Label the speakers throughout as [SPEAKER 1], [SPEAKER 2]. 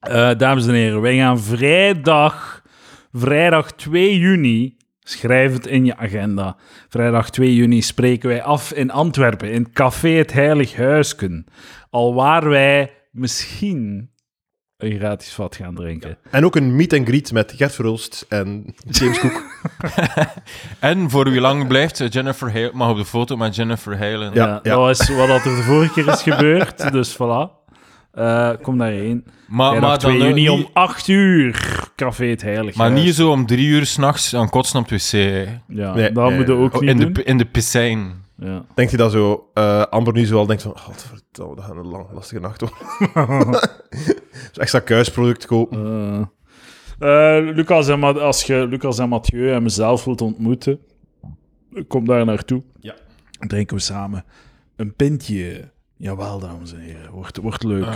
[SPEAKER 1] Eh, dames en heren, wij gaan vrijdag, vrijdag 2 juni, schrijf het in je agenda. Vrijdag 2 juni spreken wij af in Antwerpen, in Café Het Heilig Huisken. Alwaar wij misschien een gratis vat gaan drinken.
[SPEAKER 2] En ook een meet and greet met Gert Verhulst en James Cook.
[SPEAKER 3] En voor wie lang blijft, eh, Jennifer Hale, mag op de foto met Jennifer Halen.
[SPEAKER 2] Ja,
[SPEAKER 1] Eh, Dat is wat dat er de vorige keer is gebeurd, dus voilà. Eh, kom daarheen.
[SPEAKER 3] Maar,
[SPEAKER 1] Vrijdag
[SPEAKER 3] maar,
[SPEAKER 1] 2
[SPEAKER 3] dan, eh,
[SPEAKER 1] juni
[SPEAKER 3] niet,
[SPEAKER 1] om 8 uur, Café Het Heilig
[SPEAKER 3] maar niet
[SPEAKER 1] Huis.
[SPEAKER 3] zo om drie uur s'nachts aan kotsen op het wc. hè.
[SPEAKER 1] Ja,
[SPEAKER 2] Nee,
[SPEAKER 1] dat
[SPEAKER 2] nee,
[SPEAKER 1] moeten we
[SPEAKER 2] nee.
[SPEAKER 1] ook niet
[SPEAKER 3] Oh, in,
[SPEAKER 1] doen.
[SPEAKER 3] de, in de piscijn.
[SPEAKER 1] Ja.
[SPEAKER 2] Denkt hij dat zo, eh, Amber nu zo al denkt van, godverdomme, dat gaat een lang, lastige nacht worden. dus extra kuisproduct kopen.
[SPEAKER 1] Eh, eh, Lucas, en Ma- als je Lucas en Mathieu en mezelf wilt ontmoeten, kom daar naartoe.
[SPEAKER 2] Ja.
[SPEAKER 1] Drinken we samen een pintje. Jawel, dames en heren. Wordt, wordt leuk.
[SPEAKER 2] Ah.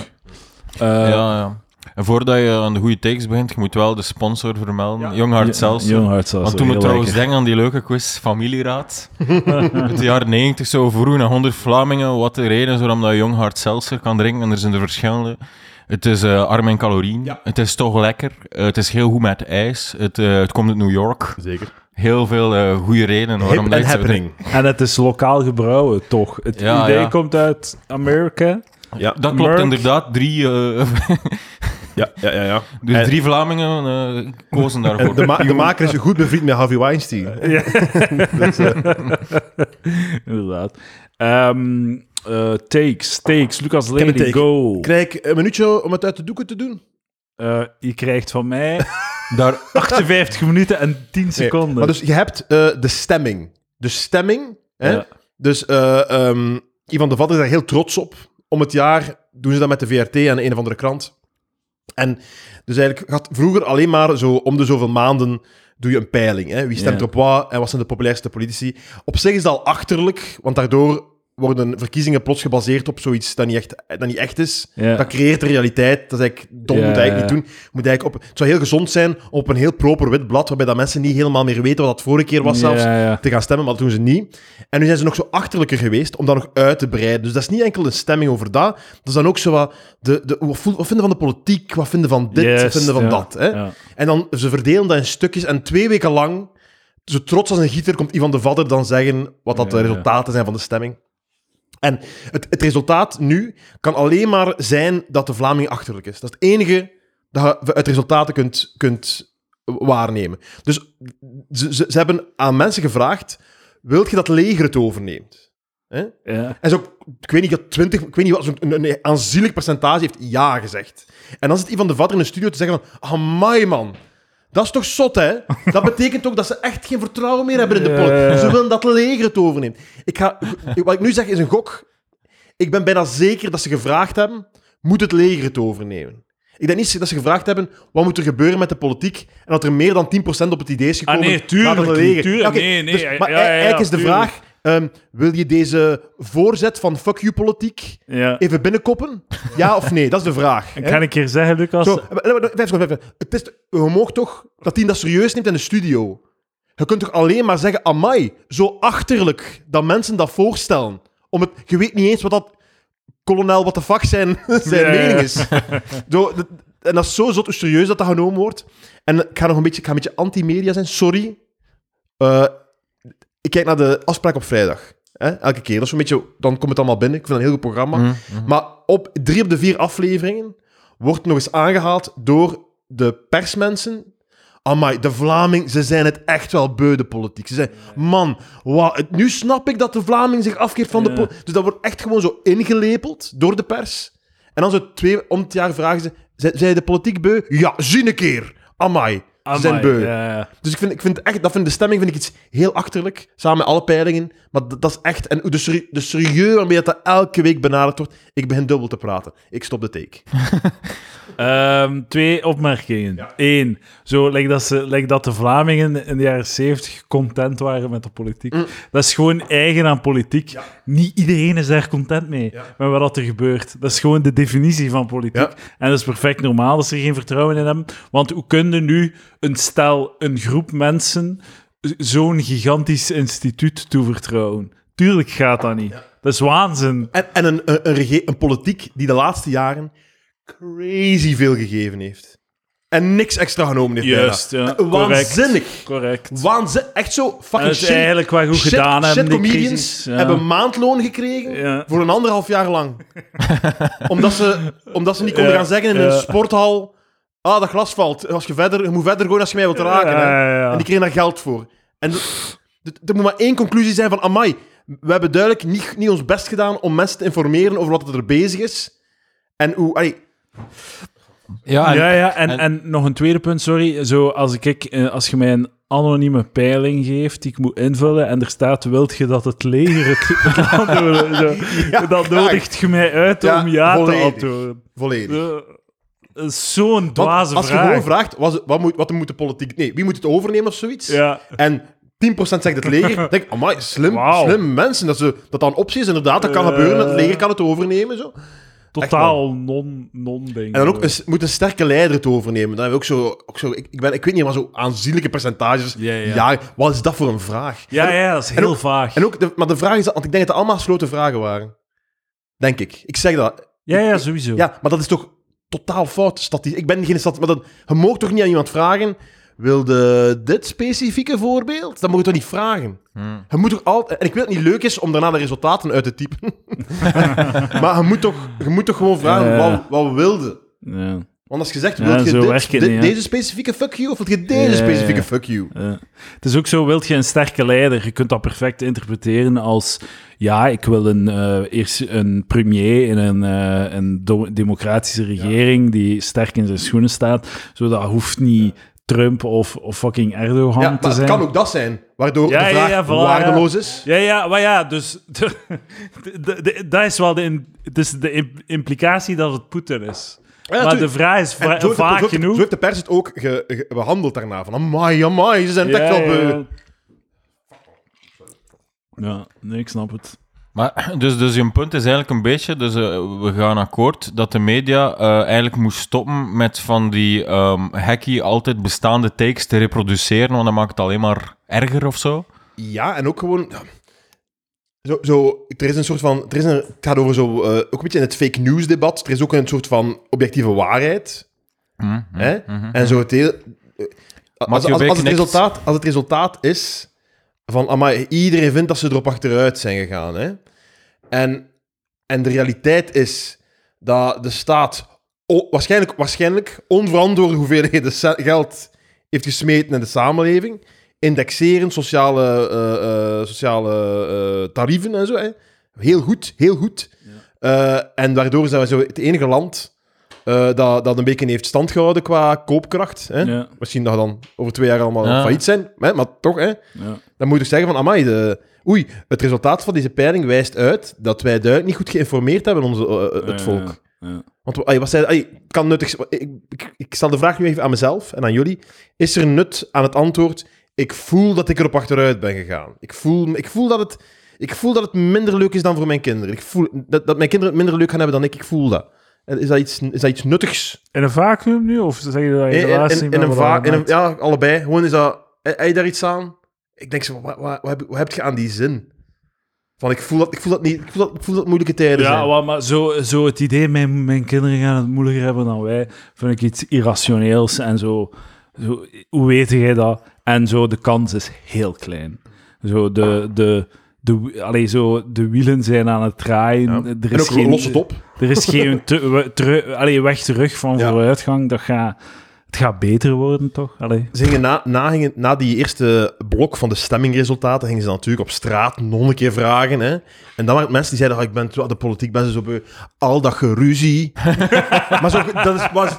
[SPEAKER 1] Eh,
[SPEAKER 3] ja, ja. En voordat je aan de goede takes begint, je moet wel de sponsor vermelden. Jong Hart zelfs.
[SPEAKER 1] Jong Hart zelfs,
[SPEAKER 3] Want toen moet
[SPEAKER 1] heel
[SPEAKER 3] trouwens
[SPEAKER 1] lekker.
[SPEAKER 3] denken aan die leuke quiz Familieraad. Uit de jaren 90 zo vroeg naar 100 Vlamingen. Wat de reden is waarom dat Jong Hart Seltzer kan drinken. En er zijn er verschillende. Het is eh, arm in calorieën. Het is toch lekker. Eh, het is heel goed met ijs. Het, eh, het komt uit New York.
[SPEAKER 2] Zeker.
[SPEAKER 3] Heel veel eh, goede redenen waarom
[SPEAKER 2] Hip
[SPEAKER 3] dat
[SPEAKER 2] en
[SPEAKER 3] je het zou
[SPEAKER 2] happening.
[SPEAKER 1] En het is lokaal gebrouwen, toch? Het
[SPEAKER 3] Ja,
[SPEAKER 1] idee
[SPEAKER 3] ja.
[SPEAKER 1] komt uit Amerika.
[SPEAKER 2] Ja,
[SPEAKER 3] drinken. Dat klopt
[SPEAKER 1] Merk.
[SPEAKER 3] inderdaad. Drie, eh,
[SPEAKER 2] ja, ja, ja. ja.
[SPEAKER 3] dus
[SPEAKER 2] En-
[SPEAKER 3] drie Vlamingen eh, kozen
[SPEAKER 2] en
[SPEAKER 3] daarvoor.
[SPEAKER 2] de, ma- de maker is goed bevriend met Harvey Weinstein.
[SPEAKER 1] Inderdaad. Ehm, eh, takes, takes. Lucas,
[SPEAKER 2] heb een
[SPEAKER 1] lady,
[SPEAKER 2] take.
[SPEAKER 1] go.
[SPEAKER 2] Krijg ik een minuutje om het uit de doeken te doen?
[SPEAKER 1] Eh, je krijgt van mij
[SPEAKER 3] Daar,
[SPEAKER 1] 58 minuten en 10
[SPEAKER 2] Nee,
[SPEAKER 1] seconden.
[SPEAKER 2] Maar dus je hebt eh, de stemming. De stemming. Hè?
[SPEAKER 1] Ja.
[SPEAKER 2] Dus eh ehm, Ivan de Vat is daar heel trots op. Om het jaar doen ze dat met de VRT en een of andere krant. En dus eigenlijk had vroeger alleen maar zo om de zoveel maanden doe je een peiling. Hè? Wie stemt
[SPEAKER 1] Ja.
[SPEAKER 2] op wat en wat zijn de populairste politici. Op zich is dat al achterlijk, want daardoor worden verkiezingen plots gebaseerd op zoiets dat niet echt, dat niet echt is.
[SPEAKER 1] Ja.
[SPEAKER 2] Dat creëert de realiteit. Dat is eigenlijk dom,
[SPEAKER 1] Ja,
[SPEAKER 2] moet je eigenlijk
[SPEAKER 1] ja.
[SPEAKER 2] niet doen. Je Moet eigenlijk op, het zou heel gezond zijn om op een heel proper wit blad, waarbij dat mensen niet helemaal meer weten wat dat vorige keer was zelfs,
[SPEAKER 1] Ja, ja.
[SPEAKER 2] te gaan stemmen, maar dat doen ze niet. En nu zijn ze nog zo achterlijker geweest om dat nog uit te breiden. Dus dat is niet enkel een stemming over dat, dat is dan ook zo wat, de, de, wat, voel- wat vinden van de politiek, wat vinden van dit,
[SPEAKER 1] Yes,
[SPEAKER 2] wat vinden van
[SPEAKER 1] ja,
[SPEAKER 2] dat. Hè?
[SPEAKER 1] ja.
[SPEAKER 2] En dan, ze verdelen dat in stukjes en twee weken lang, zo trots als een gieter, komt Ivan de Vadder dan zeggen wat dat
[SPEAKER 1] Ja,
[SPEAKER 2] de
[SPEAKER 1] ja.
[SPEAKER 2] resultaten zijn van de stemming. En het, het resultaat nu kan alleen maar zijn dat de Vlaming achterlijk is. Dat is het enige dat je uit resultaten kunt, kunt waarnemen. Dus ze, ze, ze hebben aan mensen gevraagd: wilt je dat het leger het overneemt? Hè?
[SPEAKER 1] Ja.
[SPEAKER 2] En zo, ik weet niet, dat 20, ik weet niet wat, zo'n een, een aanzienlijk percentage heeft ja gezegd. En dan zit Ivan de Vader in de studio te zeggen van, amai man, dat is toch zot hè? Dat betekent ook dat ze echt geen vertrouwen meer hebben in de
[SPEAKER 1] Ja,
[SPEAKER 2] politiek.
[SPEAKER 1] ja, ja.
[SPEAKER 2] Ze willen dat het leger het overneemt. Ik ga, wat ik nu zeg is een gok. Ik ben bijna zeker dat ze gevraagd hebben, moet het leger het overnemen? Ik denk niet dat ze gevraagd hebben, wat moet er gebeuren met de politiek? En dat er meer dan 10% op het idee is gekomen.
[SPEAKER 1] Ah, nee,
[SPEAKER 2] laat het
[SPEAKER 1] tuurlijk niet,
[SPEAKER 2] leger.
[SPEAKER 1] tuurlijk,
[SPEAKER 2] Ja, oké,
[SPEAKER 1] nee, nee,
[SPEAKER 2] dus-
[SPEAKER 1] ja,
[SPEAKER 2] maar
[SPEAKER 1] ja, ja,
[SPEAKER 2] eigenlijk is de
[SPEAKER 1] tuurlijk.
[SPEAKER 2] vraag, Ehm, wil je deze voorzet van fuck you politiek
[SPEAKER 1] Ja.
[SPEAKER 2] even binnenkoppen? Ja of nee? Dat is de vraag.
[SPEAKER 1] En
[SPEAKER 2] hè?
[SPEAKER 1] kan ik hier zeggen, Lucas?
[SPEAKER 2] Zo, eh, eh, eh, vijf seconden, vijf seconden. Het is, je mag toch dat hij dat serieus neemt in de studio? Je kunt toch alleen maar zeggen, amai, zo achterlijk dat mensen dat voorstellen. Om het, je weet niet eens wat dat kolonel wat de fuck zijn, zijn
[SPEAKER 1] Ja, ja, ja.
[SPEAKER 2] mening is. Zo, dat- en dat is zo zot hoe serieus dat dat genomen wordt. En ik ga nog een beetje, ik ga een beetje anti-media zijn, sorry. Eh, ik kijk naar de afspraak op vrijdag. Hè? Elke keer. Dat is een beetje, dan komt het allemaal binnen. Ik vind het een heel goed programma.
[SPEAKER 3] Mhm,
[SPEAKER 2] Maar op drie op de vier afleveringen wordt nog eens aangehaald door de persmensen. Amai, de Vlaming, ze zijn het echt wel beu, de politiek. Ze zijn, man, wat, het- nu snap ik dat de Vlaming zich afkeert van de
[SPEAKER 1] Ja.
[SPEAKER 2] politiek. Dus dat wordt echt gewoon zo ingelepeld door de pers. En dan zo twee om het jaar vragen ze, zijn zij de politiek beu? Ja, zie een keer. Amai, ze
[SPEAKER 1] Amai,
[SPEAKER 2] zijn beu.
[SPEAKER 1] ja, ja.
[SPEAKER 2] Dus ik vind, ik vind echt, dat vind de stemming vind ik iets heel achterlijk, samen met alle peilingen. Maar dat, dat is echt, en de, serie- de serieus waarmee dat elke week benaderd wordt, ik begin dubbel te praten. Ik stop de take.
[SPEAKER 1] Ehm, twee opmerkingen. Eén, zo lijkt dat, ze, like dat de Vlamingen in de jaren zeventig content waren met de politiek. Dat is gewoon eigen aan politiek. Niet iedereen is daar content mee met wat er gebeurt. Dat is gewoon de definitie van politiek.
[SPEAKER 2] Ja.
[SPEAKER 1] En dat is perfect normaal dat ze er geen vertrouwen in hebben. Want hoe kunnen nu een stel, een groep mensen, z- zo'n gigantisch instituut toevertrouwen? Tuurlijk gaat dat niet. Dat is waanzin.
[SPEAKER 2] En, en een, een, een, rege- een politiek die de laatste jaren crazy veel gegeven heeft. En niks extra genomen heeft. bijna.
[SPEAKER 1] Juist, ja.
[SPEAKER 2] Eh, Waanzinnig.
[SPEAKER 1] Correct. correct.
[SPEAKER 2] Waanzin, echt zo
[SPEAKER 1] En
[SPEAKER 2] fucking
[SPEAKER 1] het is
[SPEAKER 2] shit.
[SPEAKER 1] eigenlijk wel goed
[SPEAKER 2] shit-
[SPEAKER 1] gedaan hebben,
[SPEAKER 2] shit
[SPEAKER 1] die
[SPEAKER 2] comedians
[SPEAKER 1] crisis. Ja.
[SPEAKER 2] hebben maandloon gekregen
[SPEAKER 1] Ja.
[SPEAKER 2] voor een anderhalf jaar lang. omdat, ze, omdat ze niet konden
[SPEAKER 1] Ja,
[SPEAKER 2] gaan zeggen in
[SPEAKER 1] ja.
[SPEAKER 2] een sporthal... Ah, dat glas valt. Als je, verder, je moet verder gewoon als je mij wilt raken. hè."
[SPEAKER 1] Ja, ja, ja.
[SPEAKER 2] En die kregen daar geld voor. En d- d- er moet maar één conclusie zijn van... Amai, we hebben duidelijk niet, niet ons best gedaan om mensen te informeren over wat er bezig is. En hoe... allee,
[SPEAKER 3] Ja, en-
[SPEAKER 1] ja, ja. En, en,
[SPEAKER 3] en-
[SPEAKER 1] nog een tweede punt, sorry. Zo, als, ik- ik, eh, als je mij een anonieme peiling geeft die ik moet invullen en er staat, wilt je dat het leger het moet antwoorden? Zo, dan nodigt je mij uit
[SPEAKER 2] Ja,
[SPEAKER 1] om ja
[SPEAKER 2] volledig.
[SPEAKER 1] te antwoorden.
[SPEAKER 2] volledig.
[SPEAKER 1] Zo, dat is Zo'n
[SPEAKER 2] Want
[SPEAKER 1] dwaze
[SPEAKER 2] als je
[SPEAKER 1] vraag.
[SPEAKER 2] gewoon vraagt, was- wat, moet, wat moet de politiek... Nee, wie moet het overnemen of zoiets?
[SPEAKER 1] ja.
[SPEAKER 2] En 10% zegt het leger. Dan denk ik, amai, slim,
[SPEAKER 1] Wauw.
[SPEAKER 2] slim mensen. Dat, ze, dat dat een optie is, inderdaad. Dat kan
[SPEAKER 1] Eh.
[SPEAKER 2] gebeuren. Het leger kan het overnemen. Zo.
[SPEAKER 1] Totaal non- non-ding.
[SPEAKER 2] En dan ook een, s- moet een sterke leider het overnemen. Dan hebben we ook zo... Ook zo ik, ik, ben, ik weet niet, maar zo aanzienlijke percentages.
[SPEAKER 1] Ja, ja.
[SPEAKER 2] wat is dat voor een vraag?
[SPEAKER 1] ja,
[SPEAKER 2] en,
[SPEAKER 1] ja, dat is
[SPEAKER 2] en
[SPEAKER 1] heel vaag.
[SPEAKER 2] en ook de, maar de vraag is... dat- Want ik denk dat het allemaal gesloten vragen waren. Denk ik. Ik zeg dat.
[SPEAKER 1] ja, ja, sowieso.
[SPEAKER 2] Ja, maar dat is toch totaal fout. Stati ik ben geen stad... Maar dat, je mag toch niet aan iemand vragen... Wilde dit specifieke voorbeeld? Dat moet je toch niet vragen?
[SPEAKER 1] Hmm.
[SPEAKER 3] Hm.
[SPEAKER 2] Je moet toch altijd... En ik weet dat het niet leuk is om daarna de resultaten uit te typen. maar je moet, toch, je moet toch gewoon vragen
[SPEAKER 1] Ja.
[SPEAKER 2] wat, wat wilde.
[SPEAKER 1] Ja.
[SPEAKER 2] Want als je zegt,
[SPEAKER 1] Ja,
[SPEAKER 2] wil je
[SPEAKER 1] zo
[SPEAKER 2] dit-
[SPEAKER 1] werkt het
[SPEAKER 2] dit-
[SPEAKER 1] niet, hè.
[SPEAKER 2] deze specifieke fuck you of wil je deze
[SPEAKER 1] Ja, ja, ja.
[SPEAKER 2] specifieke fuck you?
[SPEAKER 1] Ja. Het is ook zo, wilt je een sterke leider? Je kunt dat perfect interpreteren als... Ja, ik wil een, eh, eerst een premier in een, eh, een do- democratische regering die sterk in zijn schoenen staat. Zo, dat hoeft niet Trump of, of fucking Erdogan
[SPEAKER 2] Ja,
[SPEAKER 1] te
[SPEAKER 2] maar het
[SPEAKER 1] zijn.
[SPEAKER 2] kan ook dat zijn, waardoor
[SPEAKER 1] Ja,
[SPEAKER 2] de
[SPEAKER 1] ja,
[SPEAKER 2] vraag
[SPEAKER 1] ja, voilà,
[SPEAKER 2] waardeloos is.
[SPEAKER 1] Ja, ja, maar ja, dus... de- de- de- de- Dat is wel de, in- dus de im- implicatie dat het Poetin is. maar de
[SPEAKER 2] tuurlijk.
[SPEAKER 1] vraag is va-
[SPEAKER 2] En zo heeft de- zo
[SPEAKER 1] vaak
[SPEAKER 2] heeft de-
[SPEAKER 1] genoeg.
[SPEAKER 2] Zo heeft de pers het ook ge- ge- behandeld daarna. Van, amai, amai, ze zijn het echt wel... beu.
[SPEAKER 1] ja. Ja, nee, ik snap het.
[SPEAKER 3] Maar, dus, dus je punt is eigenlijk een beetje, dus eh, we gaan akkoord, dat de media eh, eigenlijk moest stoppen met van die ehm hacky altijd bestaande takes te reproduceren, want dat maakt het alleen maar erger of zo.
[SPEAKER 2] Ja, en ook gewoon. ja. Zo, zo, er is een soort van. Er is een, het gaat over zo. eh, ook een beetje in het fake news debat. Er is ook een soort van objectieve waarheid.
[SPEAKER 3] Hm, hm,
[SPEAKER 2] hè?
[SPEAKER 3] mhm.
[SPEAKER 2] En zo het hele. eh, Als,
[SPEAKER 3] Mathieu
[SPEAKER 2] als,
[SPEAKER 3] Beek
[SPEAKER 2] als, het
[SPEAKER 3] knikt.
[SPEAKER 2] resultaat, als het resultaat is. van. Amai, iedereen vindt dat ze erop achteruit zijn gegaan. Hè? En, en de realiteit is. dat de staat. o- waarschijnlijk, waarschijnlijk onverantwoorde hoeveelheden ce- geld. heeft gesmeten in de samenleving indexeren, sociale, eh, eh, sociale eh, tarieven en zo. Hè. Heel goed, heel goed. Eh, en daardoor zijn we zo het enige land eh, dat, dat een beetje heeft standgehouden qua koopkracht. Hè.
[SPEAKER 1] Ja.
[SPEAKER 2] Misschien dat we dan over twee jaar allemaal
[SPEAKER 3] Ja.
[SPEAKER 2] failliet zijn, hè, maar toch. Hè.
[SPEAKER 1] Ja.
[SPEAKER 2] Dan moet je toch zeggen van, amai, de, oei, het resultaat van deze peiling wijst uit dat wij duidelijk niet goed geïnformeerd hebben onze, eh, eh, het
[SPEAKER 1] Ja,
[SPEAKER 2] volk.
[SPEAKER 1] ja, ja.
[SPEAKER 2] Want we- ai, wat zei, ai, het kan nuttig, z- ik, ik, ik stel de vraag nu even aan mezelf en aan jullie. Is er nut aan het antwoord? Ik voel dat ik erop achteruit ben gegaan. Ik voel, ik voel, dat, het, ik voel dat het minder leuk is dan voor mijn kinderen. Ik voel dat, dat mijn kinderen het minder leuk gaan hebben dan ik. Ik voel dat. En Is dat iets, is dat iets nuttigs?
[SPEAKER 1] In een vacuüm nu? Of zeg je dat
[SPEAKER 2] In,
[SPEAKER 1] je
[SPEAKER 2] in-
[SPEAKER 1] de laatste
[SPEAKER 2] in-
[SPEAKER 1] niet
[SPEAKER 2] in
[SPEAKER 1] meer
[SPEAKER 2] een
[SPEAKER 1] wat
[SPEAKER 2] va- in een-
[SPEAKER 1] aanmaakt?
[SPEAKER 2] ja, allebei. Gewoon is dat. he- Heb je daar iets aan? Ik denk zo, wat, wat, wat, heb, wat heb je aan die zin? Van ik voel dat, ik voel dat niet. Ik voel dat, ik voel dat het moeilijke tijden zijn.
[SPEAKER 1] Ja, wel, maar zo, zo het idee, mijn, mijn kinderen gaan het moeilijker hebben dan wij, vind ik iets irrationeels en zo. zo hoe weet jij dat? En zo, de kans is heel klein. Zo, de, de, de, allee, zo, de wielen zijn aan het draaien.
[SPEAKER 2] Ja.
[SPEAKER 1] Er
[SPEAKER 2] en
[SPEAKER 1] is
[SPEAKER 2] ook
[SPEAKER 1] geen,
[SPEAKER 2] los het op.
[SPEAKER 1] Er is geen te- we- teru- allee, weg terug van
[SPEAKER 2] Ja.
[SPEAKER 1] vooruitgang. Dat gaat, het gaat beter worden, toch? Allee.
[SPEAKER 2] Ze gingen na, na, gingen- na die eerste blok van de stemmingresultaten, gingen ze natuurlijk op straat nog een keer vragen. Hè? En dan waren het mensen die zeiden, "Ah, ik ben, zo- de politiek ben ze zo beu. Al dat geruzie. maar zo, dat is, was...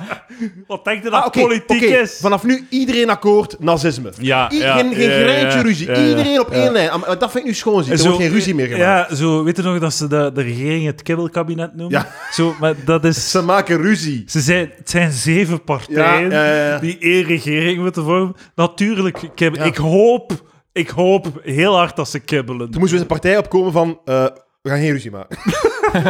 [SPEAKER 1] Wat denk je
[SPEAKER 2] Ah, oké, oké. Vanaf nu iedereen akkoord, nazisme.
[SPEAKER 1] Ja,
[SPEAKER 2] I-
[SPEAKER 1] ja,
[SPEAKER 2] geen geen
[SPEAKER 1] ja,
[SPEAKER 2] greintje
[SPEAKER 1] ja,
[SPEAKER 2] ruzie.
[SPEAKER 1] ja, ja,
[SPEAKER 2] iedereen op
[SPEAKER 1] ja.
[SPEAKER 2] één lijn. Am- Dat vind ik nu schoon. zie. Er wordt geen ruzie meer gemaakt.
[SPEAKER 1] Ja, zo, weet je nog dat ze de, de regering het kibbelkabinet noemen?
[SPEAKER 2] Ja.
[SPEAKER 1] Zo, maar dat is...
[SPEAKER 2] Ze maken ruzie.
[SPEAKER 1] Ze zijn, het zijn zeven partijen
[SPEAKER 2] Ja, ja, ja, ja.
[SPEAKER 1] die één regering moeten vormen. Natuurlijk, ik, heb,
[SPEAKER 2] Ja.
[SPEAKER 1] ik, hoop, ik hoop heel hard dat ze kibbelen.
[SPEAKER 2] Toen moesten we eens een partij opkomen van... eh, we gaan geen ruzie maken.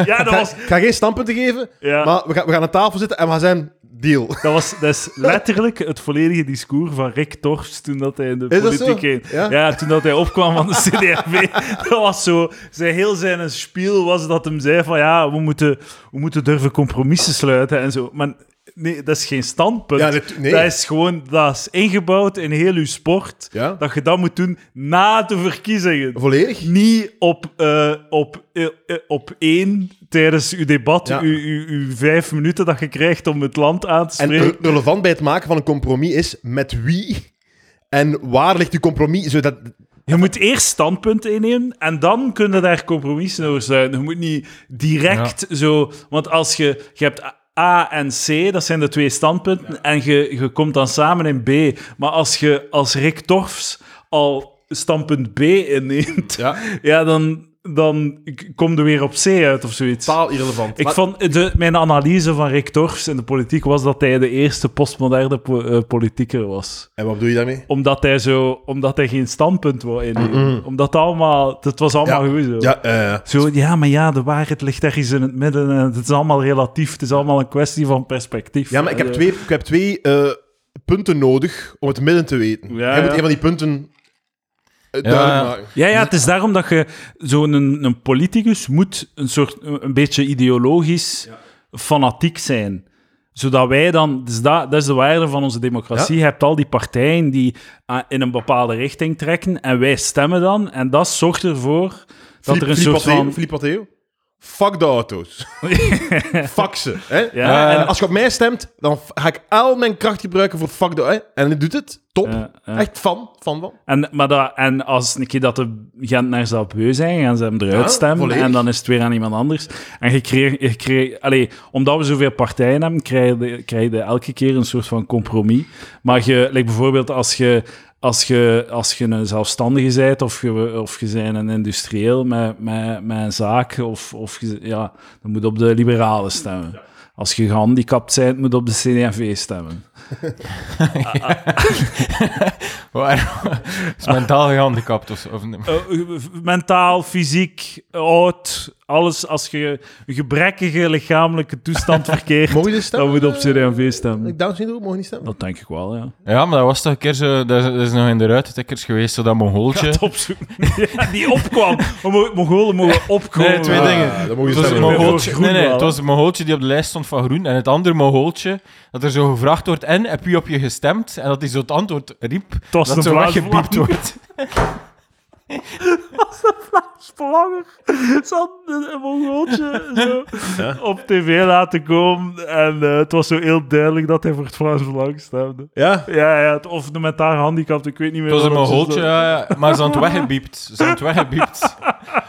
[SPEAKER 1] Ja, dat was...
[SPEAKER 2] Ik ga geen standpunten geven,
[SPEAKER 1] Ja.
[SPEAKER 2] maar we gaan, we gaan aan tafel zitten en we gaan zijn... Deal.
[SPEAKER 1] Dat, was, dat is letterlijk het volledige discours van Rick Torfs toen dat hij in de
[SPEAKER 2] Is dat
[SPEAKER 1] politiek
[SPEAKER 2] zo?
[SPEAKER 1] ging.
[SPEAKER 2] Ja?
[SPEAKER 1] toen dat hij opkwam van de CDRV. dat was zo... Zijn heel zijn spiel was dat hem zei van ja, we moeten, we moeten durven compromissen sluiten en zo. Maar nee, dat is geen standpunt.
[SPEAKER 2] Ja, dat- nee.
[SPEAKER 1] Dat is gewoon... Dat is ingebouwd in heel uw sport.
[SPEAKER 2] Ja.
[SPEAKER 1] Dat je dat moet doen na de verkiezingen.
[SPEAKER 2] Volledig?
[SPEAKER 1] Niet op, eh, op, eh, eh, op één tijdens uw debat,
[SPEAKER 2] Ja.
[SPEAKER 1] uw, uw, uw vijf minuten dat je krijgt om het land aan te
[SPEAKER 2] En eh,
[SPEAKER 1] spreken.
[SPEAKER 2] re- relevant bij het maken van een compromis is met wie en waar ligt uw compromis? Zodat,
[SPEAKER 1] je moet eerst standpunten innemen en dan kunnen daar compromissen over sluiten. Je moet niet direct zo. Want als je. Je hebt A en C, dat zijn de twee standpunten. En je, je komt dan samen in B. Maar als je als Rick Torfs al standpunt B inneemt, ja, dan, dan k- kom je weer op C uit of zoiets.
[SPEAKER 2] Totaal irrelevant.
[SPEAKER 1] Ik
[SPEAKER 2] Maar-
[SPEAKER 1] vond de, mijn analyse van Rick Torfs in de politiek was dat hij de eerste postmoderne po- eh, politieker was.
[SPEAKER 2] En wat bedoel je daarmee?
[SPEAKER 1] Omdat hij, zo, omdat hij geen standpunt wou innemen. Omdat het allemaal, het was allemaal goed zo.
[SPEAKER 2] Ja, eh,
[SPEAKER 1] Zo, ja, maar ja, de waarheid ligt ergens in het midden. En het is allemaal relatief. Het is allemaal een kwestie van perspectief.
[SPEAKER 2] ja maar ik heb
[SPEAKER 1] Eh,
[SPEAKER 2] twee, ik heb twee eh, punten nodig om het midden te weten.
[SPEAKER 1] Ja,
[SPEAKER 2] Jij moet
[SPEAKER 1] ja.
[SPEAKER 2] een van die punten eh,
[SPEAKER 3] Ja.
[SPEAKER 2] duidelijk maken.
[SPEAKER 1] Ja, ja, het is daarom dat je zo'n een, een politicus moet een soort een een beetje ideologisch fanatiek zijn. Zodat wij dan, dus dat, dat is de waarde van onze democratie. Je hebt al die partijen die ah, in een bepaalde richting trekken en wij stemmen dan. En dat zorgt ervoor dat
[SPEAKER 2] Philippe-
[SPEAKER 1] er een soort
[SPEAKER 2] Philippe
[SPEAKER 1] van.
[SPEAKER 2] Atheo- Philippe Atheo? Fuck de auto's. fuck ze. Hè?
[SPEAKER 1] Ja,
[SPEAKER 2] En
[SPEAKER 1] en-
[SPEAKER 2] als je op mij stemt, dan f- ga ik al mijn kracht gebruiken voor fuck de... hè? En hij doet het. Top.
[SPEAKER 1] Ja, ja.
[SPEAKER 2] Echt fan. Fan van.
[SPEAKER 1] En, maar dat, en als een keer dat de Gentenaars dat beu zijn, gaan ze hem eruit
[SPEAKER 2] Ja,
[SPEAKER 1] stemmen.
[SPEAKER 2] volledig.
[SPEAKER 1] En dan is het weer aan iemand anders. En je creëert... Je creëert allee, omdat we zoveel partijen hebben, krijg je, krijg je elke keer een soort van compromis. Maar je, like bijvoorbeeld als je, als, je, als je een zelfstandige bent, of je, of je bent een industrieel met, met, met een zaak, of, of je, ja, dan moet je op de liberalen stemmen. Als je gehandicapt bent, moet je op de CD&V stemmen.
[SPEAKER 3] Waar? is mentaal gehandicapt of, zo, of niet?
[SPEAKER 1] Eh, eh, mentaal, fysiek, oud, alles. Als je een gebrekkige lichamelijke toestand verkeert,
[SPEAKER 2] Mogen jullie stemmen?
[SPEAKER 1] dan moet je op CD&V stemmen.
[SPEAKER 2] Down syndroom, mogen niet stemmen.
[SPEAKER 1] Dat denk ik wel, ja.
[SPEAKER 3] Ja, maar dat was toch een keer zo... Dat is, dat is nog in de ruitentikkers geweest, zo dat mongooltje.
[SPEAKER 1] Het opzoeken. Ja, die opkwam. We mo- Mongolen mogen opkomen.
[SPEAKER 3] Nee, twee
[SPEAKER 1] Ah.
[SPEAKER 3] dingen.
[SPEAKER 2] dan mogen je
[SPEAKER 3] Het was, een
[SPEAKER 1] stemmen.
[SPEAKER 3] mongooltje,
[SPEAKER 1] Groen
[SPEAKER 3] nee, nee,
[SPEAKER 1] wel,
[SPEAKER 3] het
[SPEAKER 1] hè?
[SPEAKER 3] was een mongooltje die op de lijst stond van groen. En het andere mongooltje, dat er zo gevraagd wordt... En, heb je op je gestemd? En dat hij zo het antwoord riep.
[SPEAKER 1] was een
[SPEAKER 3] dat zo
[SPEAKER 1] Vlaams
[SPEAKER 3] weggepiept
[SPEAKER 1] Vlaam.
[SPEAKER 3] wordt.
[SPEAKER 1] Belangrijk. Ze hadden een Mongooltje zo op tv laten komen. En eh, het was zo heel duidelijk dat hij voor het Vlaams Belang stemde.
[SPEAKER 2] Ja?
[SPEAKER 1] Ja, ja het, of de mentaal gehandicapt, ik weet niet meer.
[SPEAKER 3] Het was een
[SPEAKER 1] wat ze-
[SPEAKER 3] mongooltje, ja, ja. maar ze had het weggepiept. Ze had het weggepiept.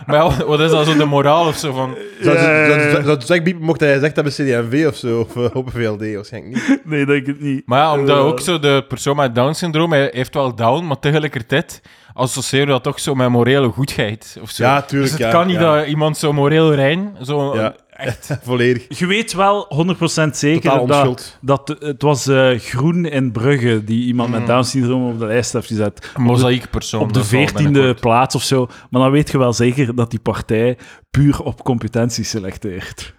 [SPEAKER 3] Maar ja, wat is dat zo, de moraal of zo van...
[SPEAKER 2] Zou
[SPEAKER 1] Ja, ja, ja.
[SPEAKER 2] zou- zou het zeggen, Biep, mocht hij zegt hebben CD&V of zo, of eh, op VLD, waarschijnlijk niet.
[SPEAKER 1] Nee, denk ik niet.
[SPEAKER 3] Maar ja, omdat
[SPEAKER 1] Eh.
[SPEAKER 3] ook zo de persoon met Down-syndroom, hij heeft wel Down, maar tegelijkertijd associëren we dat toch zo met morele goedheid of zo.
[SPEAKER 2] Ja, tuurlijk,
[SPEAKER 3] Dus het
[SPEAKER 2] ja,
[SPEAKER 3] kan niet
[SPEAKER 2] ja.
[SPEAKER 3] dat iemand zo moreel rein, zo
[SPEAKER 2] Ja.
[SPEAKER 3] echt...
[SPEAKER 2] Volledig.
[SPEAKER 1] Je weet wel 100%
[SPEAKER 2] Totaal
[SPEAKER 1] zeker dat,
[SPEAKER 2] onschuld.
[SPEAKER 1] dat het was eh, Groen in Brugge die iemand
[SPEAKER 2] Mm.
[SPEAKER 1] met Down-syndroom op de lijst heeft gezet.
[SPEAKER 3] Mozaïekpersoon.
[SPEAKER 1] Op de veertiende plaats of zo. Maar dan weet je wel zeker dat die partij puur op competentie selecteert.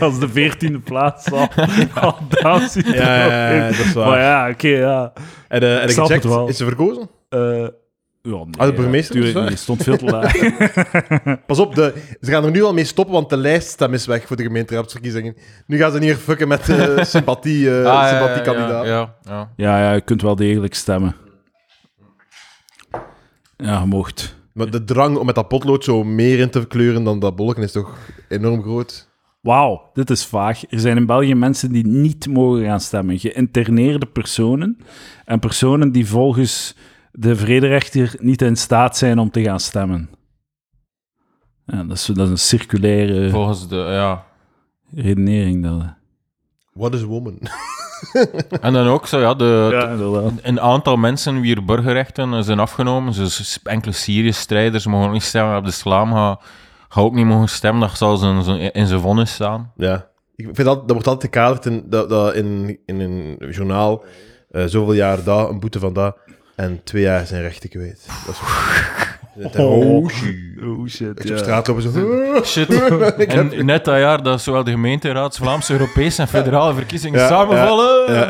[SPEAKER 1] Als de veertiende plaats al, al Down-syndroom
[SPEAKER 2] Ja, ja, ja,
[SPEAKER 1] heeft.
[SPEAKER 2] dat is waar.
[SPEAKER 1] Maar ja, oké, ja.
[SPEAKER 2] En, eh, en ik
[SPEAKER 1] snap het
[SPEAKER 2] gecheckt,
[SPEAKER 1] wel.
[SPEAKER 2] is ze verkozen?
[SPEAKER 1] Eh, ja, nee,
[SPEAKER 2] Ah, de burgemeester
[SPEAKER 1] tuurlijk
[SPEAKER 2] is weg.
[SPEAKER 1] niet, stond veel te laag.
[SPEAKER 2] Pas op, de, ze gaan er nu al mee stoppen, want de lijststem is weg voor de gemeenteraadsverkiezingen. Nu gaan ze niet meer fucken met eh, sympathie, eh sympathiekandidaat.
[SPEAKER 3] Ah, Ja, ja, ja.
[SPEAKER 1] ja, ja, je kunt wel degelijk stemmen. Ja, je mocht.
[SPEAKER 2] Maar de drang om met dat potlood zo meer in te kleuren dan dat bolken is toch enorm groot?
[SPEAKER 1] Wauw, dit is vaag. Er zijn in België mensen die niet mogen gaan stemmen. Geïnterneerde personen en personen die volgens de vrederechter niet in staat zijn om te gaan stemmen. Ja, dat, is, dat is een circulaire
[SPEAKER 3] Volgens de... Ja.
[SPEAKER 1] redenering. Dat.
[SPEAKER 2] What is woman?
[SPEAKER 3] En dan ook zo, ja, de,
[SPEAKER 1] Ja, inderdaad.
[SPEAKER 3] een aantal mensen wier burgerrechten eh, zijn afgenomen. Dus enkele Syrië-strijders mogen niet stemmen. Abdeslam gaat ga ook niet mogen stemmen. Dat zal zijn- zijn- in zijn vonnis staan.
[SPEAKER 2] Ja. Ik vind dat, dat wordt altijd gekaderd in, dat, dat in, in een journaal. eh, zoveel jaar dat, een boete van dat. En twee jaar zijn rechten kwijt. Dat is Oh,
[SPEAKER 1] Oh shit,
[SPEAKER 2] Dat je op straat lopen zo...
[SPEAKER 3] Shit. En net dat jaar dat zowel de gemeenteraads, Vlaamse, Europese en federale verkiezingen
[SPEAKER 2] Ja,
[SPEAKER 3] samenvallen.
[SPEAKER 2] Ja,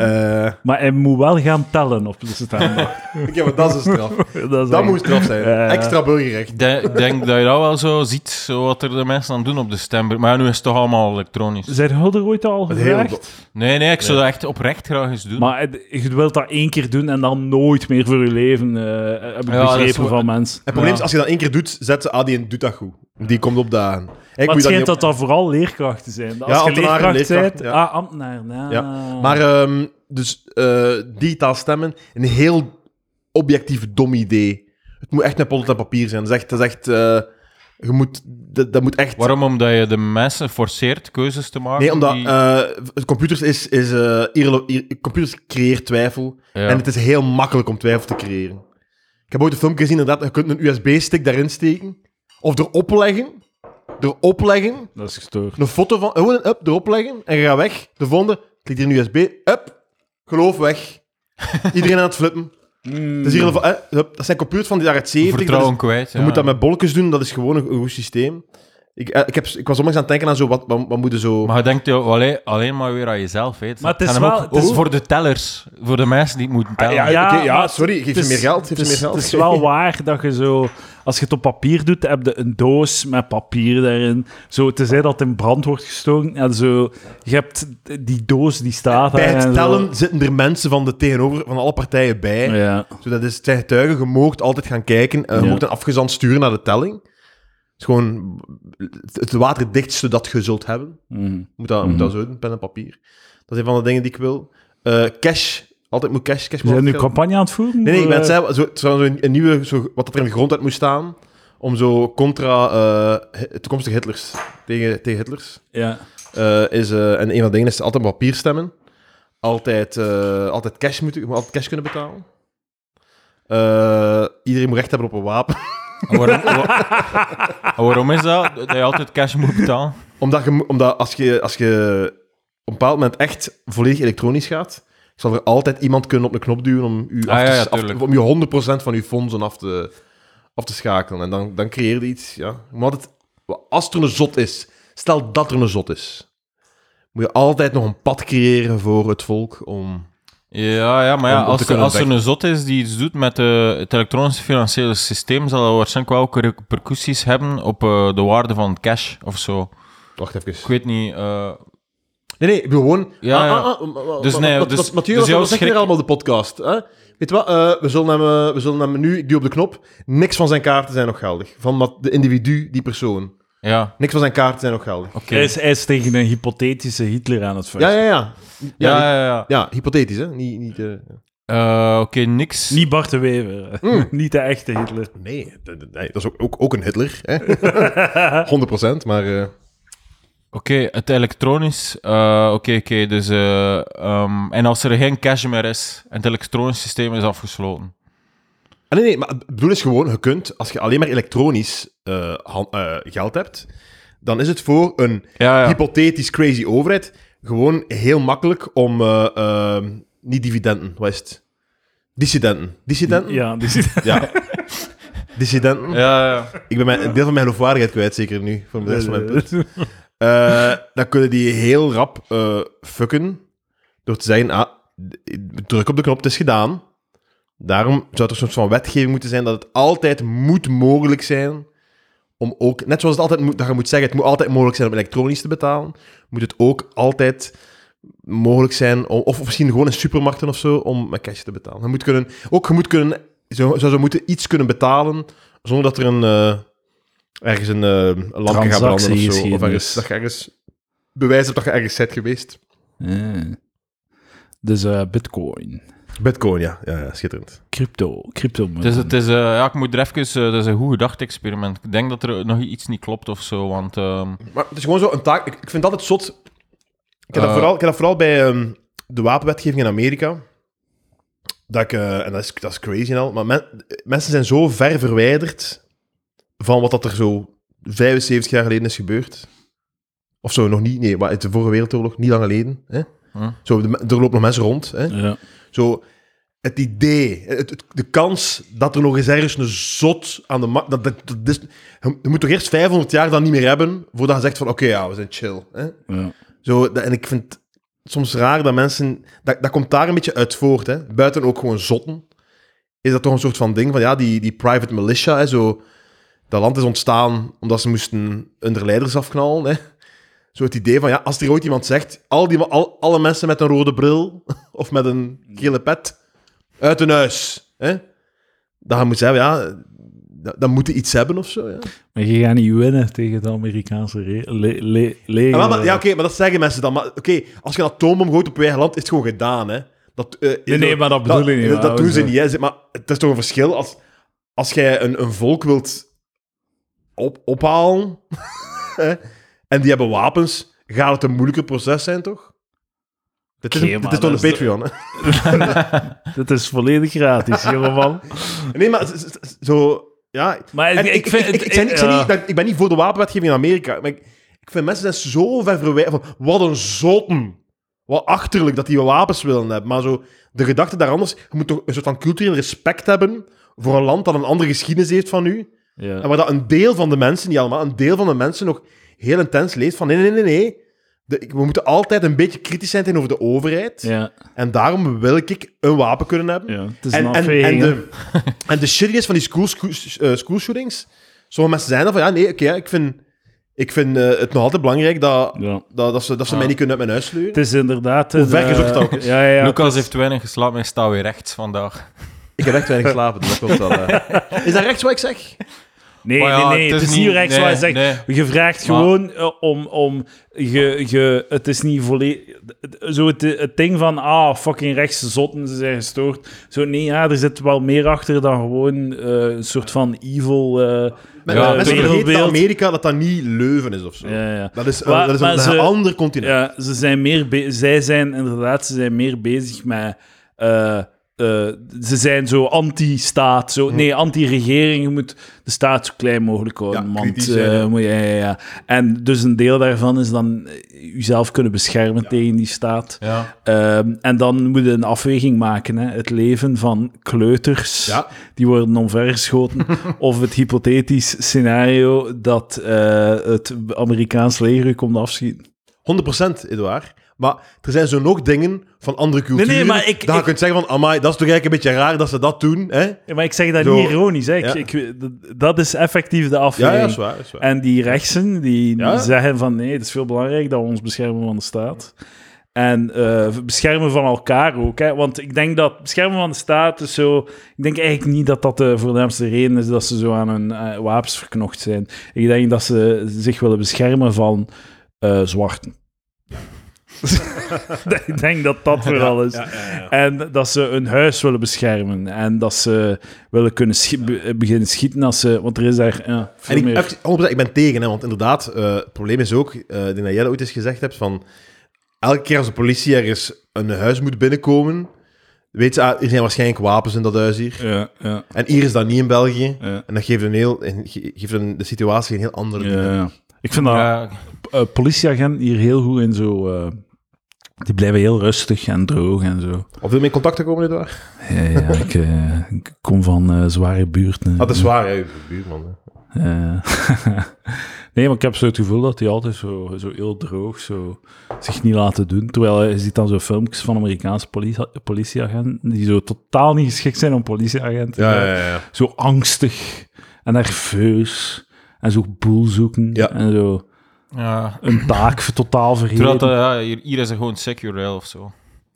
[SPEAKER 2] eh,
[SPEAKER 1] Maar hij moet wel gaan tellen op de staan.
[SPEAKER 2] ja, maar dat is een straf.
[SPEAKER 1] dat is
[SPEAKER 2] Dat
[SPEAKER 1] echt-
[SPEAKER 2] moet straf zijn.
[SPEAKER 1] Ja, ja.
[SPEAKER 2] Extra burgerrecht.
[SPEAKER 3] Ik de- ik denk dat je dat wel zo ziet, zo wat er de mensen aan doen op de stember. Maar ja, nu is het toch allemaal elektronisch.
[SPEAKER 1] Zijn Hulder ooit al
[SPEAKER 2] Het hele
[SPEAKER 1] gevraagd?
[SPEAKER 3] Nee, nee, ik zou dat echt oprecht graag eens doen.
[SPEAKER 1] Maar het- je wilt dat één keer doen en dan nooit meer voor je leven, eh, heb ik
[SPEAKER 3] Ja, dat is
[SPEAKER 1] begrepen
[SPEAKER 3] wel-
[SPEAKER 1] van mensen.
[SPEAKER 2] Het probleem is, als je dat één keer doet, zet ze, ah, die doet dat goed. Die komt op dat aan. Ik
[SPEAKER 1] Maar
[SPEAKER 2] moet
[SPEAKER 1] het schijnt
[SPEAKER 2] niet op-
[SPEAKER 1] dat dat vooral leerkrachten zijn. Als
[SPEAKER 2] Ja,
[SPEAKER 1] je
[SPEAKER 2] ambtenaren en
[SPEAKER 1] leerkracht bent...
[SPEAKER 2] leerkrachten, ja.
[SPEAKER 1] Ah, ambtenaar. ja.
[SPEAKER 2] Ja. Maar ehm, dus eh, digitaal stemmen, een heel objectief dom idee. Het moet echt met potlood en papier zijn. Dat is echt... Dat, is echt, eh, je moet, dat, dat moet echt...
[SPEAKER 3] Waarom? Omdat je de mensen forceert keuzes te maken.
[SPEAKER 2] Nee, omdat
[SPEAKER 3] die-
[SPEAKER 2] eh, computers is... is eh, irrele- ir- computers creëert twijfel.
[SPEAKER 3] Ja.
[SPEAKER 2] En het is heel makkelijk om twijfel te creëren. Ik heb ooit een filmpje gezien, inderdaad, je kunt een USB-stick daarin steken. Of erop leggen. Erop leggen.
[SPEAKER 1] Dat is gestoord.
[SPEAKER 2] Een foto van, gewoon een up erop leggen. En je gaat weg. De volgende, klik hier een USB. Up. Geloof weg. Iedereen aan het flippen.
[SPEAKER 1] Hmm.
[SPEAKER 2] Het is hier, eh, hup, dat zijn computers van de jaren 70. dat is-
[SPEAKER 3] vertrouwen kwijt.
[SPEAKER 2] je moet dat met bolletjes doen, dat is gewoon een, een goed systeem. Ik, eh, ik, heb, ik was onlangs aan het denken aan zo, wat, wat, wat moeten zo...
[SPEAKER 3] Maar je denkt jo, alleen, alleen maar weer aan jezelf. Hè.
[SPEAKER 1] Maar het is
[SPEAKER 3] gaat hem
[SPEAKER 1] wel-
[SPEAKER 3] ook-
[SPEAKER 1] het is- Ah,
[SPEAKER 3] ook voor de tellers. Voor de mensen die het moeten tellen.
[SPEAKER 2] ja,
[SPEAKER 1] Ja,
[SPEAKER 2] oké, ja,
[SPEAKER 1] maar
[SPEAKER 2] sorry, geef
[SPEAKER 1] het
[SPEAKER 2] ze meer
[SPEAKER 1] is-
[SPEAKER 2] geld. Geef ze
[SPEAKER 1] het
[SPEAKER 2] meer
[SPEAKER 1] is-
[SPEAKER 2] geld.
[SPEAKER 1] Het is wel waar dat je zo... Als je het op papier doet, heb je een doos met papier daarin. Zo, tenzij dat het in brand wordt gestoken. En zo, je hebt die doos die staat
[SPEAKER 2] Bij
[SPEAKER 1] daar en
[SPEAKER 2] het
[SPEAKER 1] zo.
[SPEAKER 2] tellen zitten er mensen van de tegenover, van alle partijen bij.
[SPEAKER 1] Ja.
[SPEAKER 2] Zo, dat is, het zijn getuigen, je moogt altijd gaan kijken. eh, je
[SPEAKER 1] Ja.
[SPEAKER 2] moogt een afgezand sturen naar de telling. Het is gewoon het waterdichtste dat je zult hebben.
[SPEAKER 1] Mhm.
[SPEAKER 2] Moet dat, moet dat zo doen, pen en papier. Dat is een van de dingen die ik wil. Eh, cash, altijd moet cash. cash moet
[SPEAKER 1] Zijn we nu
[SPEAKER 2] altijd geld.
[SPEAKER 1] campagne aan het voeren?
[SPEAKER 2] Nee, nee, ik ben het
[SPEAKER 1] Eh,
[SPEAKER 2] zei, zo, het zou zo een, een nieuwe, zo, wat dat er in de grondwet moest staan, om zo contra eh, hi- toekomstige Hitlers, tegen, tegen Hitlers,
[SPEAKER 1] Ja.
[SPEAKER 2] eh, is, eh, en een van de dingen is altijd op papier stemmen, altijd, eh, altijd cash moeten, je moet altijd cash kunnen betalen. Eh, iedereen moet recht hebben op een wapen.
[SPEAKER 3] En waarom, wa- en waarom is dat? Dat je altijd cash moet betalen.
[SPEAKER 2] omdat je, mo- omdat als, je, als je op een bepaald moment echt volledig elektronisch gaat, zal er altijd iemand kunnen op een knop duwen om, u af
[SPEAKER 3] Ah, ja,
[SPEAKER 2] te,
[SPEAKER 3] ja,
[SPEAKER 2] af te-
[SPEAKER 3] tuurlijk.
[SPEAKER 2] om je 100% van je fondsen af te, af te schakelen. En dan, dan creëer je iets. Ja. Maar altijd, als er een zot is, stel dat er een zot is, moet je altijd nog een pad creëren voor het volk om...
[SPEAKER 3] Ja, ja maar
[SPEAKER 2] Om-
[SPEAKER 3] ja,
[SPEAKER 2] om te
[SPEAKER 3] als, er-
[SPEAKER 2] kunnen
[SPEAKER 3] als er een zot is die iets doet met eh, het elektronische financiële systeem, zal dat waarschijnlijk wel ook repercussies hebben op eh, de waarde van cash of zo.
[SPEAKER 2] Wacht
[SPEAKER 3] Ik
[SPEAKER 2] even.
[SPEAKER 3] weet niet. eh,
[SPEAKER 2] Nee, nee, ik bedoel gewoon... Ah,
[SPEAKER 3] Ja, ja. Dus nee,
[SPEAKER 2] wat-
[SPEAKER 3] dus-
[SPEAKER 2] wat- Mathieu,
[SPEAKER 3] dus
[SPEAKER 2] wat-
[SPEAKER 3] jouw
[SPEAKER 2] wat zeg je
[SPEAKER 3] schrik-
[SPEAKER 2] hier allemaal op de podcast? Hè? Weet je wat, eh, we, zullen hem, eh, we zullen hem nu, ik duw op de knop, niks van zijn kaarten zijn nog geldig. Van wat- de individu, die persoon.
[SPEAKER 3] ja,
[SPEAKER 2] Niks van zijn kaarten zijn nog geldig.
[SPEAKER 3] oké.
[SPEAKER 1] Hij, is, hij is tegen een hypothetische Hitler aan het
[SPEAKER 2] Ja,
[SPEAKER 1] vechten.
[SPEAKER 2] ja, ja. Ja,
[SPEAKER 3] Ja,
[SPEAKER 2] ja,
[SPEAKER 3] ja, ja.
[SPEAKER 2] hypothetisch, hè. Niet, niet, eh,
[SPEAKER 3] Eh, Oké, niks.
[SPEAKER 1] Niet Bart de Wever.
[SPEAKER 2] Hmm.
[SPEAKER 1] Niet de echte Hitler.
[SPEAKER 2] Nee, d- d- nee, dat is ook, ook, ook een Hitler, hè. 100%, maar... eh,
[SPEAKER 3] Oké, het elektronisch. eh, Oké, oké. dus, eh, ehm, en als er geen cash meer is en het elektronisch systeem is afgesloten.
[SPEAKER 2] Ah, nee, nee, maar het bedoel is gewoon, je kunt, als je alleen maar elektronisch eh, han- eh, geld hebt, dan is het voor een
[SPEAKER 3] Ja, ja.
[SPEAKER 2] hypothetisch crazy overheid gewoon heel makkelijk om, eh, eh, niet dividenden, wat is het? Dissidenten. Dissidenten?
[SPEAKER 1] Ja, die zit...
[SPEAKER 2] Ja. Dissidenten.
[SPEAKER 3] Ja, ja.
[SPEAKER 2] Ik ben mijn, een deel van mijn lofwaardigheid kwijt, zeker nu, van de rest van mijn put. Eh, dan kunnen die heel rap eh, fucken door te zeggen, ah, d- druk op de knop, het is gedaan. Daarom zou er een soort van wetgeving moeten zijn dat het altijd moet mogelijk zijn om ook, net zoals het altijd moet, dat je moet zeggen, het moet altijd mogelijk zijn om elektronisch te betalen, moet het ook altijd mogelijk zijn, om, of misschien gewoon in supermarkten of zo, om met cash te betalen. Je moet kunnen, ook je moet kunnen, zo, zou zo moeten iets kunnen betalen zonder dat er een, eh, ergens een eh, een lampje gaat branden of zo. Of
[SPEAKER 1] Transactiegeschiedenis.
[SPEAKER 2] ergens, dat je ergens bewijs hebt dat je ergens bent geweest.
[SPEAKER 1] Ja. Dus eh, bitcoin,
[SPEAKER 2] Bitcoin, ja. Ja, ja schitterend.
[SPEAKER 1] crypto, crypto
[SPEAKER 3] Het is, het is, eh, ja, ik moet er even... eh, dat is een goed gedacht-experiment. Ik denk dat er nog iets niet klopt of zo, want... ehm,
[SPEAKER 2] Maar het is gewoon zo een taak. Ik, ik vind het altijd zot. Ik heb, dat,
[SPEAKER 3] Eh.
[SPEAKER 2] vooral, ik heb dat vooral bij ehm, de wapenwetgeving in Amerika. Dat ik, eh, en dat is, dat is crazy en al. Maar men- mensen zijn zo ver verwijderd van wat dat er zo 75 jaar geleden is gebeurd. Of zo, nog niet. Nee, maar uit de Vorige Wereldoorlog, niet lang geleden. Hè?
[SPEAKER 3] Hm.
[SPEAKER 2] Zo, de me- er lopen nog mensen rond. Hè?
[SPEAKER 1] Ja.
[SPEAKER 2] Zo, het idee, het, het- de kans dat er nog eens ergens een zot aan de ma- Dat, dat, dat is, je moet toch eerst 500 jaar dat niet meer hebben, voordat je zegt van, oké, ja, we zijn chill. Hè?
[SPEAKER 1] Ja.
[SPEAKER 2] Zo, dat- en ik vind het soms raar dat mensen... Dat, dat komt daar een beetje uit voort, hè. Buiten ook gewoon zotten. Is dat toch een soort van ding van, ja, die, die private militia, hè, zo... Dat land is ontstaan omdat ze moesten hun leiders afknallen, hè. Zo het idee van, ja, als er ooit iemand zegt... Al die, al, alle mensen met een rode bril of met een gele pet uit hun huis, hè. Dat je moet zeggen, ja... Dan, dan moet je iets hebben of zo, ja.
[SPEAKER 1] Maar je gaat niet winnen tegen het Amerikaanse re- le- le- leger.
[SPEAKER 2] Ja, Ah, maar- maar- ja, oké, maar dat zeggen mensen dan. Maar oké, als je een atoombom gooit op je eigen land, is het gewoon gedaan, hè. Dat, eh,
[SPEAKER 1] Nee, nee, maar dat eh. bedoel ik niet,
[SPEAKER 2] Dat,
[SPEAKER 1] maar
[SPEAKER 2] doen
[SPEAKER 1] we
[SPEAKER 2] ze
[SPEAKER 1] zijn-
[SPEAKER 2] niet, hè. Ze- Maar het is toch een verschil als, als jij een, een volk wilt op, ophalen hè, en die hebben wapens, gaat het een moeilijker proces zijn, toch? Dit is,
[SPEAKER 1] Oké,
[SPEAKER 2] een- dit
[SPEAKER 1] maar
[SPEAKER 2] is toch
[SPEAKER 1] dat
[SPEAKER 2] een
[SPEAKER 1] is de-
[SPEAKER 2] Patreon, hè?
[SPEAKER 1] Dat is volledig gratis, jongeman.
[SPEAKER 2] Nee, maar z- z- z- zo... Ja,
[SPEAKER 1] Maar
[SPEAKER 2] En
[SPEAKER 1] ik, ik vind...
[SPEAKER 2] ik, ik, zei niet- ik zei
[SPEAKER 1] ja.
[SPEAKER 2] niet dat- ik ben niet voor de wapenwetgeving in Amerika. Maar ik, ik vind mensen zijn zo ver verwijderd van... Wat een zotten. Wat achterlijk dat die wapens willen hebben. Maar zo, de gedachte daar anders... Je moet toch een soort van cultureel respect hebben... voor een land dat een andere geschiedenis heeft van u. En
[SPEAKER 1] Ja.
[SPEAKER 2] waar dat een deel van de mensen, niet allemaal... een deel van de mensen nog heel intens leeft van... Nee, nee, nee, nee. De- ik- we moeten altijd een beetje kritisch zijn tegenover de overheid.
[SPEAKER 1] Ja.
[SPEAKER 2] En daarom wil ik een wapen kunnen hebben.
[SPEAKER 1] ja, het is
[SPEAKER 2] En,
[SPEAKER 1] een
[SPEAKER 2] en,
[SPEAKER 1] afweging.
[SPEAKER 2] en,
[SPEAKER 1] hè.
[SPEAKER 2] de, en de shitty is van die school, school, eh, school shootings. Sommige mensen zijn er van, ja, nee, oké, ja, ik vind, ik vind eh, het nog altijd belangrijk dat,
[SPEAKER 1] Ja.
[SPEAKER 2] dat, dat ze, dat ze mij niet kunnen uit mijn huis
[SPEAKER 1] Het
[SPEAKER 2] sleuren.
[SPEAKER 1] is inderdaad...
[SPEAKER 2] Hoe ver
[SPEAKER 1] eh,
[SPEAKER 2] gezocht dat ook is.
[SPEAKER 1] Ja, ja, ja.
[SPEAKER 3] Lucas heeft weinig geslapen, hij staat weer rechts vandaag.
[SPEAKER 2] Ik heb echt weinig geslapen, dus dat klopt wel. eh. Is dat rechts wat ik zeg?
[SPEAKER 1] Nee,
[SPEAKER 3] Maar ja,
[SPEAKER 1] nee, nee. Het is niet rechts waar je
[SPEAKER 3] nee,
[SPEAKER 1] zegt... Je vraagt
[SPEAKER 3] Maar-
[SPEAKER 1] gewoon eh, om... om je, je, het is niet volledig... Zo het, het ding van... Ah, fucking rechtse zotten, ze zijn gestoord. Zo, nee, ja, er zit wel meer achter dan gewoon eh, een soort van evil... eh,
[SPEAKER 2] Met,
[SPEAKER 3] Ja,
[SPEAKER 2] mensen
[SPEAKER 3] wereldbeeld.
[SPEAKER 2] vergeten dat Amerika dat dat niet Leuven is of zo.
[SPEAKER 1] ja, ja.
[SPEAKER 2] Dat is, eh,
[SPEAKER 1] Maar-
[SPEAKER 2] dat is
[SPEAKER 1] maar
[SPEAKER 2] een,
[SPEAKER 1] ze-
[SPEAKER 2] een ander continent.
[SPEAKER 1] Ja, ze zijn meer be- zij zijn inderdaad, ze zijn meer bezig met. eh, eh, ze zijn zo anti-staat.
[SPEAKER 2] Mhm.
[SPEAKER 1] Zo, nee, anti-regering. Je moet de staat zo klein mogelijk houden.
[SPEAKER 2] Ja,
[SPEAKER 1] want,
[SPEAKER 2] kritisch zijn,
[SPEAKER 1] eh,
[SPEAKER 2] hè.
[SPEAKER 1] moet je- ja, ja, ja. En dus een deel daarvan is dan eh, jezelf kunnen beschermen tegen die staat.
[SPEAKER 3] Ja.
[SPEAKER 1] Ehm, en dan moet je een afweging maken. Hè. Het leven van kleuters,
[SPEAKER 2] Ja.
[SPEAKER 1] die worden omvergeschoten. of het hypothetisch scenario dat eh, het Amerikaans leger u komt afschieten.
[SPEAKER 2] 100% Edouard. Maar er zijn zo nog dingen van andere culturen.
[SPEAKER 1] Nee, nee, maar ik-
[SPEAKER 2] dat je
[SPEAKER 1] ik-
[SPEAKER 2] kunt zeggen van, amai, dat is toch eigenlijk een beetje raar dat ze dat doen. Hè? Ja,
[SPEAKER 1] Ja, maar ik zeg dat
[SPEAKER 2] Zo-
[SPEAKER 1] niet ironisch. Hè. Ik-
[SPEAKER 2] Ja.
[SPEAKER 1] ik- d- dat is effectief de
[SPEAKER 2] ja,
[SPEAKER 1] afweging.
[SPEAKER 2] dat is waar. Dat is waar.
[SPEAKER 1] En die rechtsen die
[SPEAKER 2] Ja.
[SPEAKER 1] zeggen van nee, het is veel belangrijk dat we ons beschermen van de staat. En eh, beschermen van elkaar ook. Hè? Want ik denk dat beschermen van de staat is zo... Ik denk eigenlijk niet dat dat de voornaamste reden is dat ze zo aan hun eh, wapens verknocht zijn. Ik denk dat ze zich willen beschermen van eh, zwarten. ik denk dat dat vooral is. En dat ze hun huis willen beschermen. En dat ze willen kunnen schi- be- beginnen schieten als ze... Want er is daar... Ja, veel
[SPEAKER 2] En ik,
[SPEAKER 1] meer-
[SPEAKER 2] even- 100% ik ben tegen, hè, want inderdaad, eh, het probleem is ook, eh, ik denk dat jij dat ooit eens gezegd hebt, van elke keer als de politie ergens een huis moet binnenkomen, weet ze, ah, er zijn waarschijnlijk wapens in dat huis hier.
[SPEAKER 1] Ja, ja.
[SPEAKER 2] En hier is dat niet in België.
[SPEAKER 1] Ja.
[SPEAKER 2] En dat geeft, een heel, en ge- geeft een, de situatie een heel andere... dynamiek.
[SPEAKER 1] Ja. Ik vind dat
[SPEAKER 3] Ja,
[SPEAKER 1] eh, politieagenten hier heel goed in zo. eh, die blijven heel rustig en droog en zo.
[SPEAKER 2] Of wil je in contact te komen, Edouard?
[SPEAKER 1] Ja, ja, ik, eh, ik kom van eh, zware buurten.
[SPEAKER 2] Ah, dat is waar, hè, je buurman. hè.
[SPEAKER 1] Eh, nee, maar ik heb zo het gevoel dat die altijd zo, zo heel droog zo, zich niet laten doen. Terwijl eh, je ziet dan zo filmpjes van Amerikaanse politie- politieagenten die zo totaal niet geschikt zijn om politieagenten. te zijn.
[SPEAKER 2] ja, ja.
[SPEAKER 1] Zo angstig en nerveus en zo boel zoeken
[SPEAKER 2] Ja.
[SPEAKER 1] en zo
[SPEAKER 3] ja.
[SPEAKER 1] een taak totaal vergeten.
[SPEAKER 3] Terwijl dat, eh, ja, hier, hier is het gewoon secure rail of zo.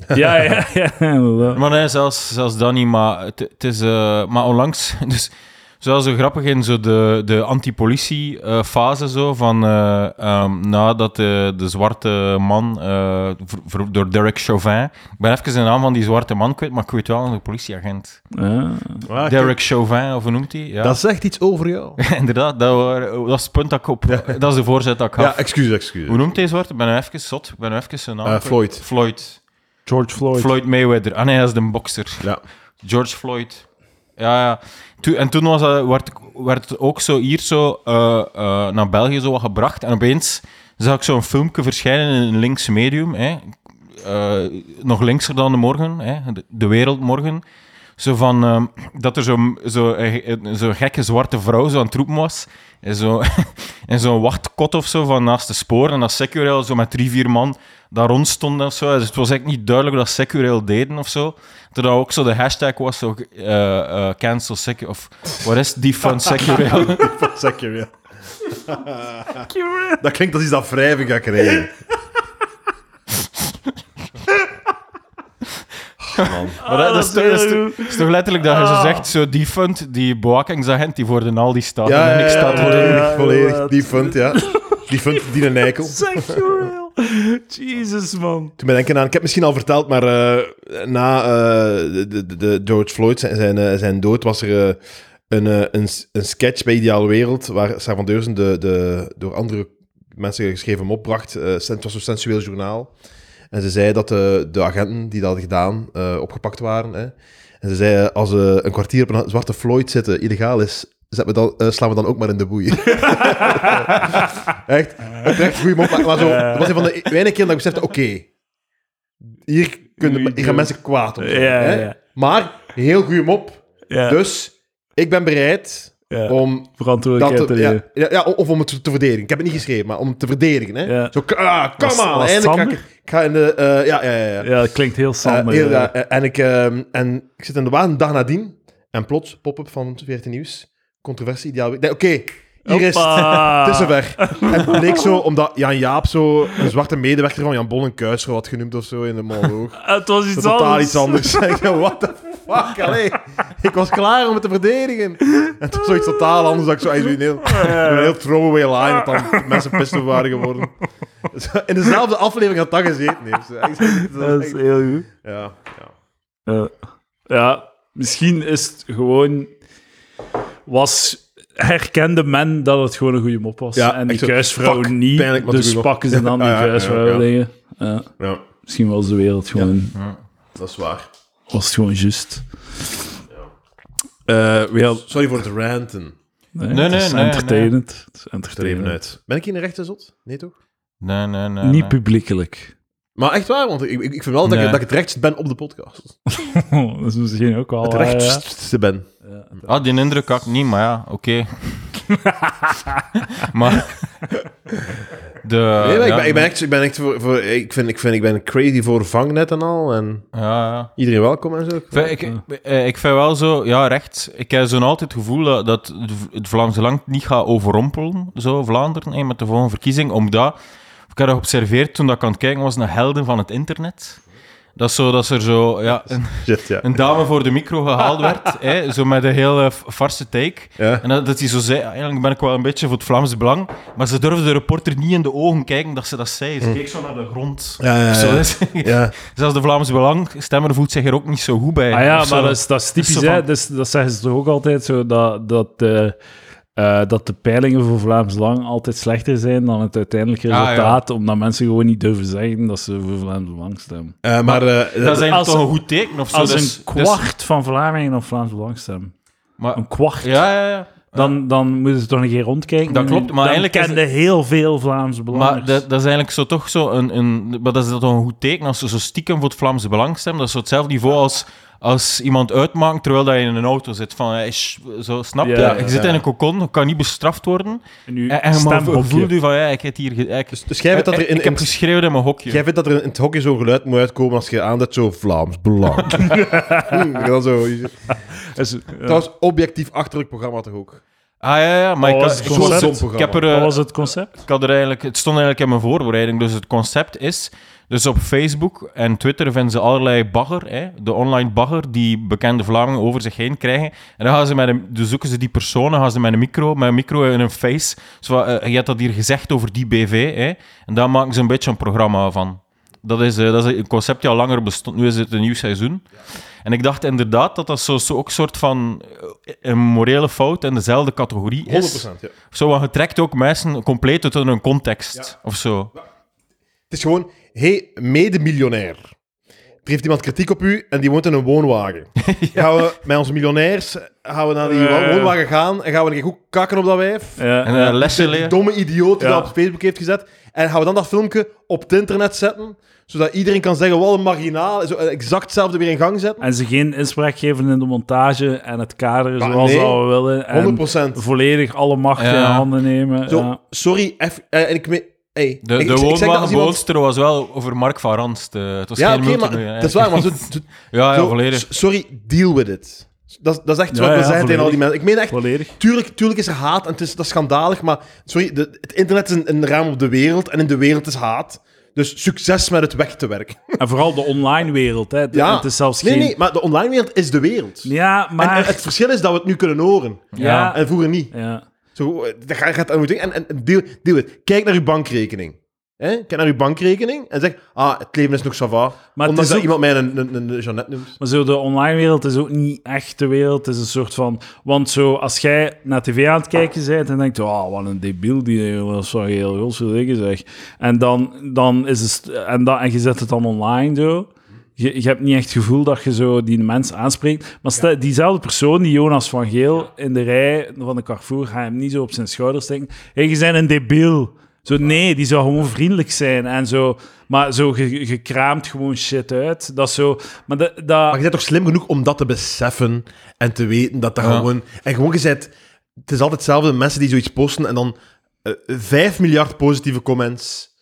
[SPEAKER 1] Ja, ja, ja. inderdaad.
[SPEAKER 3] Maar nee, zelfs, zelfs dat niet. Maar, het, het is, eh, maar onlangs, dus zoals zo grappig in zo de, de anti-politie eh, fase zo van eh, ehm, nadat de, de zwarte man eh, ver- ver- door Derek Chauvin, ik ben even de naam van die zwarte man kwijt, maar ik weet wel een politieagent.
[SPEAKER 1] Ja.
[SPEAKER 2] Ah, oké.
[SPEAKER 3] Derek Chauvin, of hoe noemt hij? Ja.
[SPEAKER 2] Dat zegt iets over jou.
[SPEAKER 3] Inderdaad, dat, wa- dat is het punt dat ik op. Dat is de voorzet dat ik
[SPEAKER 2] Ja,
[SPEAKER 3] had.
[SPEAKER 2] excuus,
[SPEAKER 3] Hoe
[SPEAKER 2] excuus.
[SPEAKER 3] noemt hij zwart? Ik ben even zot. Ik ben even zijn naam.
[SPEAKER 2] Eh, Floyd.
[SPEAKER 3] Floyd.
[SPEAKER 1] George Floyd.
[SPEAKER 3] Floyd Mayweather. Ah nee, dat is de bokser.
[SPEAKER 2] Ja.
[SPEAKER 3] George Floyd. Ja, ja. Toen- en toen was dat, werd, werd het ook zo hier zo eh, eh, naar België zo wat gebracht. En opeens zag ik zo'n filmpje verschijnen in een links medium. Hè. eh, nog linkser dan de morgen, hè, de, de wereld morgen. Zo van, ehm, dat er zo'n zo, eh, eh, zo'n gekke zwarte vrouw zo aan het roepen was. In zo'n in zo'n wachtkot of zo van naast de spoor. En dat Securail zo met drie, vier man daar rond stonden of zo. Dus het was eigenlijk niet duidelijk dat Securail deden of zo. Terwijl ook zo de hashtag was zo, eh, eh, cancel Securail. Of what is defund Securail?
[SPEAKER 2] Zeker, ja. Dat klinkt als iets dat wrijving gaat krijgen. Man.
[SPEAKER 3] Maar dat,
[SPEAKER 1] Ah,
[SPEAKER 3] dat
[SPEAKER 1] dat
[SPEAKER 3] is,
[SPEAKER 1] is
[SPEAKER 3] toch- dat is
[SPEAKER 1] heel
[SPEAKER 3] toch- dat is toch letterlijk dat je zo
[SPEAKER 1] Ah.
[SPEAKER 3] zegt, zo die fund, die bewakingsagent, die voor de Aldi staat
[SPEAKER 2] Ja,
[SPEAKER 3] en
[SPEAKER 2] ja,
[SPEAKER 3] niks
[SPEAKER 2] ja,
[SPEAKER 3] staat voor de...
[SPEAKER 1] ja, ja,
[SPEAKER 2] volledig, volledig.
[SPEAKER 1] inderdaad.
[SPEAKER 2] Die fund, ja. Die fund, die een eikel.
[SPEAKER 1] Securail. Jesus, man.
[SPEAKER 2] Toen ben ik aan, ik heb het misschien al verteld, maar eh, na eh, de, de, de George Floyd zijn, zijn, eh, zijn dood was er eh, een, eh, een, s- een sketch bij Ideale Wereld waar Sarah van Deurzen de, de door andere mensen geschreven mop bracht. Eh, het was een sensueel journaal. En ze zei dat eh, de, de agenten die dat hadden gedaan eh, opgepakt waren. Hè. En ze zei, eh, als eh, een kwartier op een zwarte Floyd zitten illegaal is, zet me dan, eh, slaan we dan ook maar in de boeien. Echt, oprecht goede mop. Maar, maar zo, dat was een van de weinige keer dat ik besefte, oké, hier, kunnen, hier gaan mensen kwaad op. zijn,
[SPEAKER 1] Ja,
[SPEAKER 2] hè.
[SPEAKER 1] ja.
[SPEAKER 2] Maar, heel goede mop.
[SPEAKER 1] Ja,
[SPEAKER 2] Dus, ik ben bereid
[SPEAKER 1] ja. eh,
[SPEAKER 2] om dat
[SPEAKER 1] verantwoordelijkheid
[SPEAKER 2] te, ja, ja, ja, of om het te verdedigen. Ik heb het niet geschreven, maar om het te verdedigen. Hè?
[SPEAKER 1] Ja.
[SPEAKER 2] Zo, ah,
[SPEAKER 1] Was-
[SPEAKER 2] come on.
[SPEAKER 1] was
[SPEAKER 2] eindelijk ga ik,
[SPEAKER 1] Sander?
[SPEAKER 2] ik ga in de... eh, ja, ja, ja, ja.
[SPEAKER 1] Ja, dat klinkt heel sander.
[SPEAKER 2] Eh, heel,
[SPEAKER 1] ja.
[SPEAKER 2] ja, eh, en, ik, ehm, en ik zit in de wagen een dag nadien. En plots, pop-up van 14 Nieuws. Controversie, ideaal. Ik denk, Oké, hier is het.
[SPEAKER 1] Hoppa.
[SPEAKER 2] Het is zover. En het bleek zo, omdat Jan Jaap zo een zwarte medewerker van Jan Bon een kuisro had genoemd of zo in de monoloog.
[SPEAKER 1] Ah, Het was iets
[SPEAKER 2] Dat is totaal
[SPEAKER 1] anders.
[SPEAKER 2] iets anders. Ik dacht, what the fuck, allee. Ik was klaar om het te verdedigen. En het was zoiets totaal anders dat ik zo eigenlijk een heel, een heel throwaway line, dat dan mensen pissig waren geworden. In dezelfde aflevering had dat gezeten. heeft. Echt, dat
[SPEAKER 1] Dat
[SPEAKER 2] is
[SPEAKER 1] is
[SPEAKER 2] echt-
[SPEAKER 1] heel goed.
[SPEAKER 2] Ja, ja.
[SPEAKER 1] Ja. ja, misschien is het gewoon... Was... Herkende men dat het gewoon een goede mop was.
[SPEAKER 2] Ja,
[SPEAKER 1] en die
[SPEAKER 2] echt zo,
[SPEAKER 1] kuisvrouw
[SPEAKER 2] fuck,
[SPEAKER 1] niet.
[SPEAKER 2] pijnlijk, maar het is
[SPEAKER 1] dus
[SPEAKER 2] een goede
[SPEAKER 1] pakken ze dan die
[SPEAKER 2] Ja, ja, ja,
[SPEAKER 1] kuisvrouw
[SPEAKER 2] ja.
[SPEAKER 1] dingen. Ja,
[SPEAKER 2] ja,
[SPEAKER 1] misschien was de wereld gewoon...
[SPEAKER 2] dat is waar.
[SPEAKER 1] Was het gewoon juist. Eh, wel,
[SPEAKER 2] Sorry voor het ranten.
[SPEAKER 1] nee,
[SPEAKER 3] Nee,
[SPEAKER 1] het
[SPEAKER 3] nee,
[SPEAKER 1] is
[SPEAKER 3] nee,
[SPEAKER 1] entertainend. Het is
[SPEAKER 2] Er even
[SPEAKER 1] entertainend.
[SPEAKER 2] uit. Ben ik hier een rechte zot? Nee, toch?
[SPEAKER 3] Nee, nee, nee.
[SPEAKER 1] Niet
[SPEAKER 3] nee.
[SPEAKER 1] publiekelijk.
[SPEAKER 2] Maar echt waar, want ik, ik- ik vind wel dat,
[SPEAKER 3] Nee.
[SPEAKER 2] ik, dat ik het rechtst ben op de podcast.
[SPEAKER 1] dat is misschien dus ook wel...
[SPEAKER 2] Het
[SPEAKER 1] waar, Oh, ja.
[SPEAKER 2] rechtste ben.
[SPEAKER 3] Ah, die indruk had ik niet, maar ja, oké. maar... De,
[SPEAKER 2] Nee, maar ik
[SPEAKER 3] ja,
[SPEAKER 2] ben, ik ben echt, ik ben echt voor, voor ik, vind, ik, vind, ik ben crazy voor vangnet en al. En
[SPEAKER 3] Ja, ja.
[SPEAKER 2] Iedereen welkom en zo.
[SPEAKER 3] Ik vind- Ik, ik, eh, ik vind wel zo, ja, rechts. Ik heb zo'n altijd het gevoel dat, dat het- het Vlaamse land niet gaat overrompelen, zo Vlaanderen, hè, met de volgende verkiezing. Omdat, ik heb dat geobserveerd toen dat ik aan het kijken was naar helden van het internet. Dat is zo, dat ze er zo, ja, een,
[SPEAKER 2] Shit, ja.
[SPEAKER 3] een dame voor de micro gehaald werd, hè, zo met een hele f- farse take.
[SPEAKER 2] Ja.
[SPEAKER 3] En dat, dat hij zo zei, eigenlijk ben ik wel een beetje voor het Vlaams belang, maar ze durfde de reporter niet in de ogen kijken dat ze dat zei. Ze keek zo naar de grond.
[SPEAKER 2] Mm. Ja, ja,
[SPEAKER 3] Of zo,
[SPEAKER 2] ja.
[SPEAKER 3] dus-
[SPEAKER 2] Ja,
[SPEAKER 3] Zelfs de Vlaamse Belang-stemmer voelt zich er ook niet zo goed bij.
[SPEAKER 1] Ah ja,
[SPEAKER 3] Of zo.
[SPEAKER 1] maar dat is, dat is typisch,
[SPEAKER 3] zo van-
[SPEAKER 1] hè. Dus, dat zeggen ze toch ook altijd zo, dat, dat, eh, eh, dat de peilingen voor Vlaams Belang altijd slechter zijn dan het uiteindelijke
[SPEAKER 3] Ah, ja.
[SPEAKER 1] resultaat, omdat mensen gewoon niet durven zeggen dat ze voor Vlaams Belang stemmen.
[SPEAKER 2] Eh, maar eh,
[SPEAKER 3] Dat is eigenlijk
[SPEAKER 1] Als-
[SPEAKER 3] toch een goed teken of zo.
[SPEAKER 1] Als
[SPEAKER 3] dus-
[SPEAKER 1] een
[SPEAKER 3] dus-
[SPEAKER 1] kwart van Vlamingen op Vlaams Belang stemmen,
[SPEAKER 3] maar,
[SPEAKER 1] een kwart,
[SPEAKER 3] ja, ja, ja.
[SPEAKER 1] dan, dan moeten ze toch een keer rondkijken.
[SPEAKER 3] Dat klopt, maar
[SPEAKER 1] dan
[SPEAKER 3] eigenlijk is
[SPEAKER 1] kenden heel veel Vlaams
[SPEAKER 3] Maar
[SPEAKER 1] Belangers.
[SPEAKER 3] dat, dat is eigenlijk zo toch zo een, een... Maar dat is toch een goed teken als ze zo stiekem voor het Vlaamse belang stemmen. Dat is zo hetzelfde niveau als, als iemand uitmaakt terwijl dat je in een auto zit. Van, hey, sh- zo, snap je?
[SPEAKER 1] Ja,
[SPEAKER 3] ik
[SPEAKER 2] ja,
[SPEAKER 3] zit
[SPEAKER 2] ja.
[SPEAKER 3] in een cocon, ik kan niet bestraft worden.
[SPEAKER 1] nu
[SPEAKER 3] En, en maar
[SPEAKER 1] stemhokje.
[SPEAKER 3] voelde u van, ja, ik heb hier... ge- Ik,
[SPEAKER 2] dus, dus jij vindt dat er in,
[SPEAKER 3] Eh, ik heb
[SPEAKER 2] in,
[SPEAKER 3] geschreeuwd in mijn hokje.
[SPEAKER 2] jij vindt dat er in het hockey zo'n geluid moet uitkomen als je aanduidt zo Vlaams belang. Hm, dat zo.
[SPEAKER 1] Is-
[SPEAKER 3] eh,
[SPEAKER 1] ja.
[SPEAKER 2] Trouwens, objectief achterlijk programma toch ook.
[SPEAKER 3] Ah, ja, ja, maar
[SPEAKER 1] Oh,
[SPEAKER 3] ik,
[SPEAKER 1] dat
[SPEAKER 3] had-
[SPEAKER 1] is
[SPEAKER 3] ik,
[SPEAKER 1] een
[SPEAKER 3] was-
[SPEAKER 2] dom
[SPEAKER 3] ik heb er...
[SPEAKER 2] programma.
[SPEAKER 1] Wat
[SPEAKER 3] eh,
[SPEAKER 1] was het concept?
[SPEAKER 3] Ik had er eigenlijk, het stond eigenlijk in mijn voorbereiding. Dus het concept is. Dus op Facebook en Twitter vinden ze allerlei bagger, hè, de online bagger, die bekende Vlamingen over zich heen krijgen. En dan, gaan ze met een, dan zoeken ze die personen, gaan ze met een micro, met een micro in een face. Zo, van, eh, je hebt dat hier gezegd over die BV. Hè, en daar maken ze een beetje een programma van. Dat is, eh, dat is een concept die al langer bestond. Nu is het een nieuw seizoen. En ik dacht inderdaad dat dat zo, zo ook een soort van eh, een morele fout in dezelfde categorie
[SPEAKER 2] 100%.
[SPEAKER 3] is.
[SPEAKER 2] Ja.
[SPEAKER 3] Zo, want je trekt ook mensen compleet uit hun context
[SPEAKER 2] Ja.
[SPEAKER 3] of zo.
[SPEAKER 2] Het is gewoon, hey, mede-miljonair. Er heeft iemand kritiek op u en die woont in een woonwagen. Gaan we met onze miljonairs gaan we naar die
[SPEAKER 1] Ja, ja.
[SPEAKER 2] woonwagen gaan en gaan we een keer goed kakken op dat wijf?
[SPEAKER 1] Ja.
[SPEAKER 3] En eh, lessen
[SPEAKER 2] Die
[SPEAKER 3] leren.
[SPEAKER 2] domme idioot die
[SPEAKER 1] Ja.
[SPEAKER 2] dat op Facebook heeft gezet. En gaan we dan dat filmpje op het internet zetten, zodat iedereen kan zeggen, wat een marginaal. Zo, eh, exact hetzelfde weer in gang zetten.
[SPEAKER 1] En ze geen inspraak geven in de montage en het kader
[SPEAKER 2] Maar
[SPEAKER 1] zoals
[SPEAKER 2] nee,
[SPEAKER 1] zouden we willen. En
[SPEAKER 2] 100%.
[SPEAKER 1] volledig alle macht
[SPEAKER 3] Ja.
[SPEAKER 1] in handen nemen.
[SPEAKER 2] Zo,
[SPEAKER 1] ja.
[SPEAKER 2] sorry, eff, eh, en ik meen... Hey,
[SPEAKER 3] De,
[SPEAKER 2] ik-
[SPEAKER 3] de
[SPEAKER 2] ik- ik zeg dat als iemand-
[SPEAKER 3] woonwagenbootster was wel over Mark van Ranst. eh, het was
[SPEAKER 2] Ja,
[SPEAKER 3] geen
[SPEAKER 2] oké, maar
[SPEAKER 3] multinooi, hè.
[SPEAKER 2] dat is waar, maar zo, zo-
[SPEAKER 3] Ja, Ah, ja,
[SPEAKER 2] zo-
[SPEAKER 3] volledig.
[SPEAKER 2] s- sorry, deal with it. Dat, dat is echt
[SPEAKER 1] Ja,
[SPEAKER 2] wat
[SPEAKER 1] ja,
[SPEAKER 2] we zeggen tegen al
[SPEAKER 1] volledig.
[SPEAKER 2] die mensen. Ik meen echt,
[SPEAKER 1] Volledig.
[SPEAKER 2] tuurlijk, tuurlijk is er haat en het is, dat is schandalig, maar sorry, de, het internet is een, een raam op de wereld en in de wereld is haat. Dus succes met het weg te werken.
[SPEAKER 1] En vooral de online wereld. Hè. De-
[SPEAKER 2] Ja.
[SPEAKER 1] Het is zelfs
[SPEAKER 2] nee,
[SPEAKER 1] geen...
[SPEAKER 2] nee, maar de online wereld is de wereld.
[SPEAKER 1] Ja,
[SPEAKER 2] En,
[SPEAKER 1] maar...
[SPEAKER 2] en het verschil is dat we het nu kunnen horen.
[SPEAKER 1] ja,
[SPEAKER 2] En vroeger niet.
[SPEAKER 1] ja.
[SPEAKER 2] Zo, eh, dat ga- gaat aan moeten. En, en en deal, deal with it. Kijk naar uw bankrekening. Hè? Kijk naar uw bankrekening en zeg, ah, het leven is nog sava.
[SPEAKER 1] Maar het
[SPEAKER 2] Omdat
[SPEAKER 1] is
[SPEAKER 2] dat
[SPEAKER 1] ook-
[SPEAKER 2] iemand mij een, een, een Jeannette noemt.
[SPEAKER 1] Maar zo, de online wereld is ook niet echt de wereld. Het is een soort van... Want zo, als jij naar tv aan het kijken bent en denkt... Oh, wat een debiel die dat is wel heel rossig dingen, zeg. En dan, dan is het... En, dat, en je zet het dan online, zo. Je, je hebt niet echt het gevoel dat je zo die mensen aanspreekt. Maar stel, diezelfde persoon, die Jonas van Geel, in de rij van de Carrefour, ga hem niet zo op zijn schouders denken. Hé, je bent een debiel. Zo, nee, die zou gewoon vriendelijk zijn en zo. Maar zo, je, je kraamt gewoon shit uit. Dat is zo... Maar dat... dat
[SPEAKER 2] Maar je bent toch slim genoeg om dat te beseffen en te weten dat dat
[SPEAKER 3] Ja.
[SPEAKER 2] gewoon... En gewoon, je bent... Het is altijd hetzelfde, mensen die zoiets posten en dan eh, 5 miljard positieve comments,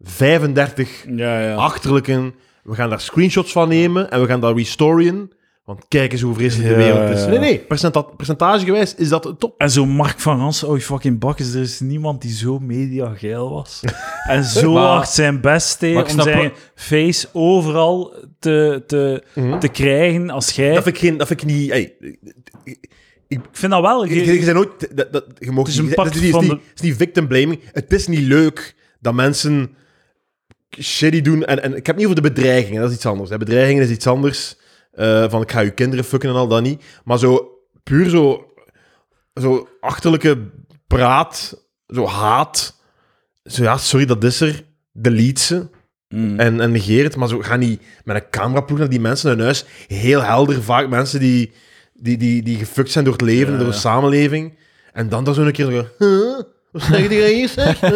[SPEAKER 2] 35
[SPEAKER 1] Ja, ja.
[SPEAKER 2] achterlijken. We gaan daar screenshots van nemen en we gaan dat restoryen. Want kijk eens hoe vreselijk
[SPEAKER 1] Ja,
[SPEAKER 2] de wereld is.
[SPEAKER 1] ja.
[SPEAKER 2] Nee, nee, percenta- percentagegewijs is dat de top.
[SPEAKER 1] En zo Mark van Ransen, oh fucking bakkes, er is niemand die zo mediageil was. en zo
[SPEAKER 3] Maar-
[SPEAKER 1] hard zijn best deed
[SPEAKER 3] maar ik
[SPEAKER 1] om
[SPEAKER 3] snap
[SPEAKER 1] zijn
[SPEAKER 3] wel-
[SPEAKER 1] face overal te, te, te krijgen als jij.
[SPEAKER 2] Dat vind ik, geen, dat vind ik niet... Hey,
[SPEAKER 1] ik vind dat wel.
[SPEAKER 2] je, je, je bent nooit... Dat, dat, je mag
[SPEAKER 1] is een
[SPEAKER 2] niet-
[SPEAKER 1] pact
[SPEAKER 2] dat is niet-
[SPEAKER 1] van
[SPEAKER 2] is
[SPEAKER 1] de-
[SPEAKER 2] niet- is niet victim blaming. Het is niet leuk dat mensen shitty doen. En, en ik heb het niet over de bedreigingen, dat is iets anders. Hè. Bedreigingen is iets anders. eh, van ik ga je kinderen fucken en al dat niet. Maar zo puur zo, zo achterlijke praat, zo haat. Zo ja, sorry, dat is er. Delete ze.
[SPEAKER 1] Mm.
[SPEAKER 2] En, en negeer het. Maar zo ga niet met een cameraploeg naar die mensen hun huis. Heel helder, vaak mensen die, die, die, die gefukt zijn door het leven,
[SPEAKER 1] Ja,
[SPEAKER 2] door de
[SPEAKER 1] ja.
[SPEAKER 2] samenleving. En dan dan zo een keer zo... Huh? Wat zeg je tegen hier, zeg? Huh?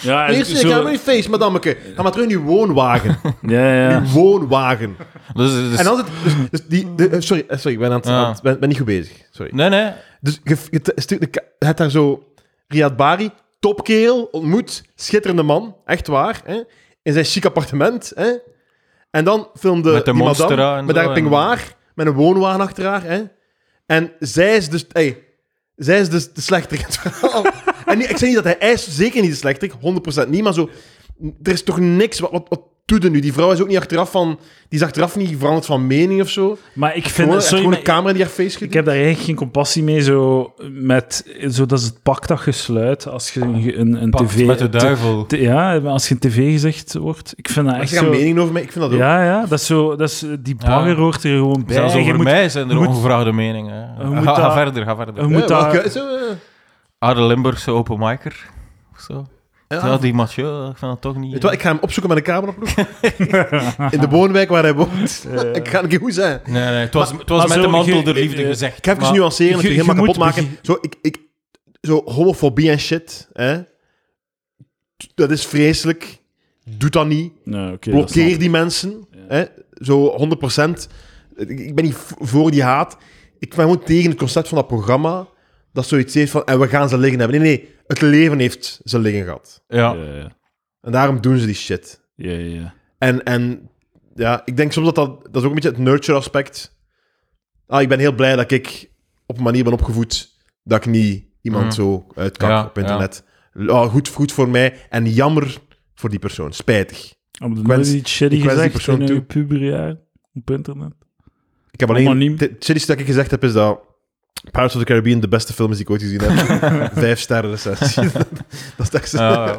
[SPEAKER 1] ja, en
[SPEAKER 2] Hier, zeg, ga maar in je face, madammeke. Ga maar terug in je woonwagen.
[SPEAKER 1] ja, ja.
[SPEAKER 2] Uw woonwagen.
[SPEAKER 3] Dus, dus-
[SPEAKER 2] En altijd... Dus, dus die, de- eh, sorry, eh, sorry, ik ben, aan het,
[SPEAKER 3] Ja.
[SPEAKER 2] aan het- ben, ben niet goed bezig. Sorry.
[SPEAKER 3] Nee, nee.
[SPEAKER 2] Dus je, je t- stuurt de ka- je hebt daar zo... Riyad Bari, topkerel, ontmoet, schitterende man, echt waar. Hè? In zijn chic appartement. Hè? En dan filmde
[SPEAKER 3] Met de
[SPEAKER 2] die
[SPEAKER 3] Monstera
[SPEAKER 2] madame
[SPEAKER 3] en
[SPEAKER 2] met
[SPEAKER 3] zo,
[SPEAKER 2] haar
[SPEAKER 3] en-
[SPEAKER 2] pingwaar, met een woonwagen achter haar. Hè? En zij is dus... Hey, zij is dus de slechter in het verhaal. en niet- ik zeg niet dat hij... Hij is zeker niet de slechter, 100% niet, maar zo... Er is toch niks... Wat, wat, wat doet er nu? Die vrouw is ook niet achteraf van... Die is achteraf niet veranderd van mening of zo.
[SPEAKER 1] Maar ik vind.
[SPEAKER 2] Gewoon, echt
[SPEAKER 1] sorry,
[SPEAKER 2] gewoon
[SPEAKER 1] maar-
[SPEAKER 2] een camera die haar face schiet.
[SPEAKER 1] ik heb daar eigenlijk geen compassie mee. Zo, met, zo, dat is het pact dat je sluit als je een, een, een
[SPEAKER 3] Pact
[SPEAKER 1] tv.
[SPEAKER 3] met de duivel.
[SPEAKER 1] te- ja, als je een tv-gezicht wordt. Ik vind dat
[SPEAKER 2] Maar
[SPEAKER 1] echt.
[SPEAKER 2] ze gaan
[SPEAKER 1] Zo,
[SPEAKER 2] meningen over mij. Ik vind dat ook.
[SPEAKER 1] ja, ja, dat is zo. Dat is, die
[SPEAKER 3] Ja.
[SPEAKER 1] bagger hoort er gewoon bij.
[SPEAKER 3] Zelfs
[SPEAKER 1] Je
[SPEAKER 3] over
[SPEAKER 1] moet-
[SPEAKER 3] mij zijn er
[SPEAKER 1] je moet-
[SPEAKER 3] ongevraagde meningen.
[SPEAKER 1] Je moet
[SPEAKER 3] Ga, ga
[SPEAKER 1] dat-
[SPEAKER 3] verder, ga
[SPEAKER 1] je
[SPEAKER 3] verder.
[SPEAKER 1] moet
[SPEAKER 2] Ja,
[SPEAKER 1] daar-
[SPEAKER 2] welke- zo, eh,
[SPEAKER 3] Aarde Limburgse open micer. Of zo.
[SPEAKER 2] ja.
[SPEAKER 3] Ja, die Mathieu, ik vind dat toch niet...
[SPEAKER 2] Weet je wat, ik ga hem opzoeken met een cameraploeg. In de woonwijk waar hij woont. ik ga een keer goed zijn.
[SPEAKER 3] Nee, nee, het was, het was
[SPEAKER 1] maar
[SPEAKER 3] met
[SPEAKER 1] zo,
[SPEAKER 3] de mantel
[SPEAKER 1] je-
[SPEAKER 3] der liefde
[SPEAKER 1] eh,
[SPEAKER 3] gezegd.
[SPEAKER 2] Ik ga even
[SPEAKER 3] maar-
[SPEAKER 2] nuanceren,
[SPEAKER 1] je-
[SPEAKER 2] het
[SPEAKER 1] je
[SPEAKER 2] helemaal
[SPEAKER 1] moet
[SPEAKER 2] kapot maken.
[SPEAKER 1] begin-
[SPEAKER 2] Zo, ik, ik, zo homofobie en shit. Hè? Dat is vreselijk. Doe dat niet.
[SPEAKER 1] Nee, oké, dat snap
[SPEAKER 2] Blokkeer
[SPEAKER 1] ik.
[SPEAKER 2] die mensen. Hè? Zo 100%. Ik ik ben niet v- voor die haat. Ik ben gewoon tegen het concept van dat programma. Dat zoiets heeft van, en we gaan ze liggen hebben. Nee, nee, het leven heeft ze liggen gehad.
[SPEAKER 3] Ja.
[SPEAKER 1] Ja, ja.
[SPEAKER 2] En daarom doen ze die shit.
[SPEAKER 1] Ja, ja, ja.
[SPEAKER 2] En, en ja, ik denk soms dat dat... Dat is ook een beetje het nurture-aspect. Ah, ik ben heel blij dat ik op een manier ben opgevoed dat ik niet iemand
[SPEAKER 3] Mm.
[SPEAKER 2] zo uitkak
[SPEAKER 3] Ja,
[SPEAKER 2] op internet. Ah, goed, goed voor mij en jammer voor die persoon. Spijtig.
[SPEAKER 1] Hebben we
[SPEAKER 2] wens-
[SPEAKER 1] nooit iets shitty
[SPEAKER 2] ik wens die
[SPEAKER 1] gezegd
[SPEAKER 2] persoon
[SPEAKER 1] in
[SPEAKER 2] toe.
[SPEAKER 1] uw puberjaar op internet?
[SPEAKER 2] Ik heb alleen...
[SPEAKER 1] Anoniem.
[SPEAKER 2] de- Het shitty dat ik gezegd heb is dat... Pirates of the Caribbean de beste film is die ik ooit gezien heb. Vijf sterren recensie. dat is echt zo.
[SPEAKER 3] Ja, ja.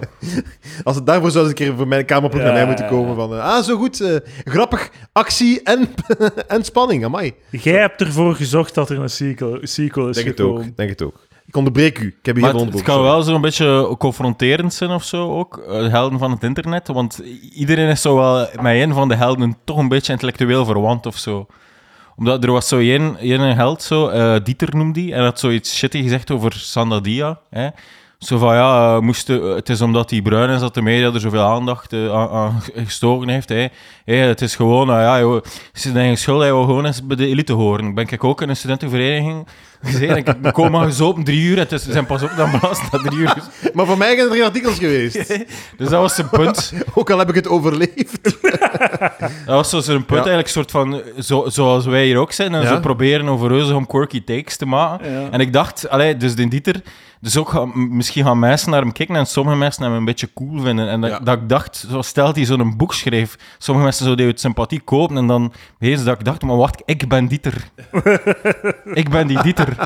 [SPEAKER 2] Als het daarvoor zou eens een keer voor mijn kamerploeg
[SPEAKER 1] Ja,
[SPEAKER 2] naar mij moeten
[SPEAKER 1] ja, ja.
[SPEAKER 2] komen van... eh, ah, zo goed. eh, grappig. Actie en, en spanning. Amai.
[SPEAKER 1] Jij hebt ervoor gezorgd dat er een sequel, sequel is
[SPEAKER 2] Denk het
[SPEAKER 1] gekomen.
[SPEAKER 2] ook, denk het ook. Ik Ik onderbreek u. Ik heb hier
[SPEAKER 3] Maar
[SPEAKER 2] heel
[SPEAKER 3] het, het
[SPEAKER 2] onderbroken.
[SPEAKER 3] kan wel zo'n beetje confronterend zijn of zo ook. eh, Helden van het internet. Want iedereen is zo wel met een van de helden toch een beetje intellectueel verwant of zo. Omdat er was zo één, één held, zo, eh, Dieter noemde die, en had zoiets shitty gezegd over Sandadia. Hè. Zo van ja, eh, moest de- het is omdat hij bruin is dat de media er zoveel aandacht eh, aan, aan gestoken heeft. Hè. Hé, het is gewoon, nou ja, joh, ze zijn eigen schuld, hij wil gewoon eens bij de elite horen. Ben ik ook in een studentenvereniging gezeten. Ik ik kom maar zo om drie uur, het is, ze zijn pas op dan belast na drie uur.
[SPEAKER 2] Maar voor mij zijn er geen artikels geweest.
[SPEAKER 3] Dus dat was zijn punt.
[SPEAKER 2] Ook al heb ik het overleefd.
[SPEAKER 3] Dat was zo zijn punt,
[SPEAKER 2] Ja.
[SPEAKER 3] eigenlijk soort van, zo, zoals wij hier ook zijn, en
[SPEAKER 2] Ja.
[SPEAKER 3] zo proberen overreuzen om quirky takes te maken.
[SPEAKER 1] Ja.
[SPEAKER 3] En ik dacht, allee, dus de Dieter, dus ook gaan- m- misschien gaan mensen naar hem kijken en sommige mensen hem een beetje cool vinden. En dat,
[SPEAKER 2] Ja.
[SPEAKER 3] dat ik dacht, zo, stel hij zo'n boek schreef, sommige mensen zouden uit sympathie kopen en dan deze dat ik dacht, maar wacht, ik ben Dieter. ik ben die Dieter.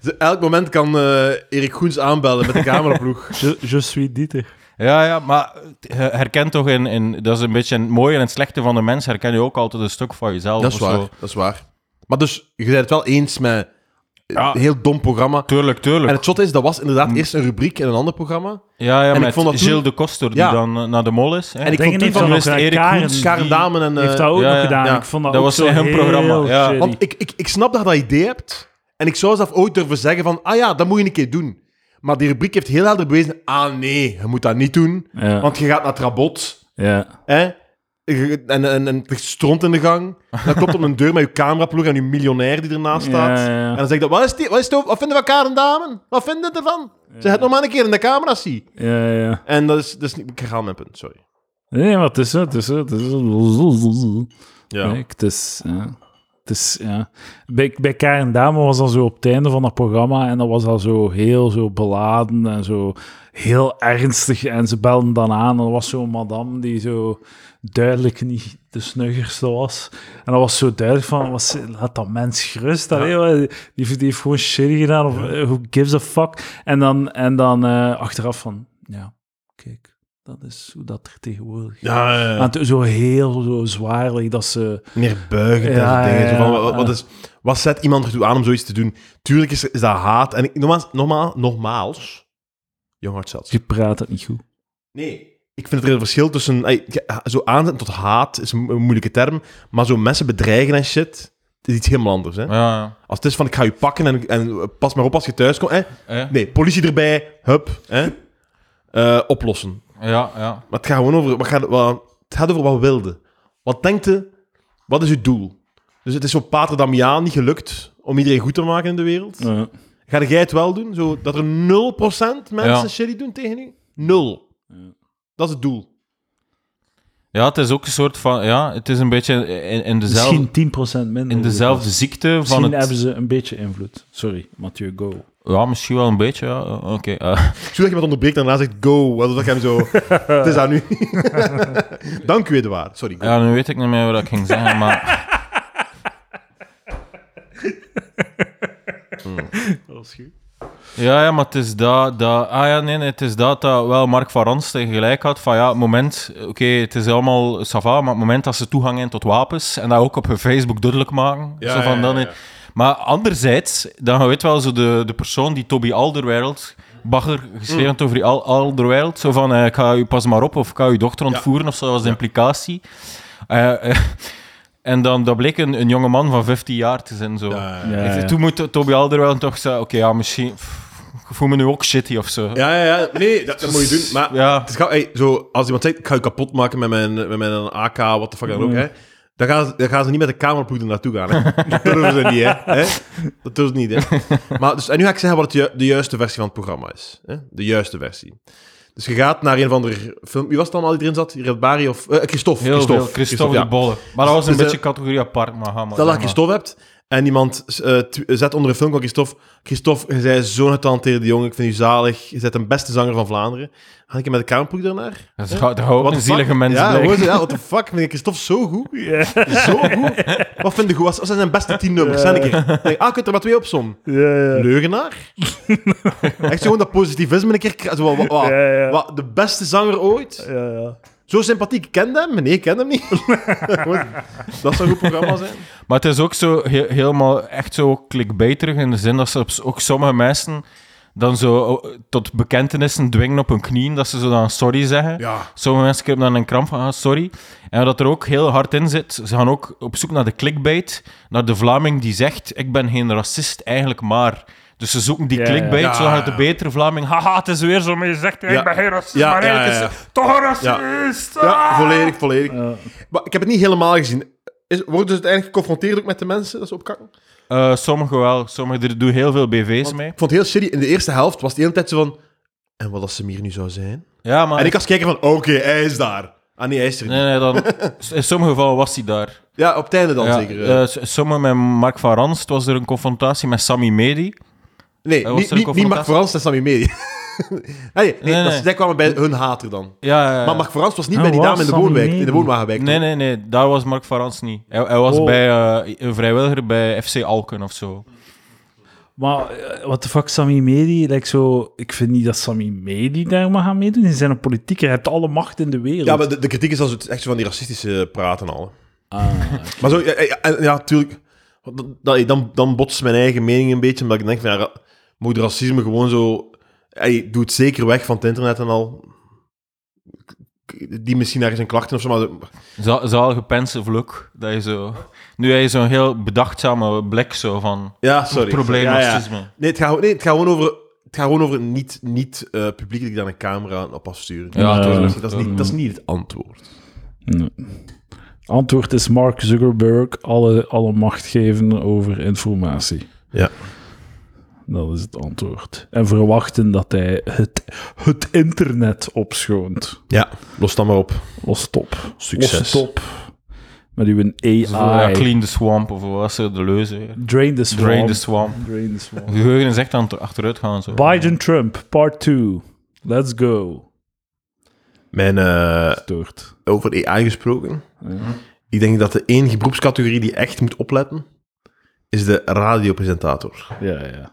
[SPEAKER 2] Dus Elk moment kan eh, Erik Goens aanbellen met de cameraploeg.
[SPEAKER 1] Je, je suis Dieter.
[SPEAKER 3] Ja, ja, maar eh, herken toch in, in, dat is een beetje het mooie en het slechte van de mens, herken je ook altijd een stuk van jezelf.
[SPEAKER 2] Dat is
[SPEAKER 3] of
[SPEAKER 2] waar,
[SPEAKER 3] Zo.
[SPEAKER 2] dat is waar. Maar dus, je bent het wel eens met een
[SPEAKER 3] Ja.
[SPEAKER 2] heel dom programma.
[SPEAKER 3] Tuurlijk, tuurlijk.
[SPEAKER 2] En het shot is, dat was inderdaad eerst een rubriek in een ander programma.
[SPEAKER 3] Ja, ja
[SPEAKER 2] ik
[SPEAKER 3] met
[SPEAKER 2] vond dat toen-
[SPEAKER 3] Gilles de Koster, die
[SPEAKER 2] Ja.
[SPEAKER 3] dan eh, naar de mol is. Hè.
[SPEAKER 2] En ik
[SPEAKER 1] Dingen
[SPEAKER 2] vond
[SPEAKER 1] heeft
[SPEAKER 2] toen
[SPEAKER 1] dat
[SPEAKER 3] van
[SPEAKER 1] nog
[SPEAKER 3] Mr.
[SPEAKER 1] gedaan.
[SPEAKER 3] Erik
[SPEAKER 1] Karen
[SPEAKER 3] Hoens.
[SPEAKER 2] Karen
[SPEAKER 3] Die-
[SPEAKER 2] Damen en... eh,
[SPEAKER 1] heeft dat ook
[SPEAKER 3] ja,
[SPEAKER 1] nog
[SPEAKER 3] ja.
[SPEAKER 1] gedaan.
[SPEAKER 2] Ja.
[SPEAKER 1] Ik vond dat,
[SPEAKER 3] Dat
[SPEAKER 1] ook
[SPEAKER 3] was
[SPEAKER 1] zo
[SPEAKER 3] hun
[SPEAKER 1] heel
[SPEAKER 3] programma, ja.
[SPEAKER 1] shitty.
[SPEAKER 2] Want ik, ik, ik snap dat je dat idee hebt. En ik zou zelf ooit durven zeggen van... Ah ja, dat moet je een keer doen. Maar die rubriek heeft heel helder bewezen... Ah nee, je moet dat niet doen.
[SPEAKER 1] ja.
[SPEAKER 2] Want je gaat naar het rabot.
[SPEAKER 1] ja.
[SPEAKER 2] Hè? Je- En, en, en er stront in de gang. Dan klopt op een deur met je cameraploeg en je miljonair die ernaast staat.
[SPEAKER 1] Ja, ja, ja.
[SPEAKER 2] En dan zeg ik dat, wat, is die, wat, is het over- wat vinden we elkaar en dames? Wat vinden we ervan? Zeg het nog maar een keer in de camera zie.
[SPEAKER 1] Ja, ja.
[SPEAKER 2] En dat is, dat is niet, ik ga mijn punt, sorry.
[SPEAKER 1] Nee, maar het is het. is het. Het is Kijk, het is... Ja. Het is ja. Bij, bij Karen Dame was dat zo op het einde van dat programma en dat was dat zo heel zo beladen en zo heel ernstig. En ze belden dan aan en er was zo'n madame die zo duidelijk niet de snuggerste was. En dat was zo duidelijk van, was, laat dat mens gerust. Allee, hoor, die, heeft- die heeft gewoon shitty gedaan of eh, who gives a fuck. En dan, en dan eh, achteraf van, ja, kijk, dat is hoe dat er tegenwoordig is.
[SPEAKER 2] Ja, ja, ja.
[SPEAKER 1] Want zo heel zo zwaarlijk dat ze...
[SPEAKER 2] Meer buigen en
[SPEAKER 1] Ja,
[SPEAKER 2] zo dingen. Zo van,
[SPEAKER 1] ja,
[SPEAKER 2] wat, wat,
[SPEAKER 1] ja.
[SPEAKER 2] is, wat zet iemand ertoe aan om zoiets te doen? Tuurlijk is, is dat haat. En ik, nogmaals, nogmaals, nogmaals jong hart zelfs.
[SPEAKER 1] Je praat het niet goed.
[SPEAKER 2] Nee. Ik vind er een verschil tussen... ey, ja, Zo aanzetten tot haat is een mo- een moeilijke term. Maar zo mensen bedreigen en shit... Het is iets helemaal anders, hè?
[SPEAKER 3] Ja,
[SPEAKER 2] Als het is van ik ga je pakken en, en pas maar op als je thuis komt. Hè?
[SPEAKER 3] ja.
[SPEAKER 2] Nee, politie erbij, hup, hè? Eh, oplossen.
[SPEAKER 3] ja, ja.
[SPEAKER 2] Maar het gaat gewoon over, wat gaat, wat, het gaat over wat we wilden. Wat denkt u, wat is uw doel? Dus het is zo Pater Damiaan niet gelukt om iedereen goed te maken in de wereld.
[SPEAKER 1] Ja.
[SPEAKER 2] Ga jij het wel doen? Zo, dat er 0% mensen
[SPEAKER 3] Ja.
[SPEAKER 2] shitty doen tegen u? Nul. Dat is het doel.
[SPEAKER 3] Ja, het is ook een soort van... Ja, het is een beetje in, in, dezelfde,
[SPEAKER 1] Misschien 10% minder. Dus
[SPEAKER 3] in dezelfde ziekte van
[SPEAKER 1] Misschien
[SPEAKER 3] het...
[SPEAKER 1] hebben ze een beetje invloed. Sorry, Mathieu, go.
[SPEAKER 3] Ja, misschien wel een beetje, ja. Oké. eh.
[SPEAKER 2] Zodat je iemand onderbreekt en daarna zegt go. wel, Dat ik hem zo... het is aan u. Dank u, Edouard. Sorry. go.
[SPEAKER 3] ja, nu weet ik niet meer wat ik ging zeggen, maar...
[SPEAKER 1] Dat is goed.
[SPEAKER 3] Ja, ja, maar het is dat... dat ah ja, nee, nee, het is dat dat wel Mark van Ransten gelijk had. Van ja, het moment... Oké, het is allemaal sava, maar het moment dat ze toegang hebben tot wapens en dat ook op hun Facebook duidelijk maken.
[SPEAKER 2] Ja,
[SPEAKER 3] zo
[SPEAKER 2] ja,
[SPEAKER 3] van,
[SPEAKER 2] ja,
[SPEAKER 3] dan,
[SPEAKER 2] ja.
[SPEAKER 3] Maar anderzijds, dan weet wel zo de, de persoon die Toby Alderweireld, bagger, geschreven
[SPEAKER 2] Mm.
[SPEAKER 3] heeft over die Al Alderweireld, zo van, eh, ik ga u pas maar op, of ik ga uw dochter ontvoeren, of zo, dat was de implicatie. Eh, eh, en dan dat bleek een, een jonge man van 15 jaar te zijn, zo.
[SPEAKER 2] Ja,
[SPEAKER 1] Ja,
[SPEAKER 3] Ik-
[SPEAKER 1] ja.
[SPEAKER 3] Toen moet Toby Alderweireld toch zeggen, oké, ja, misschien... pff, ik voel me nu ook shitty of zo.
[SPEAKER 2] Ja, ja, ja. Nee, dat, dat moet je doen. Maar
[SPEAKER 3] Ja.
[SPEAKER 2] Het is gauw- ey, zo, als iemand zegt, ik ga je kapot maken met mijn, met mijn AK, wat de fuck dan ook,
[SPEAKER 3] Mm.
[SPEAKER 2] hè. Dan gaan, ze, dan gaan ze niet met de cameraploeg er naartoe gaan. Hè. Dat durven ze niet, hè. hè? Dat durven ze niet, hè. Maar, dus, en nu ga ik zeggen wat het ju- de juiste versie van het programma is. Hè? De juiste versie. Dus je gaat naar een van de film... Wie was het dan al die erin zat? Redbari of... eh, Christophe.
[SPEAKER 3] Heel
[SPEAKER 2] Christophe.
[SPEAKER 3] veel. Christophe
[SPEAKER 2] ja.
[SPEAKER 3] de Bolle. Maar dat was een
[SPEAKER 2] Dus, eh,
[SPEAKER 3] beetje categorie apart, maar ga maar.
[SPEAKER 2] Stel dat
[SPEAKER 3] zeg
[SPEAKER 2] je
[SPEAKER 3] maar.
[SPEAKER 2] Christophe hebt en iemand eh, tw- zet onder een film van Christophe... Christophe, je bent zo'n getalenteerde jongen, ik vind u zalig. Je bent de beste zanger van Vlaanderen. Ga ik je met de cameraploeg daarnaar?
[SPEAKER 3] Dus Dat is- dat houdt
[SPEAKER 2] What
[SPEAKER 3] een
[SPEAKER 2] the fuck?
[SPEAKER 3] zielige mens
[SPEAKER 2] ja,
[SPEAKER 3] blijken.
[SPEAKER 2] hoor ze, ja, what the fuck? Vind ik Christophe zo goed? Zo goed? Wat vind je goed? Wat zijn zijn beste tien nummers? Zijn ik er. Denk, ah, je kunt er maar twee op som. Leugenaar? Echt zo gewoon dat positivisme een keer... kra- Zo, wa- wa- wa-
[SPEAKER 1] Ja, ja.
[SPEAKER 2] wa- de beste zanger ooit? Zo sympathiek kende hem? Nee, ik kende hem niet. dat zou een goed programma zijn.
[SPEAKER 3] Maar het is ook zo he- helemaal echt zo clickbaiterig in de zin dat ze op s- ook sommige mensen dan zo eh, tot bekentenissen dwingen op hun knieën, dat ze zo dan sorry zeggen.
[SPEAKER 2] Ja.
[SPEAKER 3] Sommige mensen krijgen dan een kramp van, ah, sorry. En wat er ook heel hard in zit, ze gaan ook op zoek naar de clickbait, naar de Vlaming die zegt, ik ben geen racist, eigenlijk maar. Dus ze zoeken die
[SPEAKER 1] Ja,
[SPEAKER 3] clickbait,
[SPEAKER 2] ja.
[SPEAKER 3] zodat
[SPEAKER 2] Ja,
[SPEAKER 3] de
[SPEAKER 2] ja.
[SPEAKER 3] betere Vlaming, haha, het is weer zo, maar je zegt, ik
[SPEAKER 2] Ja.
[SPEAKER 3] ben geen racist,
[SPEAKER 2] Ja,
[SPEAKER 3] maar
[SPEAKER 2] ja,
[SPEAKER 3] eigenlijk
[SPEAKER 2] ja,
[SPEAKER 3] is het toch een racist.
[SPEAKER 2] Ja,
[SPEAKER 3] Ah!
[SPEAKER 2] volledig, volledig. Maar ik heb het niet helemaal gezien. Is, worden ze uiteindelijk geconfronteerd ook met de mensen dat ze opkakken?
[SPEAKER 3] Eh, sommigen wel, sommigen er doen heel veel BV's mee.
[SPEAKER 2] Ik vond het heel shitty. In de eerste helft was het de hele tijd zo van... En wat als Samir nu zou zijn?
[SPEAKER 3] Ja, maar
[SPEAKER 2] En ik als kijker van... Oké, hij is daar. Ah nee, hij is er niet.
[SPEAKER 3] Ah. Nee, nee, dan, in sommige gevallen was hij daar.
[SPEAKER 2] Ja, op het einde dan
[SPEAKER 3] Ja,
[SPEAKER 2] zeker. eh.
[SPEAKER 3] eh, s- sommige met Mark van Ranst was er een confrontatie met Sammy Medi.
[SPEAKER 2] nee,
[SPEAKER 3] was
[SPEAKER 2] niet,
[SPEAKER 3] er een
[SPEAKER 2] niet, niet Mark
[SPEAKER 3] confrontatie?
[SPEAKER 2] Frans en Sammy Medi. nee, nee,
[SPEAKER 3] Nee,
[SPEAKER 2] dat-
[SPEAKER 3] nee.
[SPEAKER 2] zij kwamen bij hun hater dan.
[SPEAKER 3] Ja, ja, ja.
[SPEAKER 2] Maar Mark Frans was niet
[SPEAKER 1] Ah,
[SPEAKER 2] bij die
[SPEAKER 1] was
[SPEAKER 2] dame in de,
[SPEAKER 1] Sammy
[SPEAKER 2] woonwijk,
[SPEAKER 1] Medi?
[SPEAKER 2] in de woonwagenwijk.
[SPEAKER 3] Nee,
[SPEAKER 2] toch?
[SPEAKER 3] nee, nee, daar was Mark van Ranst niet. Hij, hij was
[SPEAKER 1] Oh.
[SPEAKER 3] bij, eh, een vrijwilliger bij FC Alken of zo.
[SPEAKER 1] Maar wat de fuck, Sami Medi? Like zo, ik vind niet dat Sami Medi daar mag gaan meedoen. Die zijn een politieker, hij heeft alle macht in de wereld.
[SPEAKER 2] Ja, maar de, de kritiek is als het echt zo van die racistische praten al. hè.
[SPEAKER 1] Ah,
[SPEAKER 2] Maar zo, ja, ja, en- ja, tuurlijk. Dat, dat- dan, dan botst mijn eigen mening een beetje, omdat ik denk van ja, ra- moet racisme gewoon zo. Hey, doe het zeker weg van het internet en al. K- Die misschien ergens een klachten of zo, maar de-
[SPEAKER 3] Za- Zalige pensive look. Dat je zo... Nu heb je zo'n heel bedachtzame blik zo van...
[SPEAKER 2] ja, sorry.
[SPEAKER 3] probleem
[SPEAKER 2] Ja, ja.
[SPEAKER 3] racisme.
[SPEAKER 2] Nee, het gaat, nee, het gaat gewoon over, het gaat gewoon over niet, niet eh, publiek dat ik daar een camera op afsturen.
[SPEAKER 3] Ja,
[SPEAKER 2] dat, is,
[SPEAKER 1] tuurlijk.
[SPEAKER 2] dat, is niet, dat is niet het antwoord.
[SPEAKER 1] nee. Antwoord is Mark Zuckerberg, alle, alle macht geven over informatie.
[SPEAKER 2] Ja.
[SPEAKER 1] Dat is het antwoord. En verwachten dat hij het, het internet opschoont.
[SPEAKER 2] Ja, los dan maar op.
[SPEAKER 1] Los het op. Los
[SPEAKER 2] Succes.
[SPEAKER 1] het op. Met uw AI.
[SPEAKER 3] zo, ja, clean the swamp of wat was het, de leuze. weer.
[SPEAKER 1] Drain the swamp.
[SPEAKER 3] Drain the swamp.
[SPEAKER 1] Drain the swamp.
[SPEAKER 3] De geheugen is echt aan het achteruit gaan. Zo.
[SPEAKER 1] Biden Trump, part 2. Let's go.
[SPEAKER 2] Mijn, eh,
[SPEAKER 1] Stoort.
[SPEAKER 2] over AI gesproken.
[SPEAKER 1] Ja.
[SPEAKER 2] Ik denk dat de enige beroepscategorie die echt moet opletten, is de radiopresentator.
[SPEAKER 1] Ja, ja. Eh,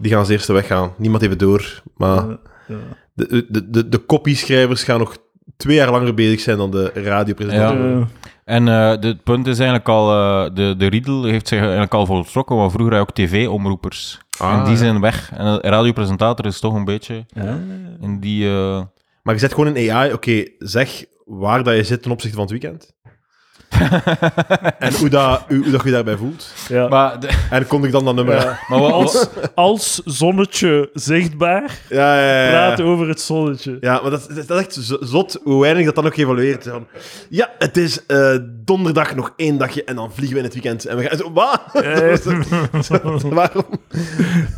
[SPEAKER 2] Die gaan als eerste weggaan. Niemand heeft het door. Maar
[SPEAKER 1] Ja.
[SPEAKER 2] de, de, de, de copyschrijvers gaan nog twee jaar langer bezig zijn dan de radiopresentator.
[SPEAKER 3] Ja. En eh, de- het punt is eigenlijk al, eh, de, de riedel heeft zich eigenlijk al voltrokken, want vroeger had je ook tv-omroepers.
[SPEAKER 2] Ah,
[SPEAKER 3] en die
[SPEAKER 2] ja.
[SPEAKER 3] zijn weg. En een radiopresentator is toch een beetje in die... eh,
[SPEAKER 2] Maar je zet gewoon in AI, oké, zeg waar dat je zit ten opzichte van het weekend. en hoe, dat, hoe, hoe dat je je daarbij voelt.
[SPEAKER 1] Ja.
[SPEAKER 3] Maar, de-
[SPEAKER 2] En kon ik dan dat nummer
[SPEAKER 1] Ja.
[SPEAKER 3] maar wat,
[SPEAKER 1] Als, als zonnetje zichtbaar,
[SPEAKER 2] Ja, ja, ja, ja.
[SPEAKER 1] praat over het zonnetje.
[SPEAKER 2] Ja, maar dat, dat, dat is echt zo- zot hoe weinig dat dan ook geëvalueerd is. Van, Ja, het is eh, donderdag nog één dagje en dan vliegen we in het weekend. En we gaan zo, wat? Waarom?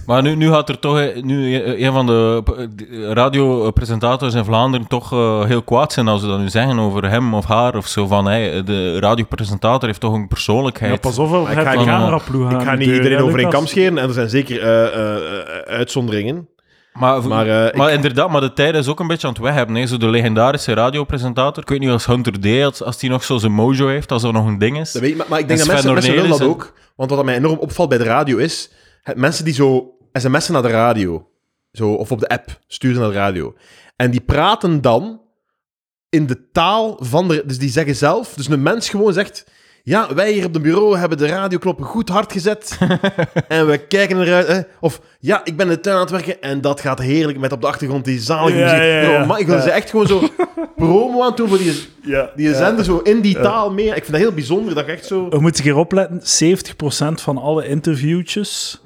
[SPEAKER 3] maar nu, nu gaat er toch eh, nu eh, een van de eh, radiopresentators in Vlaanderen toch eh, heel kwaad zijn als ze dat nu zeggen over hem of haar of zo. Van, hey, de radiopresentator heeft toch een persoonlijkheid.
[SPEAKER 1] Ja, pas op, wel,
[SPEAKER 2] ik
[SPEAKER 1] het
[SPEAKER 2] ga
[SPEAKER 3] niet-
[SPEAKER 1] cameraploeg aan
[SPEAKER 2] Ik ga
[SPEAKER 1] de
[SPEAKER 2] niet
[SPEAKER 1] deur,
[SPEAKER 2] iedereen
[SPEAKER 1] hè,
[SPEAKER 2] over één
[SPEAKER 1] Lucas.
[SPEAKER 2] kam scheren en er zijn zeker eh, eh, eh, uitzonderingen.
[SPEAKER 3] Maar,
[SPEAKER 2] Maar,
[SPEAKER 3] maar,
[SPEAKER 2] eh, ik-
[SPEAKER 3] inderdaad, maar de tijd is ook een beetje aan het weghebben. Hè. Zo de legendarische radiopresentator. Ik weet niet als Hunter D, als- als hij nog zo zijn mojo heeft, als dat nog een ding is.
[SPEAKER 2] Dat weet ik, maar, maar ik denk
[SPEAKER 3] En
[SPEAKER 2] dat mensen,
[SPEAKER 3] Sven
[SPEAKER 2] mensen willen dat
[SPEAKER 3] Ornelis
[SPEAKER 2] ook. Want wat mij enorm opvalt bij de radio is... het- Mensen die zo sms'en naar de radio. Zo, of op de app sturen naar de radio. En die praten dan in de taal van de... Dus die zeggen zelf... Dus een mens gewoon zegt... Ja, wij hier op het bureau hebben de radioknoppen goed hard gezet. en we kijken eruit. Hè. Of ja, ik ben in de tuin aan het werken. En dat gaat heerlijk met op de achtergrond die zalige
[SPEAKER 1] Ja,
[SPEAKER 2] muziek.
[SPEAKER 1] ja, ja.
[SPEAKER 2] Oh, man, ik wil
[SPEAKER 1] Ja.
[SPEAKER 2] ze echt gewoon zo promo aan het doen voor die,
[SPEAKER 1] Ja,
[SPEAKER 2] die
[SPEAKER 1] ja.
[SPEAKER 2] zender. Zo in die taal meer. Ik vind dat heel bijzonder dat je echt zo...
[SPEAKER 1] We moeten hier opletten, 70% van alle interviewtjes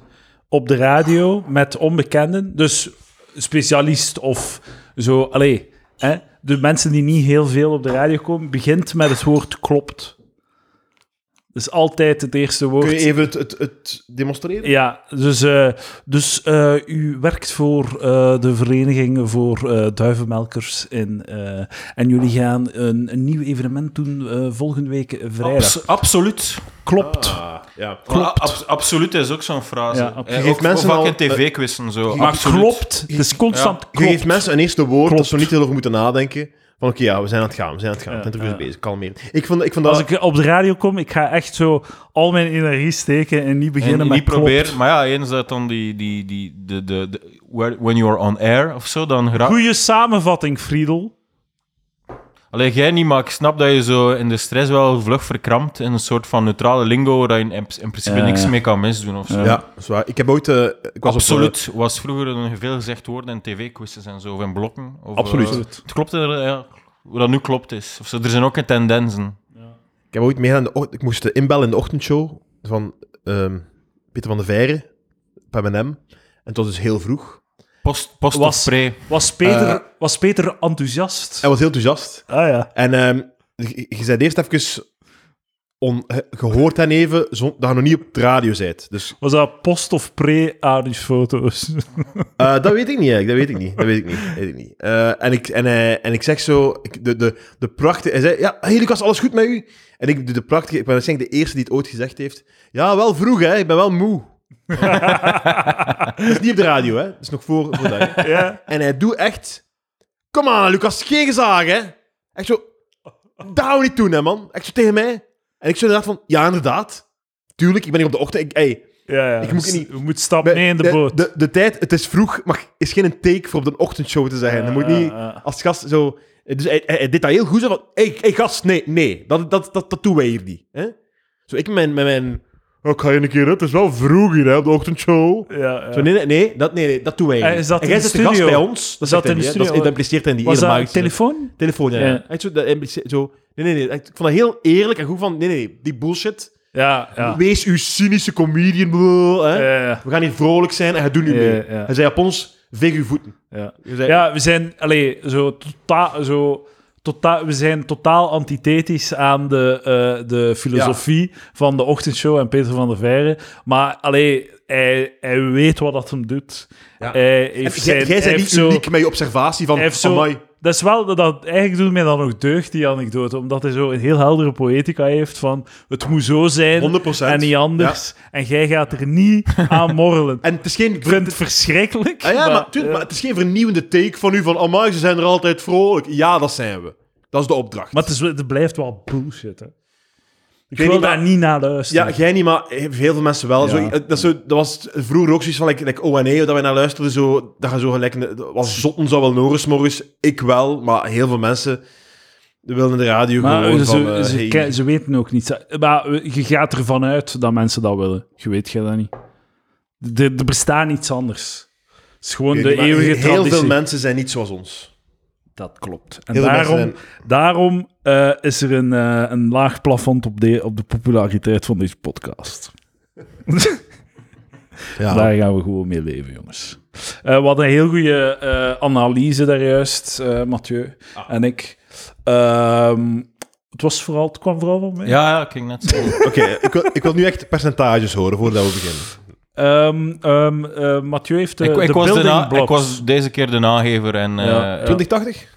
[SPEAKER 1] op de radio met onbekenden, dus specialist of zo, allee, hè, de mensen die niet heel veel op de radio komen, begint met het woord klopt. Dus altijd het eerste woord.
[SPEAKER 2] Kun je even het, het, het demonstreren?
[SPEAKER 1] Ja, dus, eh, dus eh, u werkt voor eh, de Vereniging voor eh, Duivenmelkers. In, eh, en jullie gaan een, een nieuw evenement doen eh, volgende week eh, vrijdag.
[SPEAKER 3] Abs- absoluut.
[SPEAKER 1] Klopt.
[SPEAKER 2] Ah, ja.
[SPEAKER 1] Klopt.
[SPEAKER 3] Maar ab- absoluut is ook zo'n frase.
[SPEAKER 1] Ja, ab-
[SPEAKER 3] Eh,
[SPEAKER 2] Je geeft
[SPEAKER 3] ook-
[SPEAKER 2] mensen
[SPEAKER 3] ook vaak
[SPEAKER 2] al-
[SPEAKER 3] in tv-quizzen zo.
[SPEAKER 1] Maar
[SPEAKER 3] absoluut.
[SPEAKER 1] klopt. Het is constant
[SPEAKER 2] Oh, Je
[SPEAKER 1] klopt.
[SPEAKER 2] geeft mensen een eerste woord
[SPEAKER 1] Klopt.
[SPEAKER 2] dat ze niet heel over moeten nadenken. Van oké, ja, we zijn aan het gaan, we zijn aan het gaan.
[SPEAKER 1] Ja,
[SPEAKER 2] het interview
[SPEAKER 1] ja.
[SPEAKER 2] is bezig, kalmeer. Ik vond, ik vond dat...
[SPEAKER 1] Als ik op de radio kom, ik ga echt zo al mijn energie steken en niet beginnen
[SPEAKER 3] En
[SPEAKER 1] met
[SPEAKER 3] niet
[SPEAKER 1] klopt.
[SPEAKER 3] proberen. Maar ja, eens dat dan die... die, die de, de, de- where- when you are on air of zo, dan... gera-
[SPEAKER 1] Goeie samenvatting, Friedel.
[SPEAKER 3] Allee, jij niet, maar ik snap dat je zo in de stress wel vlug verkrampt in een soort van neutrale lingo waar je in, in principe
[SPEAKER 1] Ja,
[SPEAKER 3] niks
[SPEAKER 1] ja.
[SPEAKER 3] mee kan misdoen of zo.
[SPEAKER 2] Ja, dat is waar. Ik heb ooit... eh, ik was op,
[SPEAKER 3] Absoluut. was vroeger een veel gezegd woord in tv-quizzes en zo, of in blokken. Of,
[SPEAKER 2] Absoluut.
[SPEAKER 3] eh, het klopt er, ja, hoe dat nu klopt is. Of zo, er zijn ook tendensen.
[SPEAKER 2] Ik heb ooit meer aan de och- Ik moest eh, inbellen in de ochtendshow van ehm, Peter van der Veijren, op M&M. En het was dus heel vroeg.
[SPEAKER 3] Post, post
[SPEAKER 1] Was-
[SPEAKER 3] of pre.
[SPEAKER 1] Was Peter,
[SPEAKER 2] Eh.
[SPEAKER 1] was Peter enthousiast?
[SPEAKER 2] Hij was heel enthousiast.
[SPEAKER 1] Ah ja.
[SPEAKER 2] En ehm, je je zei eerst even... On, eh, gehoord hen even, zon, dat je nog niet op de radio bent. Dus
[SPEAKER 1] Was dat post of pre-Aris-foto's?
[SPEAKER 2] Eh, dat weet ik niet, eigenlijk. dat weet ik niet. Dat weet ik niet. Dat weet ik niet. Eh, en, ik, en, eh, en ik zeg zo, ik, de, de, de prachtige... Hij zei, ja, Helikas, alles goed met u? En ik, de, de prachtige, ik ben waarschijnlijk de eerste die het ooit gezegd heeft. Ja, wel vroeg, hè. Ik ben wel moe. dat is niet op de radio, hè. Dat is nog voor, voor dat. hè.
[SPEAKER 1] ja.
[SPEAKER 2] En hij doet echt... Kom aan, Lucas, geen gezaag, hè. Echt zo... Dat gaan we niet doen, hè, man. Echt zo tegen mij. En ik zo inderdaad van, ja, inderdaad. Tuurlijk, ik ben hier op de ochtend. Ik, hey,
[SPEAKER 1] Ja, Dus ja.
[SPEAKER 2] Ik moet niet-
[SPEAKER 1] Je moet stap
[SPEAKER 2] bij-
[SPEAKER 1] mee in de boot.
[SPEAKER 2] De, de tijd, het is vroeg, maar is geen een take voor op de ochtendshow te zeggen. Dan moet
[SPEAKER 1] Eh,
[SPEAKER 2] niet
[SPEAKER 1] eh, eh.
[SPEAKER 2] als gast zo... Dus hij, hij, hij deed dat heel goed, zo van... hey, hey, gast, nee, nee, dat, dat, dat, dat doen wij hier niet. Hè? Zo ik met mijn... Met mijn oh, ik ga je een keer, hè, het is wel vroeg hier, hè, op de ochtendshow.
[SPEAKER 1] Ja, ja.
[SPEAKER 2] Zo, nee, nee, nee, dat, nee, nee, dat doen wij hier
[SPEAKER 1] Eh,
[SPEAKER 2] niet.
[SPEAKER 1] is dat
[SPEAKER 2] en
[SPEAKER 1] in
[SPEAKER 2] jij
[SPEAKER 1] de
[SPEAKER 2] zit de gast
[SPEAKER 1] studio?
[SPEAKER 2] bij ons. Dat,
[SPEAKER 1] Is
[SPEAKER 2] zegt
[SPEAKER 1] dat
[SPEAKER 2] hij
[SPEAKER 1] in de
[SPEAKER 2] niet, hè. dat,
[SPEAKER 1] studio?
[SPEAKER 2] dat impliceert hij niet.
[SPEAKER 1] was
[SPEAKER 2] helemaal
[SPEAKER 1] dat een
[SPEAKER 2] niet.
[SPEAKER 1] telefoon?
[SPEAKER 2] Telefoon, ja.
[SPEAKER 1] Ja.
[SPEAKER 2] ja. Echt Zo, dat impliceert, zo, nee, nee, nee. Ik vond dat heel eerlijk en goed van... Nee, nee, die bullshit.
[SPEAKER 1] Ja, ja.
[SPEAKER 2] Wees uw cynische comedian. blah, hè.
[SPEAKER 1] Eh,
[SPEAKER 2] We gaan hier vrolijk zijn en hij doet nu
[SPEAKER 1] Ja,
[SPEAKER 2] mee.
[SPEAKER 1] ja.
[SPEAKER 2] Hij zei op ons, veeg uw voeten.
[SPEAKER 1] ja.
[SPEAKER 2] Hij zei,
[SPEAKER 1] Ja, we zijn, allee, zo tota, zo tota, we zijn totaal antithetisch aan de, eh, de filosofie van de ochtendshow en Peter van der Veijren. Maar allee, hij, hij weet wat dat hem doet.
[SPEAKER 2] Ja.
[SPEAKER 1] Hij
[SPEAKER 2] en
[SPEAKER 1] heeft
[SPEAKER 2] jij-
[SPEAKER 1] zijn,
[SPEAKER 2] jij
[SPEAKER 1] hij
[SPEAKER 2] bent
[SPEAKER 1] heeft
[SPEAKER 2] niet
[SPEAKER 1] zo,
[SPEAKER 2] uniek met je observatie van,
[SPEAKER 1] hij heeft zo-
[SPEAKER 2] amai.
[SPEAKER 1] Dat is wel, dat, eigenlijk doet mij dan nog deugd, die anekdote. Omdat hij zo een heel heldere poëtica heeft van het moet zo zijn
[SPEAKER 2] 100%.
[SPEAKER 1] en niet anders. En jij gaat er niet aan morrelen.
[SPEAKER 2] En het is geen...
[SPEAKER 1] Ik vind het verschrikkelijk.
[SPEAKER 2] Ah ja, maar, tuurlijk,
[SPEAKER 1] eh,
[SPEAKER 2] maar het is geen vernieuwende take van u van, amai, ze zijn er altijd vrolijk. Ja, dat zijn we. Dat is de opdracht.
[SPEAKER 1] Maar het, is, het blijft wel bullshit, hè. Ik,
[SPEAKER 2] weet
[SPEAKER 1] wil
[SPEAKER 2] niet,
[SPEAKER 1] daar
[SPEAKER 2] maar-
[SPEAKER 1] niet naar luisteren.
[SPEAKER 2] ja, jij niet, maar heel veel mensen wel.
[SPEAKER 1] Ja.
[SPEAKER 2] Zo, dat, is zo, dat was vroeger ook zoiets van, like, like O&E, dat wij naar luisterden, zo, dat gaan zo gelijk... een- dat Was zotten zou wel Norris morgens, ik wel, maar heel veel mensen wilden de radio
[SPEAKER 1] maar
[SPEAKER 2] gewoon
[SPEAKER 1] ze,
[SPEAKER 2] van... eh,
[SPEAKER 1] ze,
[SPEAKER 2] hey.
[SPEAKER 1] ke- ze weten ook niet. Maar je gaat ervan uit dat mensen dat willen. Je weet jij dat niet. Er- Er bestaat niets anders. Het is gewoon
[SPEAKER 2] Ik
[SPEAKER 1] de
[SPEAKER 2] weet niet, maar
[SPEAKER 1] eeuwige
[SPEAKER 2] Heel
[SPEAKER 1] traditie.
[SPEAKER 2] veel mensen zijn niet zoals ons.
[SPEAKER 1] dat klopt. En
[SPEAKER 2] Heel veel
[SPEAKER 1] daarom,
[SPEAKER 2] mensen
[SPEAKER 1] daarom eh, is er een, eh, een laag plafond op de, op de populariteit van deze podcast.
[SPEAKER 2] Ja.
[SPEAKER 1] Daar
[SPEAKER 3] Nou.
[SPEAKER 1] gaan we gewoon mee leven, jongens. Eh, we hadden een heel goede eh, analyse daar juist, eh, Mathieu
[SPEAKER 3] Ah.
[SPEAKER 1] en ik. Ehm, het, was vooral, het kwam vooral van mij.
[SPEAKER 3] Ja, ja, ik ging net zo.
[SPEAKER 2] Oké, ik, wil, ik wil nu echt percentages horen voordat we beginnen.
[SPEAKER 1] Ehm, ehm, eh, Mathieu heeft de,
[SPEAKER 3] ik, ik
[SPEAKER 1] de
[SPEAKER 3] was de
[SPEAKER 1] building
[SPEAKER 3] na- ik
[SPEAKER 1] blocks.
[SPEAKER 3] was deze keer de nagever en, eh,
[SPEAKER 1] Ja.
[SPEAKER 2] 2080?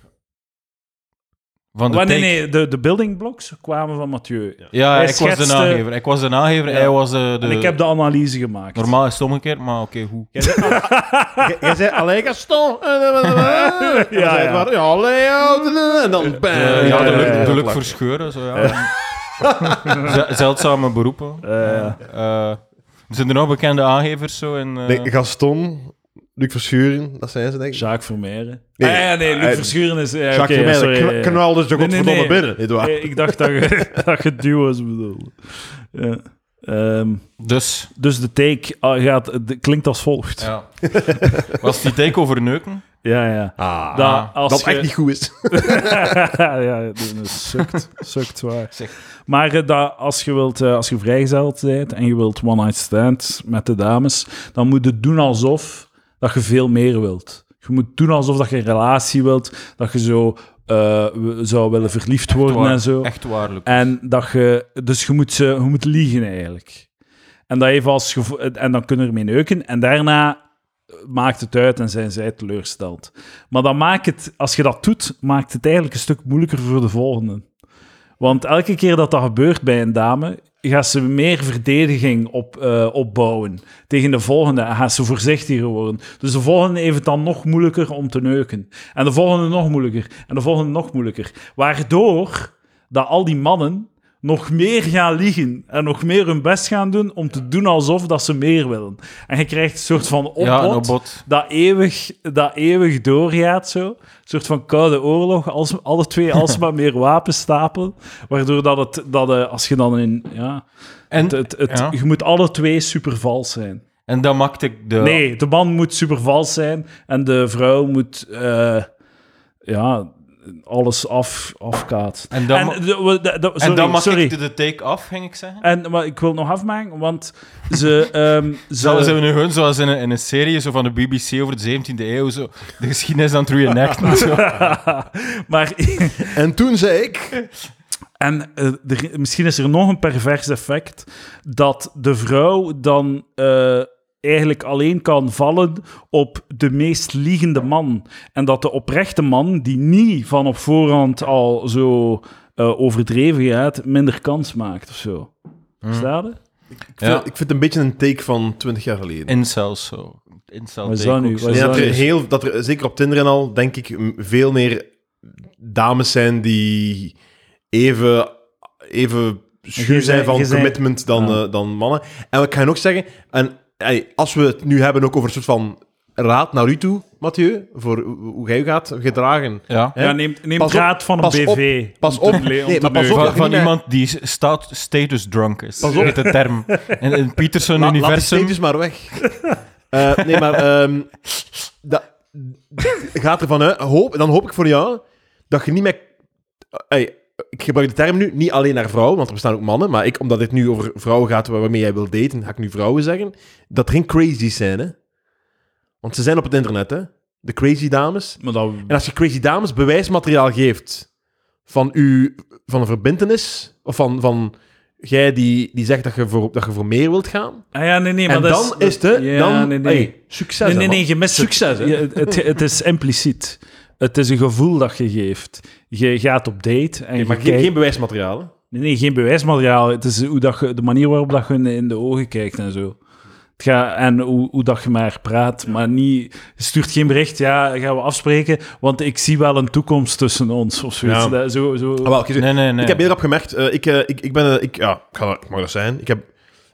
[SPEAKER 3] van de
[SPEAKER 1] Maar nee,
[SPEAKER 3] take.
[SPEAKER 1] nee, de, de building blocks kwamen van Mathieu.
[SPEAKER 3] Ja,
[SPEAKER 1] Hij
[SPEAKER 3] ik was de
[SPEAKER 1] schetste-
[SPEAKER 3] nagever. Ik was de nagever,
[SPEAKER 1] Ja.
[SPEAKER 3] hij was eh, de...
[SPEAKER 1] En ik heb de analyse gemaakt.
[SPEAKER 3] Normaal is het omgekeerd, maar oké, hoe?
[SPEAKER 2] Jij zei, allee Gaston. Ja,
[SPEAKER 1] Ja, ja.
[SPEAKER 2] ja. ja allee. ja, En dan bam.
[SPEAKER 3] Eh, ja, de
[SPEAKER 1] ja, ja,
[SPEAKER 3] lucht, de
[SPEAKER 2] ja,
[SPEAKER 3] lucht
[SPEAKER 2] ja.
[SPEAKER 3] verscheuren, zo ja. Z- Zeldzame beroepen.
[SPEAKER 1] Eh,
[SPEAKER 3] Eh, zijn er nog bekende aangevers zo? In, eh,
[SPEAKER 2] Nee, Gaston, Luc Verschuren, dat zijn ze denk ik.
[SPEAKER 1] Jacques Vermeeren.
[SPEAKER 2] Nee,
[SPEAKER 1] Nee, ah, ja, nee, Luc
[SPEAKER 2] eh,
[SPEAKER 1] Verschuren is... eh,
[SPEAKER 2] Jacques
[SPEAKER 1] oké,
[SPEAKER 2] okay,
[SPEAKER 1] sorry, ja, ja.
[SPEAKER 2] knal dus de
[SPEAKER 1] Nee, nee,
[SPEAKER 2] godverdomme
[SPEAKER 1] nee.
[SPEAKER 2] binnen. Niet waar?
[SPEAKER 1] Eh, Ik dacht dat je, dat je duo's bedoelde. Ja. Ehm,
[SPEAKER 3] Dus,
[SPEAKER 1] Dus de take ah, gaat, de- klinkt als volgt.
[SPEAKER 3] ja. Was die take over neuken?
[SPEAKER 1] Ja, ja.
[SPEAKER 2] Ah,
[SPEAKER 1] Dat,
[SPEAKER 3] Ah,
[SPEAKER 1] als
[SPEAKER 2] dat
[SPEAKER 1] je-
[SPEAKER 2] echt niet goed is.
[SPEAKER 1] ja, dat sukt. sukt zwaar.
[SPEAKER 3] Zeg.
[SPEAKER 1] Maar eh, dat als je, wilt, eh, als je vrijgezeld bent en je wilt one-night stand met de dames, dan moet je doen alsof dat je veel meer wilt. Je moet doen alsof dat je een relatie wilt, dat je zo eh, w- zou willen verliefd worden
[SPEAKER 3] waar,
[SPEAKER 1] en zo.
[SPEAKER 3] Echt waarlijk.
[SPEAKER 1] En dat je, dus je moet, ze, je moet liegen eigenlijk. En, dat even als gevo- en dan kunnen er mee neuken. En daarna maakt het uit en zijn zij teleurgesteld. Maar dan maakt het, als je dat doet, maakt het eigenlijk een stuk moeilijker voor de volgende. Want elke keer dat dat gebeurt bij een dame, gaat ze meer verdediging op, eh, opbouwen tegen de volgende. En gaat ze voorzichtiger worden. Dus de volgende heeft het dan nog moeilijker om te neuken. En de volgende nog moeilijker. En de volgende nog moeilijker. Waardoor dat al die mannen nog meer gaan liegen en nog meer hun best gaan doen om te doen alsof dat ze meer willen. En je krijgt een soort van opbod,
[SPEAKER 3] Ja, een opbod.
[SPEAKER 1] Dat, eeuwig, dat eeuwig doorgaat zo. Een soort van koude oorlog, als, alle twee alsmaar meer wapens stapelen, waardoor dat het, dat, eh, als je dan in, ja,
[SPEAKER 3] En,
[SPEAKER 1] het, het, het-
[SPEAKER 3] ja.
[SPEAKER 1] je moet alle twee super vals zijn.
[SPEAKER 3] en dat maakte ik de...
[SPEAKER 1] Nee, de man moet super vals zijn en de vrouw moet eh, ja, alles af, afkaat.
[SPEAKER 3] En dan, ma-
[SPEAKER 1] en, de- we- de- de-
[SPEAKER 3] en
[SPEAKER 1] sorry,
[SPEAKER 3] dan mag
[SPEAKER 1] sorry.
[SPEAKER 3] ik de, de take af, ging ik zeggen.
[SPEAKER 1] En maar ik wil nog afmaken, want ze. ehm
[SPEAKER 3] Zelfs
[SPEAKER 1] ze
[SPEAKER 3] hebben we nu gewoon zoals in een, in een serie zo van de BBC over de 17e eeuw zo, de geschiedenis aan het reenacten. zo.
[SPEAKER 1] maar,
[SPEAKER 2] En toen zei ik...
[SPEAKER 1] en eh, er- misschien is er nog een pervers effect dat de vrouw dan eh, eigenlijk alleen kan vallen op de meest liegende man. En dat de oprechte man, die niet van op voorhand al zo eh, overdreven gaat, minder kans maakt of zo. Staat het?
[SPEAKER 2] Ik vind,
[SPEAKER 3] Ja.
[SPEAKER 2] ik vind het een beetje een take van 20 jaar geleden.
[SPEAKER 3] Incels zo. Incel
[SPEAKER 1] Wat is
[SPEAKER 3] take
[SPEAKER 1] dat nu?
[SPEAKER 3] ook zo.
[SPEAKER 1] Wat is
[SPEAKER 2] Ja, dat, er
[SPEAKER 1] is-
[SPEAKER 2] heel, dat er zeker op Tinder en al, denk ik, m- veel meer dames zijn die even, even
[SPEAKER 1] Jij
[SPEAKER 2] schuw
[SPEAKER 1] zei-
[SPEAKER 2] zijn van
[SPEAKER 1] jij zei-
[SPEAKER 2] commitment dan,
[SPEAKER 1] Ja.
[SPEAKER 2] eh, dan mannen. En ik ga je nog zeggen, en, ey, als we het nu hebben ook over een soort van raad naar u toe, Mathieu, voor hoe hoe jij je gaat gedragen.
[SPEAKER 3] Ja.
[SPEAKER 2] hè?
[SPEAKER 1] Ja, neem, neem
[SPEAKER 2] Pas op,
[SPEAKER 1] raad van een
[SPEAKER 2] pas op,
[SPEAKER 1] BV.
[SPEAKER 2] Pas
[SPEAKER 1] om
[SPEAKER 2] op,
[SPEAKER 1] te le- om
[SPEAKER 2] nee,
[SPEAKER 1] te
[SPEAKER 2] maar pas
[SPEAKER 1] neuken.
[SPEAKER 2] op,
[SPEAKER 3] Van,
[SPEAKER 2] dat je
[SPEAKER 3] van
[SPEAKER 2] niet
[SPEAKER 3] iemand die staat status drunk is.
[SPEAKER 2] Pas
[SPEAKER 3] Pas
[SPEAKER 2] op.
[SPEAKER 3] op. de term. In in het
[SPEAKER 2] La- Laat die
[SPEAKER 3] Peterson-universum.
[SPEAKER 2] steentjes maar weg. Eh, nee, maar ehm, dat gaat ervan uit. Hoop, dan hoop ik voor jou dat je niet met. Ey, ik gebruik de term nu niet alleen naar vrouwen, want er bestaan ook mannen. Maar ik, omdat dit nu over vrouwen gaat waar- waarmee jij wilt daten, ga ik nu vrouwen zeggen. Dat er geen crazies zijn, hè? Want ze zijn op het internet, hè? De crazy dames.
[SPEAKER 1] Maar dat,
[SPEAKER 2] En als je crazy dames bewijsmateriaal geeft van, u, van een verbintenis, of van, van jij die, die zegt dat je, voor, dat je voor meer wilt gaan,
[SPEAKER 1] ah ja, nee, nee, maar
[SPEAKER 2] en
[SPEAKER 1] dat
[SPEAKER 2] dan is
[SPEAKER 1] dat-
[SPEAKER 2] het,
[SPEAKER 1] ja,
[SPEAKER 2] dan,
[SPEAKER 1] nee, nee.
[SPEAKER 2] hey, succes.
[SPEAKER 1] nee,
[SPEAKER 2] hè,
[SPEAKER 1] nee,
[SPEAKER 2] man.
[SPEAKER 1] nee, je mist het.
[SPEAKER 2] Succes, hè?
[SPEAKER 1] Je- het, het, is impliciet. Het is een gevoel dat je geeft. Je gaat op date en
[SPEAKER 2] Oké,
[SPEAKER 1] je
[SPEAKER 2] maar geen,
[SPEAKER 1] kijkt-
[SPEAKER 2] geen bewijsmateriaal. hè.
[SPEAKER 1] Nee, nee, geen bewijsmateriaal. Het is hoe dat je, de manier waarop dat je in- in de ogen kijkt en zo. Het gaat- en hoe, hoe dat je maar praat, maar niet, je stuurt geen bericht. Ja, gaan we afspreken, want ik zie wel een toekomst tussen ons of zoiets.
[SPEAKER 2] Ja.
[SPEAKER 1] Dat- zo, zo.
[SPEAKER 2] Ah, wel, ik-
[SPEAKER 3] Nee, nee, nee.
[SPEAKER 2] Ik heb heel rap gemerkt, eh, ik, eh, ik, ik ben een, ik, ja, ik, ga, ik mag dat zijn, ik, heb,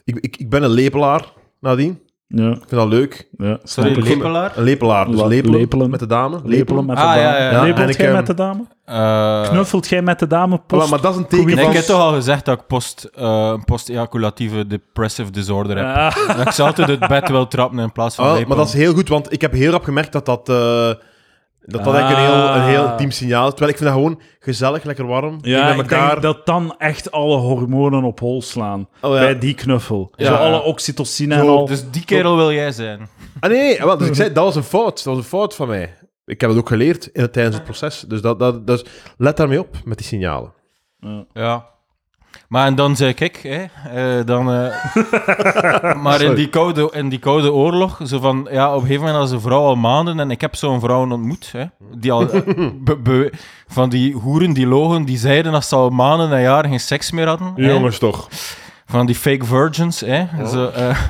[SPEAKER 2] ik, ik, ik ben een lepelaar nadien.
[SPEAKER 1] Ja,
[SPEAKER 2] Ik vind dat leuk.
[SPEAKER 1] ja.
[SPEAKER 3] Sorry,
[SPEAKER 1] Snap ik.
[SPEAKER 3] lepelaar?
[SPEAKER 2] Een lepelaar, dus
[SPEAKER 1] La-
[SPEAKER 2] lepelen,
[SPEAKER 1] lepelen.
[SPEAKER 2] met de dame.
[SPEAKER 1] Lepelen met de
[SPEAKER 3] Ah,
[SPEAKER 1] dame.
[SPEAKER 3] ja, ja, ja.
[SPEAKER 2] En
[SPEAKER 1] Lepelt
[SPEAKER 2] ik,
[SPEAKER 1] jij
[SPEAKER 2] ehm,
[SPEAKER 1] met de dame?
[SPEAKER 3] Eh,
[SPEAKER 1] Knuffelt jij met de dame
[SPEAKER 2] Ah, wel,
[SPEAKER 1] post?
[SPEAKER 2] maar dat is een teken
[SPEAKER 3] nee,
[SPEAKER 2] van...
[SPEAKER 3] ik heb toch al gezegd dat ik post, eh post-ejaculatieve depressive disorder heb.
[SPEAKER 1] Ah.
[SPEAKER 3] Dat ik zal altijd het bed wel trappen in plaats van
[SPEAKER 2] Ah,
[SPEAKER 3] lepelen.
[SPEAKER 2] maar dat is heel goed, want ik heb heel rap gemerkt dat dat, eh, dat, dat eigenlijk een heel, een heel
[SPEAKER 1] Ah.
[SPEAKER 2] intiem signaal is. Terwijl ik vind dat gewoon gezellig, lekker warm.
[SPEAKER 1] Ja,
[SPEAKER 2] met
[SPEAKER 1] ik
[SPEAKER 2] elkaar.
[SPEAKER 1] denk dat dan echt alle hormonen op hol slaan.
[SPEAKER 2] Oh, ja.
[SPEAKER 1] Bij die knuffel.
[SPEAKER 2] Ja.
[SPEAKER 1] Zo alle oxytocine en
[SPEAKER 2] Zo,
[SPEAKER 1] al.
[SPEAKER 3] Dus die kerel wil jij zijn.
[SPEAKER 2] Ah, nee, nee, wel, dus ik zei, dat was een fout. Dat was een fout van mij. Ik heb het ook geleerd in het, tijdens het proces. Dus, dat, dat, dus let daarmee op met die signalen.
[SPEAKER 3] Ja. Maar en dan zei ik, ik, hè, eh, dan... eh, maar in die, koude, in die koude oorlog, zo van, ja, op een gegeven moment als een vrouw al maanden, en ik heb zo'n vrouw ontmoet, hè, die al, eh, be- be- van die hoeren, die logen, die zeiden dat ze al maanden en jaren geen seks meer hadden. hè.
[SPEAKER 2] toch.
[SPEAKER 3] van die fake virgins, hè.
[SPEAKER 2] Oh.
[SPEAKER 3] Zo, eh.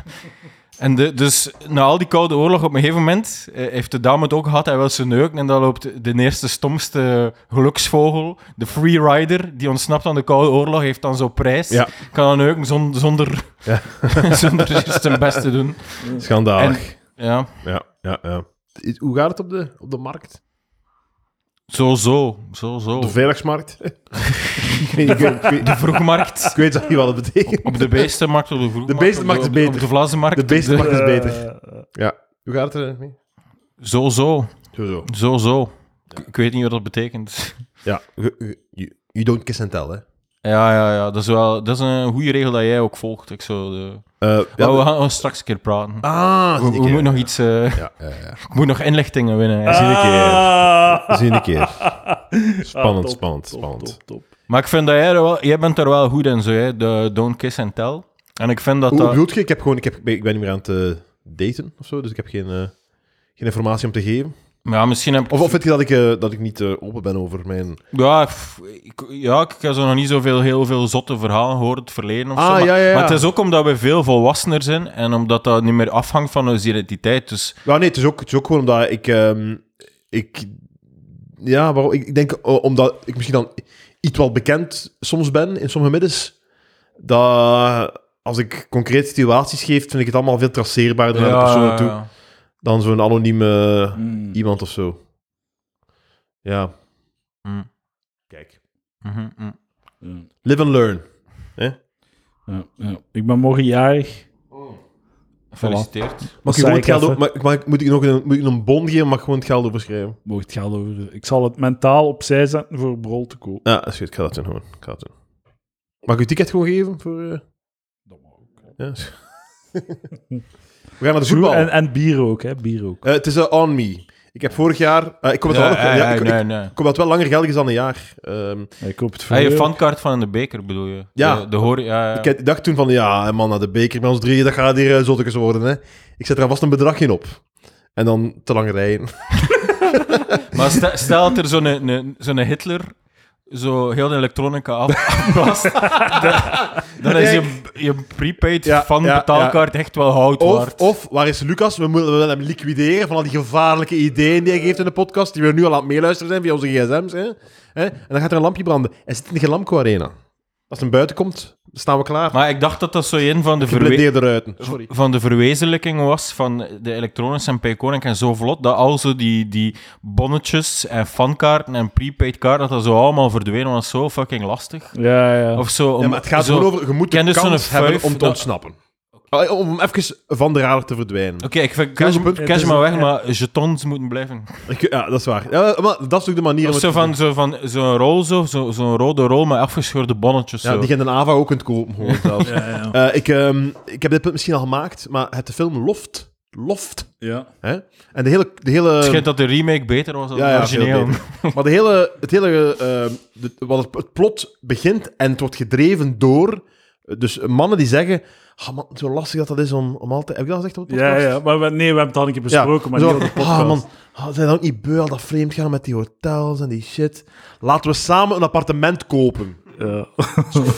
[SPEAKER 3] en de, dus na al die koude oorlog, op een gegeven moment eh, heeft de dame het ook gehad. Hij wil ze neuken en dan loopt de eerste stomste geluksvogel, de freerider, die ontsnapt aan de koude oorlog, heeft dan zo'n prijs.
[SPEAKER 2] Ja.
[SPEAKER 3] Kan dan neuken zon- zonder,
[SPEAKER 2] Ja.
[SPEAKER 3] zonder zijn best te doen.
[SPEAKER 2] Schandalig.
[SPEAKER 3] Ja,
[SPEAKER 2] Ja, ja, ja. I- Hoe gaat het op de, op de markt?
[SPEAKER 3] zo, zo, zo, zo.
[SPEAKER 2] Op de vrijdagsmarkt? ik, weet, niet, ik, weet, ik weet-
[SPEAKER 3] De vroegmarkt.
[SPEAKER 2] ik weet zelf niet wat het betekent.
[SPEAKER 3] Op de beestenmarkt, op de vroegmarkt.
[SPEAKER 2] beestenmarkt is
[SPEAKER 3] op de- op de- Op
[SPEAKER 2] beter.
[SPEAKER 3] de vlazenmarkt.
[SPEAKER 2] De
[SPEAKER 3] op de-
[SPEAKER 2] beestenmarkt is
[SPEAKER 1] Eh,
[SPEAKER 2] beter. Ja. Hoe gaat het er mee?
[SPEAKER 3] Zo, zo,
[SPEAKER 2] Zo, zo.
[SPEAKER 3] zo, zo. Ik- Ik weet niet wat dat betekent.
[SPEAKER 2] Ja. Je- je- You, you don't kiss and tell, hè.
[SPEAKER 3] Ja, ja, ja. Dat is, wel, dat is een goede regel dat jij ook volgt. Ik zou de...
[SPEAKER 2] Eh, ja,
[SPEAKER 3] Maar we gaan straks een keer praten.
[SPEAKER 2] Ah,
[SPEAKER 3] we
[SPEAKER 2] zie
[SPEAKER 3] we
[SPEAKER 2] ik hier.
[SPEAKER 3] moeten nog iets... eh,
[SPEAKER 2] Ja, ja, ja.
[SPEAKER 3] ik moet nog inlichtingen winnen. hè.
[SPEAKER 2] Zie ik hier.
[SPEAKER 1] Ah.
[SPEAKER 2] Zie ik hier. Spannend,
[SPEAKER 1] Ah, top,
[SPEAKER 2] spannend,
[SPEAKER 1] top,
[SPEAKER 2] spannend.
[SPEAKER 1] top, top.
[SPEAKER 3] Maar ik vind dat jij er wel... Jij bent er wel goed in, zo, hè. De don't kiss and tell. En ik vind dat
[SPEAKER 2] Hoe
[SPEAKER 3] dat...
[SPEAKER 2] bedoel je? Ik, heb gewoon, ik, heb, ik ben ik ben niet meer aan het eh, daten of zo, dus ik heb geen, eh, geen informatie om te geven.
[SPEAKER 3] Ja, misschien heb ik...
[SPEAKER 2] Of, of vind je dat ik, eh, dat ik niet eh, open ben over mijn...
[SPEAKER 3] Ja, f- ik, ja, ik heb zo nog niet zoveel heel veel zotte verhalen gehoord in het verleden of
[SPEAKER 2] Ah,
[SPEAKER 3] zo. Maar,
[SPEAKER 2] ja, ja, ja.
[SPEAKER 3] maar het is ook omdat we veel volwassener zijn en omdat dat niet meer afhangt van onze identiteit. Dus
[SPEAKER 2] Nou nee, het is ook, het is ook gewoon omdat ik... ehm, ik ja, waarom? Ik, ik denk eh, omdat ik misschien dan iets wat bekend soms ben in sommige middens. Dat als ik concrete situaties geef, vind ik het allemaal veel traceerbaarder naar de persoon toe dan zo'n anonieme
[SPEAKER 1] Hmm.
[SPEAKER 2] iemand of zo. Ja, kijk.
[SPEAKER 3] Mhm, mhm.
[SPEAKER 1] Ja.
[SPEAKER 2] Live and learn.
[SPEAKER 1] Ja, ja. Ik ben morgen jarig.
[SPEAKER 3] Gefeliciteerd.
[SPEAKER 2] Mag
[SPEAKER 1] Dat
[SPEAKER 2] ik, gewoon
[SPEAKER 1] zei
[SPEAKER 2] het
[SPEAKER 1] ik
[SPEAKER 2] geld
[SPEAKER 1] even.
[SPEAKER 2] ook- mag, mag, moet ik nog een, moet ik een bon geven? Mag ik gewoon het geld overschrijven?
[SPEAKER 1] Mocht het geld over. Ik zal het mentaal opzij zetten voor een brol te kopen.
[SPEAKER 2] Ja, is goed. Ik ga dat doen gewoon. Ik ga dat doen. Mag ik uw ticket gewoon geven? Voor, eh,
[SPEAKER 1] Dat mag ook.
[SPEAKER 2] ja. We gaan naar de
[SPEAKER 1] Goed,
[SPEAKER 2] voetbal.
[SPEAKER 1] En, en bier ook, hè? Bier ook.
[SPEAKER 2] Eh, het is eh, on me. Ik heb vorig jaar... eh, ik kom het wel, nog- ja,
[SPEAKER 3] Ja, ja,
[SPEAKER 2] ik, ik-
[SPEAKER 3] nee, nee.
[SPEAKER 2] ik kom het wel langer geldig is dan een jaar. Ehm,
[SPEAKER 1] Ik koop het voor
[SPEAKER 3] Ah, je
[SPEAKER 1] euro.
[SPEAKER 3] fankaart van de beker bedoel je?
[SPEAKER 2] Ja.
[SPEAKER 3] De, de hoor, ja, ja.
[SPEAKER 2] ik, ik dacht toen van, ja, eh, man, naar de beker met ons drieën, dat gaat hier eh, zottekes worden. Hè. Ik zet er vast een bedrag in op. En dan te lang rijden.
[SPEAKER 3] Maar stel, stel dat er zo'n een, zo'n Hitler zo heel de elektronica af- afblaast, dan, dan is je, je prepaid
[SPEAKER 2] Ja,
[SPEAKER 3] van
[SPEAKER 2] ja,
[SPEAKER 3] betaalkaart echt wel hout
[SPEAKER 2] Of,
[SPEAKER 3] waard.
[SPEAKER 2] of, waar is Lucas? We moeten we willen hem liquideren van al die gevaarlijke ideeën die hij geeft in de podcast, die we nu al aan het meeluisteren zijn via onze gsm's. Hè? Hè? En dan gaat er een lampje branden. Hij zit in de Gelamco Arena. Als hij buiten komt, staan we klaar.
[SPEAKER 3] Maar ik dacht dat dat zo een van de, verwe
[SPEAKER 2] Geblendeerde ruiten. Sorry.
[SPEAKER 3] van de verwezenlijking was van de elektronische en Payconic en zo vlot, dat al zo die, die bonnetjes en fankaarten en prepaid kaarten, dat dat zo allemaal verdwenen was. Zo fucking lastig.
[SPEAKER 1] Ja, ja.
[SPEAKER 3] Of zo, om,
[SPEAKER 2] Ja, maar het gaat
[SPEAKER 3] zo-
[SPEAKER 2] gewoon over, je moet de
[SPEAKER 3] Ken dus
[SPEAKER 2] kans
[SPEAKER 3] zo'n fuif
[SPEAKER 2] hebben om te
[SPEAKER 3] dat-
[SPEAKER 2] ontsnappen. Allee, Om om even van de radar te verdwijnen.
[SPEAKER 3] Oké, ik vind
[SPEAKER 2] Dat is
[SPEAKER 3] cash,
[SPEAKER 2] een punt.
[SPEAKER 3] cash
[SPEAKER 1] Het is
[SPEAKER 3] maar
[SPEAKER 1] een-
[SPEAKER 3] weg,
[SPEAKER 1] ja.
[SPEAKER 3] maar jetons moeten blijven.
[SPEAKER 2] Ik- Ja, dat is waar. Ja, maar dat is ook de manier... om
[SPEAKER 3] Of
[SPEAKER 2] het
[SPEAKER 3] zo
[SPEAKER 2] te
[SPEAKER 3] van zo'n van, zo'n rol, zo, zo, zo'n rode rol met afgescheurde bonnetjes.
[SPEAKER 2] doen. Ja,
[SPEAKER 3] zo.
[SPEAKER 2] die je in de AVA ook kunt kopen. Gewoon zelfs.
[SPEAKER 1] Ja, ja.
[SPEAKER 2] Eh, ik, ehm, ik heb dit punt misschien al gemaakt, maar heb de film Loft... Loft.
[SPEAKER 1] ja.
[SPEAKER 2] Hè? En de hele... De hele
[SPEAKER 3] Het schijnt dat de remake beter was dan
[SPEAKER 2] eh, Ja,
[SPEAKER 3] het
[SPEAKER 2] ja,
[SPEAKER 3] origineel.
[SPEAKER 2] veel Maar de hele, het hele eh, de- wat het, het plot begint en het wordt gedreven door. eh, Dus mannen die zeggen: "Ah, man, zo lastig dat dat is om, om altijd. Heb ik dat gezegd op de
[SPEAKER 1] Ja,
[SPEAKER 2] podcast?
[SPEAKER 1] ja, maar we- nee, we hebben het al een keer besproken, maar
[SPEAKER 2] zo,
[SPEAKER 1] niet op de podcast.
[SPEAKER 2] Ah, man, ah, zijn dan ook niet beu al dat vreemd gaan met die hotels en die shit. Laten we samen een appartement kopen.
[SPEAKER 1] Ja.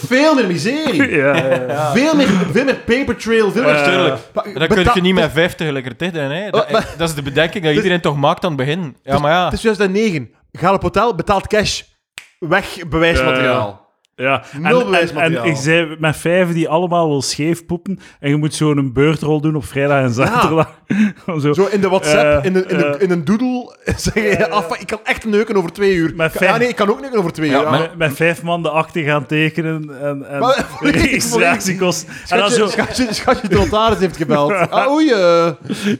[SPEAKER 2] Veel meer miserie.
[SPEAKER 1] Ja, ja, ja.
[SPEAKER 2] Veel, meer, veel meer paper trail. Veel meer
[SPEAKER 1] Ja, tuurlijk.
[SPEAKER 2] Maar-
[SPEAKER 3] Dan kun
[SPEAKER 2] beta-
[SPEAKER 3] je niet met vijf tegelijkertijd doen. Hè. Dat,
[SPEAKER 2] Oh, maar- Dus-
[SPEAKER 3] dat is de bedenking dat iedereen toch maakt aan het begin. Ja,
[SPEAKER 2] Het
[SPEAKER 3] maar ja.
[SPEAKER 2] Het is 2009. Ga op hotel, betaalt cash. Weg bewijsmateriaal.
[SPEAKER 1] En,
[SPEAKER 2] Nul
[SPEAKER 1] en, en
[SPEAKER 2] bewijsmateriaal.
[SPEAKER 1] ik zei met vijf die allemaal wil scheef poepen. En je moet zo'n beurtrol doen op vrijdag en zaterdag. zo.
[SPEAKER 2] Zo in de WhatsApp,
[SPEAKER 1] Eh,
[SPEAKER 2] in, een, in, een,
[SPEAKER 1] eh.
[SPEAKER 2] in een doodle, zeg je, "Ah, fuck, ik kan echt neuken over twee uur.
[SPEAKER 1] Maar
[SPEAKER 2] Ka-
[SPEAKER 1] fijn.
[SPEAKER 2] ah, nee, ik kan ook neuken over twee
[SPEAKER 3] Ja,
[SPEAKER 2] uur. Ah.
[SPEAKER 3] maar-
[SPEAKER 1] Met, met vijf man de akte gaan tekenen en, en
[SPEAKER 2] Maar- volledig,
[SPEAKER 1] registratiekosten. En dan
[SPEAKER 2] Schatje,
[SPEAKER 1] zo...
[SPEAKER 2] schatje, schatje, de notaris heeft gebeld. Ah, oei, eh,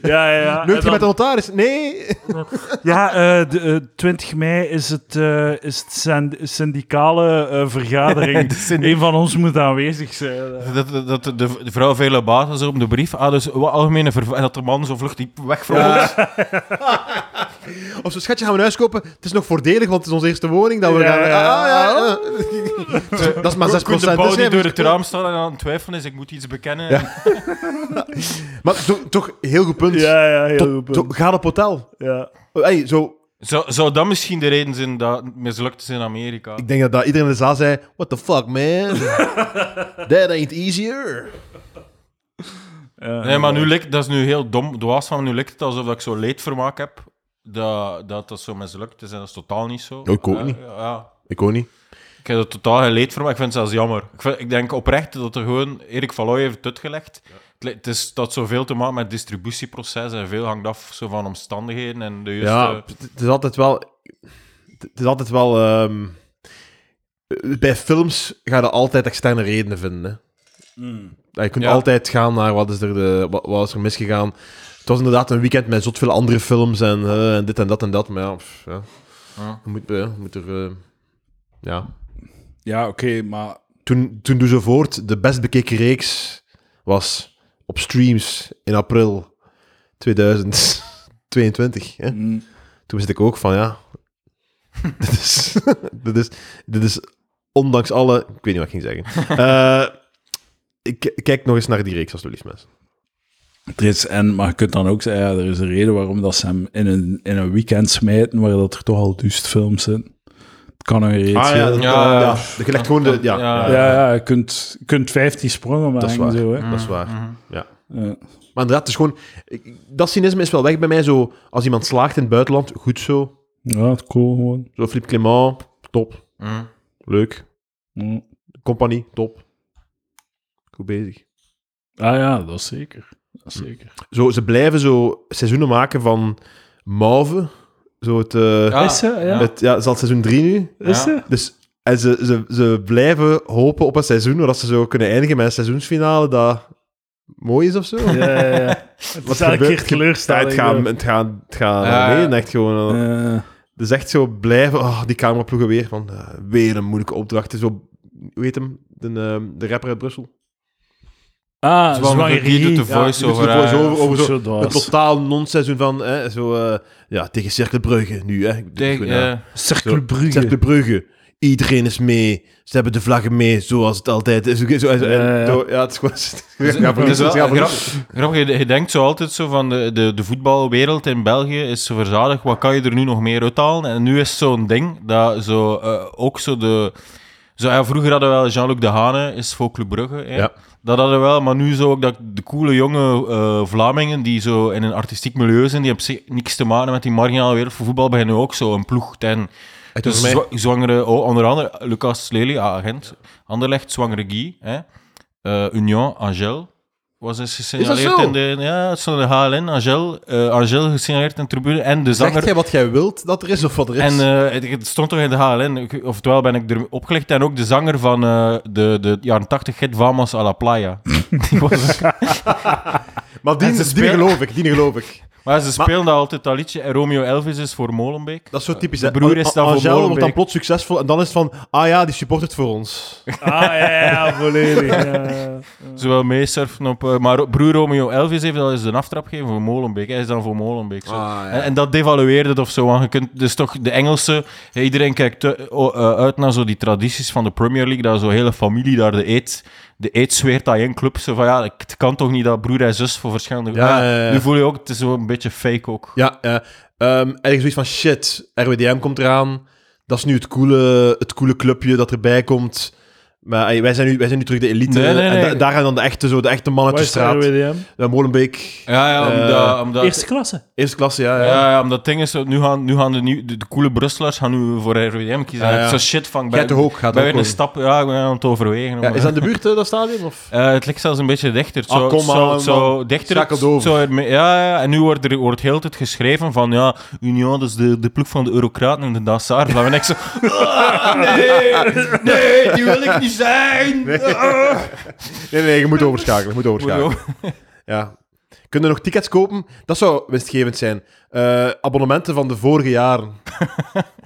[SPEAKER 1] Ja, ja, ja.
[SPEAKER 2] neukt je
[SPEAKER 1] En
[SPEAKER 2] met de
[SPEAKER 1] dan-
[SPEAKER 2] notaris? Nee.
[SPEAKER 1] Ja, eh, de, eh, 20 mei is het, eh, is het synd- syndicale eh, vergadering.
[SPEAKER 3] De synd-
[SPEAKER 1] Eén van ons moet aanwezig zijn.
[SPEAKER 3] Dat, dat, dat de, de vrouw vele baten zo op de brief. Ah, dus wat algemene verv- en dat de man zo vlucht die weg van ons.
[SPEAKER 2] Of zo, schatje, gaan we een huis kopen? Het is nog voordelig, want het is onze eerste woning. Dat we
[SPEAKER 1] Ja,
[SPEAKER 2] gaan...
[SPEAKER 1] ja, Oh.
[SPEAKER 2] ah, ja, ja. Dat is maar 6%
[SPEAKER 3] Koen de
[SPEAKER 2] dus,
[SPEAKER 3] bouw
[SPEAKER 2] hè,
[SPEAKER 3] die door
[SPEAKER 2] maar-
[SPEAKER 3] het raam staat en aan het twijfelen is, ik moet iets bekennen.
[SPEAKER 2] Maar toch, toch, heel goed punt.
[SPEAKER 1] Ja, ja, heel
[SPEAKER 2] Tot-
[SPEAKER 1] goed punt.
[SPEAKER 2] toch, ga op hotel.
[SPEAKER 1] Ja.
[SPEAKER 2] Hey, zo,
[SPEAKER 3] Zou, zou dat misschien de reden zijn dat het mislukt is in Amerika?
[SPEAKER 2] ik denk dat, dat iedereen in de zaal zei... What the fuck, man? That ain't easier.
[SPEAKER 1] Ja.
[SPEAKER 3] Nee,
[SPEAKER 2] Eh,
[SPEAKER 3] maar nu lukt, dat is nu heel dom, dwaas van me. Nu lukt het alsof ik zo leedvermaak heb dat dat, dat zo mislukt is. En dat is totaal niet zo.
[SPEAKER 2] ik ook
[SPEAKER 3] Eh,
[SPEAKER 2] niet.
[SPEAKER 3] Ja,
[SPEAKER 2] Ik ook niet.
[SPEAKER 3] ik heb er totaal geen leedvermaak. Ik vind het zelfs jammer. Ik, vind- ik denk oprecht dat er gewoon... Erik Valoy heeft het uitgelegd. Het, li- het is, dat zoveel te maken met het distributieproces en veel hangt af zo van omstandigheden en de juiste...
[SPEAKER 2] Ja, het- het is altijd wel. Het is altijd wel. ehm, bij films ga je altijd externe redenen vinden. Hè. Ja, Je kunt
[SPEAKER 3] Hmm. Ja.
[SPEAKER 2] altijd gaan naar wat is, er de, wat, wat is er misgegaan. Het was inderdaad een weekend met zot veel andere films en, eh, en dit en dat en dat. Maar ja, pff, ja.
[SPEAKER 3] Ja.
[SPEAKER 2] Je Moet, ja, je moet er. eh, ja.
[SPEAKER 1] Ja, oké, maar...
[SPEAKER 2] Toen, toen Doe Zo Voort, de best bekeken reeks was op streams in april 2022. Hè?
[SPEAKER 1] Mm.
[SPEAKER 2] toen zit ik ook van, ja, dit is, dit is, dit is ondanks alle... Ik weet niet wat ik ging zeggen. Eh, ik, ik kijk nog eens naar die reeks, alsjeblieft, mensen.
[SPEAKER 1] Er is, en, maar je kunt dan ook zeggen, ja, er is een reden waarom dat ze hem in een, in een weekend smijten waar dat er toch al duist films zijn. Het kan een reden
[SPEAKER 2] Ah, ja,
[SPEAKER 1] zijn.
[SPEAKER 2] dat-
[SPEAKER 3] Ja,
[SPEAKER 2] ja.
[SPEAKER 3] ja.
[SPEAKER 2] Je legt gewoon de... Ja, ja,
[SPEAKER 3] Ja,
[SPEAKER 1] Ja, ja, je kunt, je kunt 15 sprongen maken.
[SPEAKER 2] dat is waar.
[SPEAKER 1] Zo, hè.
[SPEAKER 2] Dat is waar.
[SPEAKER 3] Mhm.
[SPEAKER 1] Ja.
[SPEAKER 2] Maar inderdaad, het is gewoon... ik- Dat cynisme is wel weg bij mij, zo... Als iemand slaagt in het buitenland, goed zo.
[SPEAKER 1] Ja, het cool gewoon.
[SPEAKER 2] Zo Philippe Clement, top.
[SPEAKER 3] Mhm.
[SPEAKER 2] Leuk.
[SPEAKER 1] Hm.
[SPEAKER 2] Compagnie, top. Goed bezig.
[SPEAKER 1] Ah ja, dat is zeker. Dat is zeker.
[SPEAKER 2] Zo, ze blijven zo seizoenen maken van Mauve. Zo het, eh,
[SPEAKER 3] Ah,
[SPEAKER 1] Is ze? Ja.
[SPEAKER 2] het, ja, het is al seizoen 3 nu.
[SPEAKER 1] Is
[SPEAKER 3] Ja.
[SPEAKER 1] ze?
[SPEAKER 2] Dus en ze, ze, ze blijven hopen op een seizoen waar dat ze zo kunnen eindigen met een seizoensfinale dat mooi is of zo.
[SPEAKER 1] Ja, ja, ja. Het is elke
[SPEAKER 2] gebeurt-
[SPEAKER 1] keer teleurstelling.
[SPEAKER 2] het gaat, het gaat, het gaat
[SPEAKER 3] Ja.
[SPEAKER 2] naar beneden, echt gewoon.
[SPEAKER 1] ja. Eh,
[SPEAKER 2] Dus echt zo blijven, oh, die cameraploegen weer, van eh, weer een moeilijke opdracht. Zo, hoe heet hem? De, eh, de rapper uit Brussel.
[SPEAKER 1] Ah,
[SPEAKER 3] Zwanger,
[SPEAKER 1] zwanger
[SPEAKER 3] die doet de
[SPEAKER 1] Rie.
[SPEAKER 2] Ja,
[SPEAKER 3] voice-over.
[SPEAKER 2] die doet de
[SPEAKER 3] eh,
[SPEAKER 2] voice-over. over zo.
[SPEAKER 1] Zo dat
[SPEAKER 2] Een
[SPEAKER 1] was.
[SPEAKER 2] totaal non-seizoen van, hè, zo, eh, ja, tegen Cercle Brugge nu, hè. Ik doe het
[SPEAKER 3] tegen-
[SPEAKER 2] goed na.
[SPEAKER 3] eh,
[SPEAKER 1] Cercle Brugge.
[SPEAKER 2] Cercle Brugge. Iedereen is mee. Ze hebben de vlaggen mee, zoals het altijd is. Zo, zo, en
[SPEAKER 1] Ja, ja.
[SPEAKER 2] zo, ja, het is gewoon... Het
[SPEAKER 3] Het is wel
[SPEAKER 2] gaat voor niets.
[SPEAKER 3] grap- grappig, je, je denkt zo altijd zo van de, de, de voetbalwereld in België is zo verzadigd. Wat kan je er nu nog meer uithalen? En nu is het zo'n ding dat zo, eh, ook zo de. Zo, ja, vroeger hadden we wel Jean-Luc De Hane, is voor Club Brugge. hè.
[SPEAKER 2] Ja.
[SPEAKER 3] Dat hadden we wel, maar nu zo ook dat de coole jonge eh, Vlamingen die zo in een artistiek milieu zijn, die op zich niks te maken met die marginale wereld voor voetbal, beginnen ook zo een ploeg ten.
[SPEAKER 2] Het was
[SPEAKER 3] Dus
[SPEAKER 2] mij-
[SPEAKER 3] zwa- zwangere, oh, onder andere Lucas Lely, ah, agent. Anderlecht, zwangere Guy. Hè. Eh, Union, Angel. Was dus
[SPEAKER 2] Is
[SPEAKER 3] gesignaleerd
[SPEAKER 2] dat zo?
[SPEAKER 3] in de... Ja, het stond in de HLN. Angel, eh, Angel gesignaleerd in de tribune. En de
[SPEAKER 2] Zegt
[SPEAKER 3] zanger...
[SPEAKER 2] jij wat jij wilt dat er is, of wat er
[SPEAKER 3] En
[SPEAKER 2] is?
[SPEAKER 3] eh, het, het stond toch in de HLN. Ik- Oftewel ben ik er opgelegd. En ook de zanger van eh, de, de jaren 80 hit Vamos a la Playa. Die was,
[SPEAKER 2] maar die,
[SPEAKER 3] en ze
[SPEAKER 2] die
[SPEAKER 3] spelen-
[SPEAKER 2] geloof ik, die geloof ik.
[SPEAKER 3] maar ze speelden altijd dat liedje. En Romeo Elvis is voor Molenbeek.
[SPEAKER 2] Dat is zo typisch.
[SPEAKER 3] De
[SPEAKER 2] hè.
[SPEAKER 3] broer is
[SPEAKER 2] Angel
[SPEAKER 3] dan voor
[SPEAKER 2] wordt dan
[SPEAKER 3] Molenbeek.
[SPEAKER 2] plots succesvol en dan is het van, ah ja, die supportert voor ons.
[SPEAKER 1] Ah, ja, ja, ja, volledig. ja, ja.
[SPEAKER 3] Zowel meesurfen op... eh, maar broer Romeo Elvis heeft al eens een aftrap gegeven voor Molenbeek. Hij is dan voor Molenbeek. Zo. En, en dat devalueert het of zo. Want je kunt, dus toch de Engelse. ja, Iedereen kijkt eh, o- eh, uit naar zo die tradities van de Premier League. Dat zo'n hele familie daar de eet, de eet zweert aan één club. Zo van ja, het kan toch niet dat broer en zus voor verschillende.
[SPEAKER 2] Ja,
[SPEAKER 3] Ah,
[SPEAKER 2] ja, ja.
[SPEAKER 3] Nu voel je ook, het is zo een beetje fake ook.
[SPEAKER 2] Ja, ja. Ehm, en ik zoiets van, shit, RWDM komt eraan. Dat is nu het coole, het coole clubje dat erbij komt. Maar ey, wij zijn nu, wij zijn nu terug de elite.
[SPEAKER 3] Nee, nee,
[SPEAKER 2] En da-
[SPEAKER 3] nee.
[SPEAKER 2] daar gaan dan de echte, zo, de echte mannen
[SPEAKER 1] Waar
[SPEAKER 2] uit de
[SPEAKER 1] is de
[SPEAKER 2] straat.
[SPEAKER 1] RWDM?
[SPEAKER 2] Ja, Molenbeek,
[SPEAKER 3] Ja, ja,
[SPEAKER 2] Eh,
[SPEAKER 3] omdat. omdat
[SPEAKER 1] Eerste klasse.
[SPEAKER 2] eerste klasse, ja.
[SPEAKER 3] ja,
[SPEAKER 2] ja.
[SPEAKER 3] ja, omdat het ding is, nu gaan, nu gaan de, nieuw- de, de coole Brusselaars gaan nu voor RWDM kiezen.
[SPEAKER 2] Ja,
[SPEAKER 3] Ja,
[SPEAKER 2] ja.
[SPEAKER 3] Zo shit van, ik
[SPEAKER 2] Gert de
[SPEAKER 3] ben,
[SPEAKER 2] Hoek gaat
[SPEAKER 3] ben
[SPEAKER 2] ook
[SPEAKER 3] weer een
[SPEAKER 2] komen.
[SPEAKER 3] stap, ja, ik ben aan het overwegen.
[SPEAKER 2] Ja,
[SPEAKER 3] om-
[SPEAKER 2] is dat in de buurt, eh, dat stadion? Of?
[SPEAKER 3] Eh, het ligt zelfs een beetje dichter. Zo,
[SPEAKER 2] Ah, kom
[SPEAKER 3] zo,
[SPEAKER 2] aan,
[SPEAKER 3] zo
[SPEAKER 2] man.
[SPEAKER 3] dichter.
[SPEAKER 2] Schakelt over.
[SPEAKER 3] Zo, ermee- ja, ja, en nu wordt er wordt heel de tijd geschreven van ja, Union, dat is de, de ploeg van de Eurocraten en de Dassar. En ik zo, "Ah, nee, nee, die wil ik niet zijn. Ah.
[SPEAKER 2] Nee, nee, je moet overschakelen. Je moet overschakelen.
[SPEAKER 3] Moet
[SPEAKER 2] Ja. Kunnen nog tickets kopen? Dat zou winstgevend zijn. Eh, abonnementen van de vorige jaren.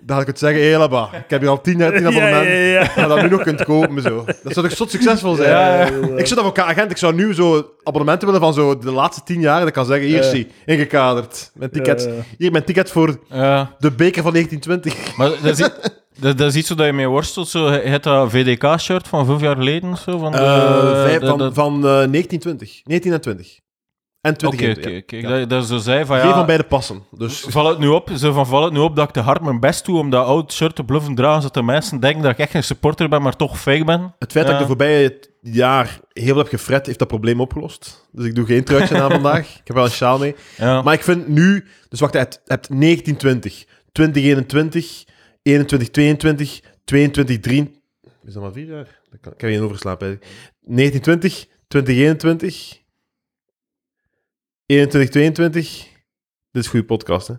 [SPEAKER 2] dat ik het zeggen, hé Labba, ik heb hier al tien, jaar- tien
[SPEAKER 1] ja,
[SPEAKER 2] abonnementen.
[SPEAKER 1] ja.
[SPEAKER 2] Dat je dat nu nog kunt kopen, zo. Dat zou toch zot succesvol zijn? Ik zit dat voor agent. Ik zou nu zo abonnementen willen van zo de laatste tien jaar. Dat ik kan zeggen, hier
[SPEAKER 1] Ja.
[SPEAKER 2] zie, ingekaderd. Mijn tickets.
[SPEAKER 1] Ja. Eh,
[SPEAKER 2] Hier, mijn ticket voor
[SPEAKER 3] Ja.
[SPEAKER 2] de beker van 1920.
[SPEAKER 3] Eh, Maar dat is, i- dat, dat is iets waar je mee worstelt. Zo, je hebt dat VDK-shirt van vijf jaar geleden of zo. Van de,
[SPEAKER 2] Eh, vijf-
[SPEAKER 3] de-
[SPEAKER 2] van
[SPEAKER 3] de-
[SPEAKER 2] van eh, 1920. 19 en 20. En 20
[SPEAKER 3] Oké,
[SPEAKER 2] en
[SPEAKER 3] oké,
[SPEAKER 2] 20,
[SPEAKER 3] oké.
[SPEAKER 2] ja.
[SPEAKER 3] Dat- Dat zo zei van
[SPEAKER 2] Geen
[SPEAKER 3] ja...
[SPEAKER 2] van beide passen. Dus
[SPEAKER 3] Val het nu op, zo van val het nu op dat ik te hard mijn best doe om dat oud shirt te bluffen dragen, zodat de mensen denken dat ik echt een supporter ben, maar toch fake ben.
[SPEAKER 2] Het feit dat
[SPEAKER 3] Ja.
[SPEAKER 2] ik de voorbije het jaar heel veel heb gefret, heeft dat probleem opgelost. Dus ik doe geen truitje aan vandaag. Ik heb wel een sjaal mee.
[SPEAKER 3] Ja.
[SPEAKER 2] Maar ik vind nu... Dus wacht, je hebt, je hebt 1920, 2021, 21, 22, 22, 3... Is dat maar vier jaar? Dat kan- Ik heb één overslapen. hè. 1920, 2021, 21, 22... Dit is een goede podcast, hè?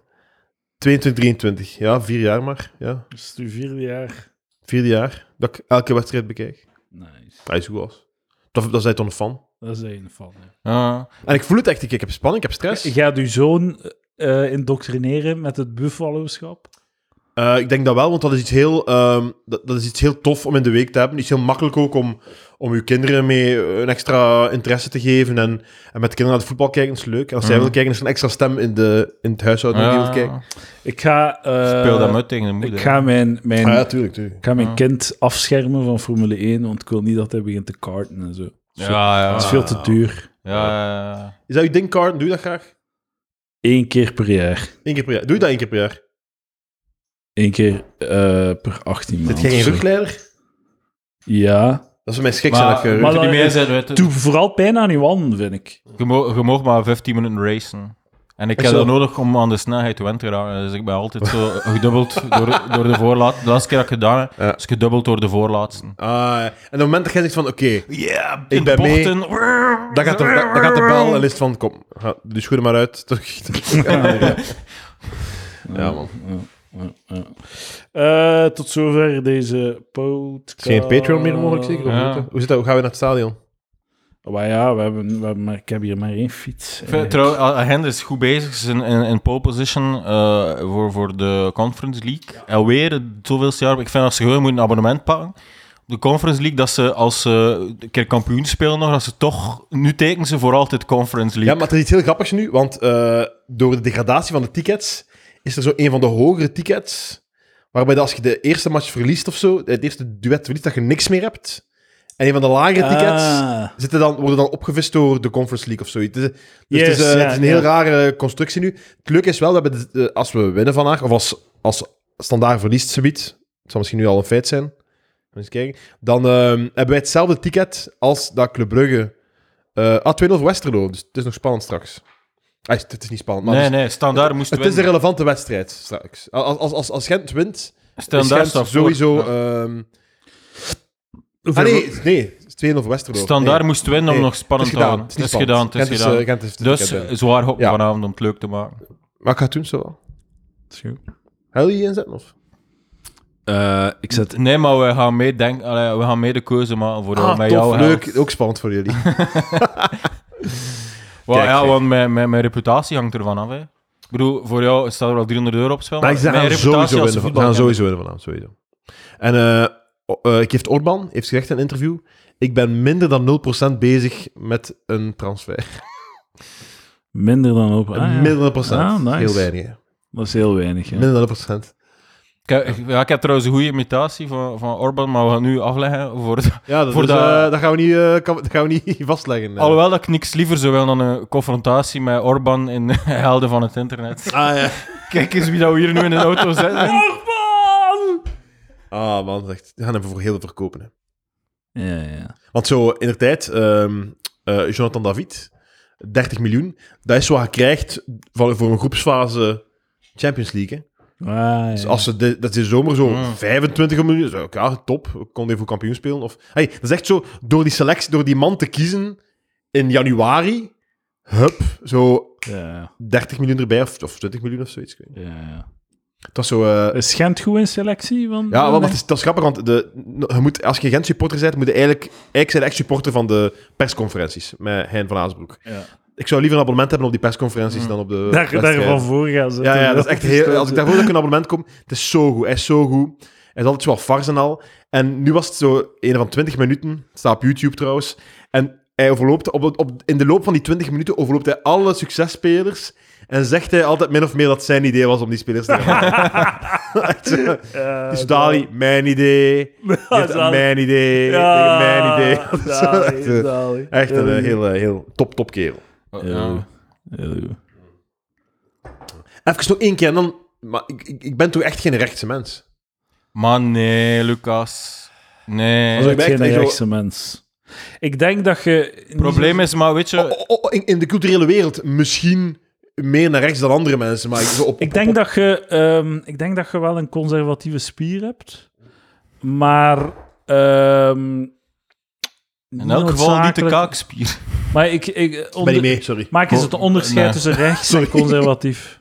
[SPEAKER 2] 22, 23. Ja, vier jaar maar. Ja,
[SPEAKER 1] Dat Dus is nu vierde jaar.
[SPEAKER 2] vierde jaar. Dat ik elke wedstrijd bekijk.
[SPEAKER 1] Nice.
[SPEAKER 2] Hij is goed was. Dat, dat zei toch een fan.
[SPEAKER 1] Dat is een van. ja.
[SPEAKER 3] Ja.
[SPEAKER 2] En ik voel het echt, ik, ik heb spanning, ik heb stress.
[SPEAKER 1] Je gaat uw zoon eh, indoctrineren met het buffaloschap.
[SPEAKER 2] Eh, ik denk dat wel, want dat is, iets heel, ehm, dat, dat is iets heel tof om in de week te hebben. Iets heel makkelijk ook om, om uw kinderen mee een extra interesse te geven. En, en met de kinderen naar de voetbal kijken is leuk. En als zij
[SPEAKER 3] Mhm.
[SPEAKER 2] willen kijken, is er een extra stem in, de, in het huishouden die wil kijken.
[SPEAKER 1] Ik ga... eh,
[SPEAKER 3] Speel dat uit tegen de moeder.
[SPEAKER 1] Ik ga mijn, mijn,
[SPEAKER 2] Ah, ja, tuurlijk, tuurlijk.
[SPEAKER 1] ik ga mijn
[SPEAKER 3] Ja.
[SPEAKER 1] kind afschermen van Formule 1, want ik wil niet dat hij begint te karten en zo.
[SPEAKER 3] ja, ja,
[SPEAKER 1] Dat is
[SPEAKER 3] ja.
[SPEAKER 1] veel
[SPEAKER 2] Ah.
[SPEAKER 1] te duur.
[SPEAKER 3] Ja, ja.
[SPEAKER 2] Is dat uw ding, Carden? Doe je dat graag?
[SPEAKER 1] Eén keer per jaar.
[SPEAKER 2] Eén keer per jaar. Doe je dat één keer per jaar?
[SPEAKER 1] Eén keer eh, per 18 maanden.
[SPEAKER 2] Zit jij geen
[SPEAKER 1] of zo.
[SPEAKER 2] rugleider?
[SPEAKER 1] Ja.
[SPEAKER 2] Dat is mijn schrik zijn dat eh,
[SPEAKER 3] Maar,
[SPEAKER 2] je
[SPEAKER 1] maar
[SPEAKER 3] moet er niet
[SPEAKER 1] dat-
[SPEAKER 3] meer zijn, weet je.
[SPEAKER 1] Doe vooral pijn aan je wanden, vind ik.
[SPEAKER 3] Je mo- je mag maar 15 minuten racen. En ik
[SPEAKER 2] Ik
[SPEAKER 3] heb
[SPEAKER 2] zou-
[SPEAKER 3] dat nodig om aan de snelheid te te raken. Dus ik ben altijd zo gedubbeld door, door de voorlaat. De laatste keer dat ik het gedaan heb,
[SPEAKER 2] Ja.
[SPEAKER 3] is gedubbeld door de voorlaatste.
[SPEAKER 2] Ah, en op het moment dat jij zegt van, oké,
[SPEAKER 3] Ja,
[SPEAKER 2] Ik ben mee.
[SPEAKER 3] bochten.
[SPEAKER 2] dan, gaat de- dan, dan gaat de bel en is het van, kom, ga de schoenen maar uit. ja. ja, man.
[SPEAKER 1] Eh, tot zover deze podcast.
[SPEAKER 2] Is geen Patreon meer mogelijk, zeker? Of
[SPEAKER 3] Ja.
[SPEAKER 2] niet, hè? Hoe zit dat? Hoe gaan we naar het stadion?
[SPEAKER 1] Maar ja, we hebben, we hebben maar, ik heb hier maar één fiets. Eh,
[SPEAKER 3] Ik vind- Trouw, Agenda is goed bezig. Ze zijn in, in pole position eh, voor, voor de Conference League. Alweer het zoveelste jaar. Ik vind dat ze gewoon moeten een abonnement pakken. Op De Conference League, dat ze als ze een keer kampioen spelen nog, dat ze toch... Nu tekenen ze voor altijd Conference
[SPEAKER 2] Ja,
[SPEAKER 3] League.
[SPEAKER 2] maar het is iets heel grappigs nu, want eh, door de degradatie van de tickets is er zo een van de hogere tickets, waarbij dat als je de eerste match verliest of zo, het eerste duet verliest, dat je niks meer hebt. En een van de lagere tickets
[SPEAKER 1] Ah.
[SPEAKER 2] zitten dan, worden dan opgevist door de Conference League of zoiets. Dus, dus
[SPEAKER 1] Yes,
[SPEAKER 2] het, is, eh,
[SPEAKER 1] ja,
[SPEAKER 2] het is een heel
[SPEAKER 1] ja.
[SPEAKER 2] rare constructie nu. Het leuke is wel, dat we, hebben de- de- als we winnen vandaag, of als, als standaard verliest, ze biedt, het zal misschien nu al een feit zijn, Eens kijken. Dan ehm, hebben wij hetzelfde ticket als dat Club Brugge. eh ah, 2-0 voor Westerlo, dus het is nog spannend straks. Ah, het is niet spannend, maar
[SPEAKER 3] nee,
[SPEAKER 2] het is-
[SPEAKER 3] nee, Standaard moest
[SPEAKER 2] het is de
[SPEAKER 3] winnen.
[SPEAKER 2] relevante wedstrijd straks. Als, als, als, als Gent wint, is
[SPEAKER 3] Standaard
[SPEAKER 2] Gent
[SPEAKER 3] staat voor.
[SPEAKER 2] sowieso...
[SPEAKER 3] Ja.
[SPEAKER 2] ehm, ah nee, nee, het is 2-0 voor Westerlo.
[SPEAKER 3] Standaard
[SPEAKER 2] Nee,
[SPEAKER 3] moest winnen om
[SPEAKER 2] nee,
[SPEAKER 3] nog spannend
[SPEAKER 2] het is
[SPEAKER 3] te
[SPEAKER 2] gedaan.
[SPEAKER 3] houden.
[SPEAKER 2] Het is niet spannend.
[SPEAKER 3] het is
[SPEAKER 2] Gent is,
[SPEAKER 3] gedaan.
[SPEAKER 2] eh, Gent heeft het
[SPEAKER 3] Dus
[SPEAKER 2] ticket winnen.
[SPEAKER 3] zwaar hop
[SPEAKER 2] Ja.
[SPEAKER 3] vanavond om het leuk te maken.
[SPEAKER 2] Maar ik ga het doen, zo wel. Ga je die inzetten? Of?
[SPEAKER 1] ik zet...
[SPEAKER 3] Nee, maar we gaan mee, denk, allee, we gaan mee de keuze maken voor
[SPEAKER 2] Ah,
[SPEAKER 3] met
[SPEAKER 2] tof,
[SPEAKER 3] jou.
[SPEAKER 2] leuk. Ook spannend voor jullie.
[SPEAKER 3] Wel,
[SPEAKER 2] Kijk,
[SPEAKER 3] ja,
[SPEAKER 2] zeg.
[SPEAKER 3] want mijn, mijn, mijn reputatie hangt ervan af. Hè. Ik bedoel, voor jou staat er wel 300 euro op spel.
[SPEAKER 2] Maar ik zeg, ze
[SPEAKER 3] mijn
[SPEAKER 2] gaan sowieso winnen. van- Ze gaan
[SPEAKER 3] voetbalkenner-
[SPEAKER 2] sowieso winnen vanavond, sowieso. En eh o- eh, ik heeft Orban, heeft gezegd in een interview, ik ben minder dan 0% bezig met een transfer.
[SPEAKER 1] Minder dan open. Ah, ja.
[SPEAKER 2] minder dan een procent.
[SPEAKER 1] Ah, nice.
[SPEAKER 2] Heel weinig. hè.
[SPEAKER 1] Dat is heel weinig. Ja.
[SPEAKER 2] Minder dan een procent.
[SPEAKER 3] Ik heb, ik- ja, ik heb trouwens een goede imitatie van, van Orban, maar we gaan nu afleggen. Voor het-
[SPEAKER 2] Ja, dat,
[SPEAKER 3] Voor
[SPEAKER 2] dus,
[SPEAKER 3] de-
[SPEAKER 2] eh, dat gaan we niet, eh, kan- dat gaan we niet vastleggen. eh.
[SPEAKER 3] Alhoewel dat ik niks liever zou willen dan een confrontatie met Orban in helden van het internet.
[SPEAKER 2] Ah, ja.
[SPEAKER 3] Kijk eens wie dat we hier nu in de auto zetten.
[SPEAKER 2] Ah, man. Echt. We gaan hem voor heel veel verkopen. hè.
[SPEAKER 1] Ja, ja.
[SPEAKER 2] Want zo, in de tijd, ehm, eh, Jonathan David, 30 miljoen, dat is wat je krijgt van, voor een groepsfase Champions League. hè.
[SPEAKER 1] Ah, ja.
[SPEAKER 2] Dus als ze de, dat is in zomer zo
[SPEAKER 3] Mm.
[SPEAKER 2] 25 miljoen. Zo, ja, top. Kon even voor kampioen spelen. Of, hey, dat is echt zo, door die selectie, door die man te kiezen in januari. Hup, zo
[SPEAKER 1] Ja,
[SPEAKER 2] 30 miljoen erbij of, of 20 miljoen of zoiets. ik weet niet.
[SPEAKER 1] ja, ja.
[SPEAKER 2] Het was zo. eh,
[SPEAKER 1] Is Gent goed in selectie? Van,
[SPEAKER 2] ja, want dat is, dat is grappig, want de, je moet, als je Gent supporter bent, moet je eigenlijk, eigenlijk zijn echt supporter van de persconferenties met Hein van Aasbroek.
[SPEAKER 1] Ja.
[SPEAKER 2] Ik zou liever een abonnement hebben op die persconferenties dan op de.
[SPEAKER 1] Hmm. Daar, daar
[SPEAKER 2] wedstrijden.
[SPEAKER 1] van voor gaan
[SPEAKER 2] Ja,
[SPEAKER 1] zitten.
[SPEAKER 2] ja, dat is echt heel... Als ik daarvoor dat ik een abonnement kom, het is zo goed. Hij is zo goed. Hij is altijd zo wat fars en al. En nu was het zo een van 20 minuten. Het staat op YouTube trouwens. En hij overloopt... Op, op, in de loop van die 20 minuten overloopt hij alle successpelers. En zegt hij altijd min of meer dat het zijn idee was om die spelers te halen. Echt zo.
[SPEAKER 1] Ja,
[SPEAKER 2] Dus Dali, mijn idee. Dit,
[SPEAKER 1] Dali.
[SPEAKER 2] mijn idee.
[SPEAKER 1] Ja,
[SPEAKER 2] Mijn idee. Zo,
[SPEAKER 1] Dali,
[SPEAKER 2] echt, eh,
[SPEAKER 1] Dali.
[SPEAKER 2] Echt een
[SPEAKER 1] Ja,
[SPEAKER 2] eh, heel, eh, heel top, top kerel.
[SPEAKER 1] Ja. heel goed.
[SPEAKER 2] Even nog één keer en dan... Maar ik, ik, ik ben toch echt geen rechtse mens?
[SPEAKER 3] Maar nee, Lucas. Nee.
[SPEAKER 2] Als ik
[SPEAKER 1] Ik
[SPEAKER 2] ben
[SPEAKER 1] ben
[SPEAKER 2] echt
[SPEAKER 1] geen
[SPEAKER 2] zo-
[SPEAKER 1] rechtse mens. Ik denk dat je... niet
[SPEAKER 3] Het probleem is, maar weet je...
[SPEAKER 2] Oh, oh, oh, in, in de culturele wereld misschien meer naar rechts dan andere mensen, maar ik, zo op,
[SPEAKER 1] Ik denk, dat je, ehm, ik denk dat je wel een conservatieve spier hebt, maar. ehm,
[SPEAKER 3] In elk geval niet de
[SPEAKER 1] noodzakelijk-
[SPEAKER 3] kaakspier.
[SPEAKER 1] Maar ik, ik,
[SPEAKER 2] ben niet
[SPEAKER 1] onder,
[SPEAKER 2] mee, sorry.
[SPEAKER 1] maak eens het onderscheid
[SPEAKER 3] Nee.
[SPEAKER 1] tussen rechts
[SPEAKER 2] Sorry.
[SPEAKER 1] en conservatief.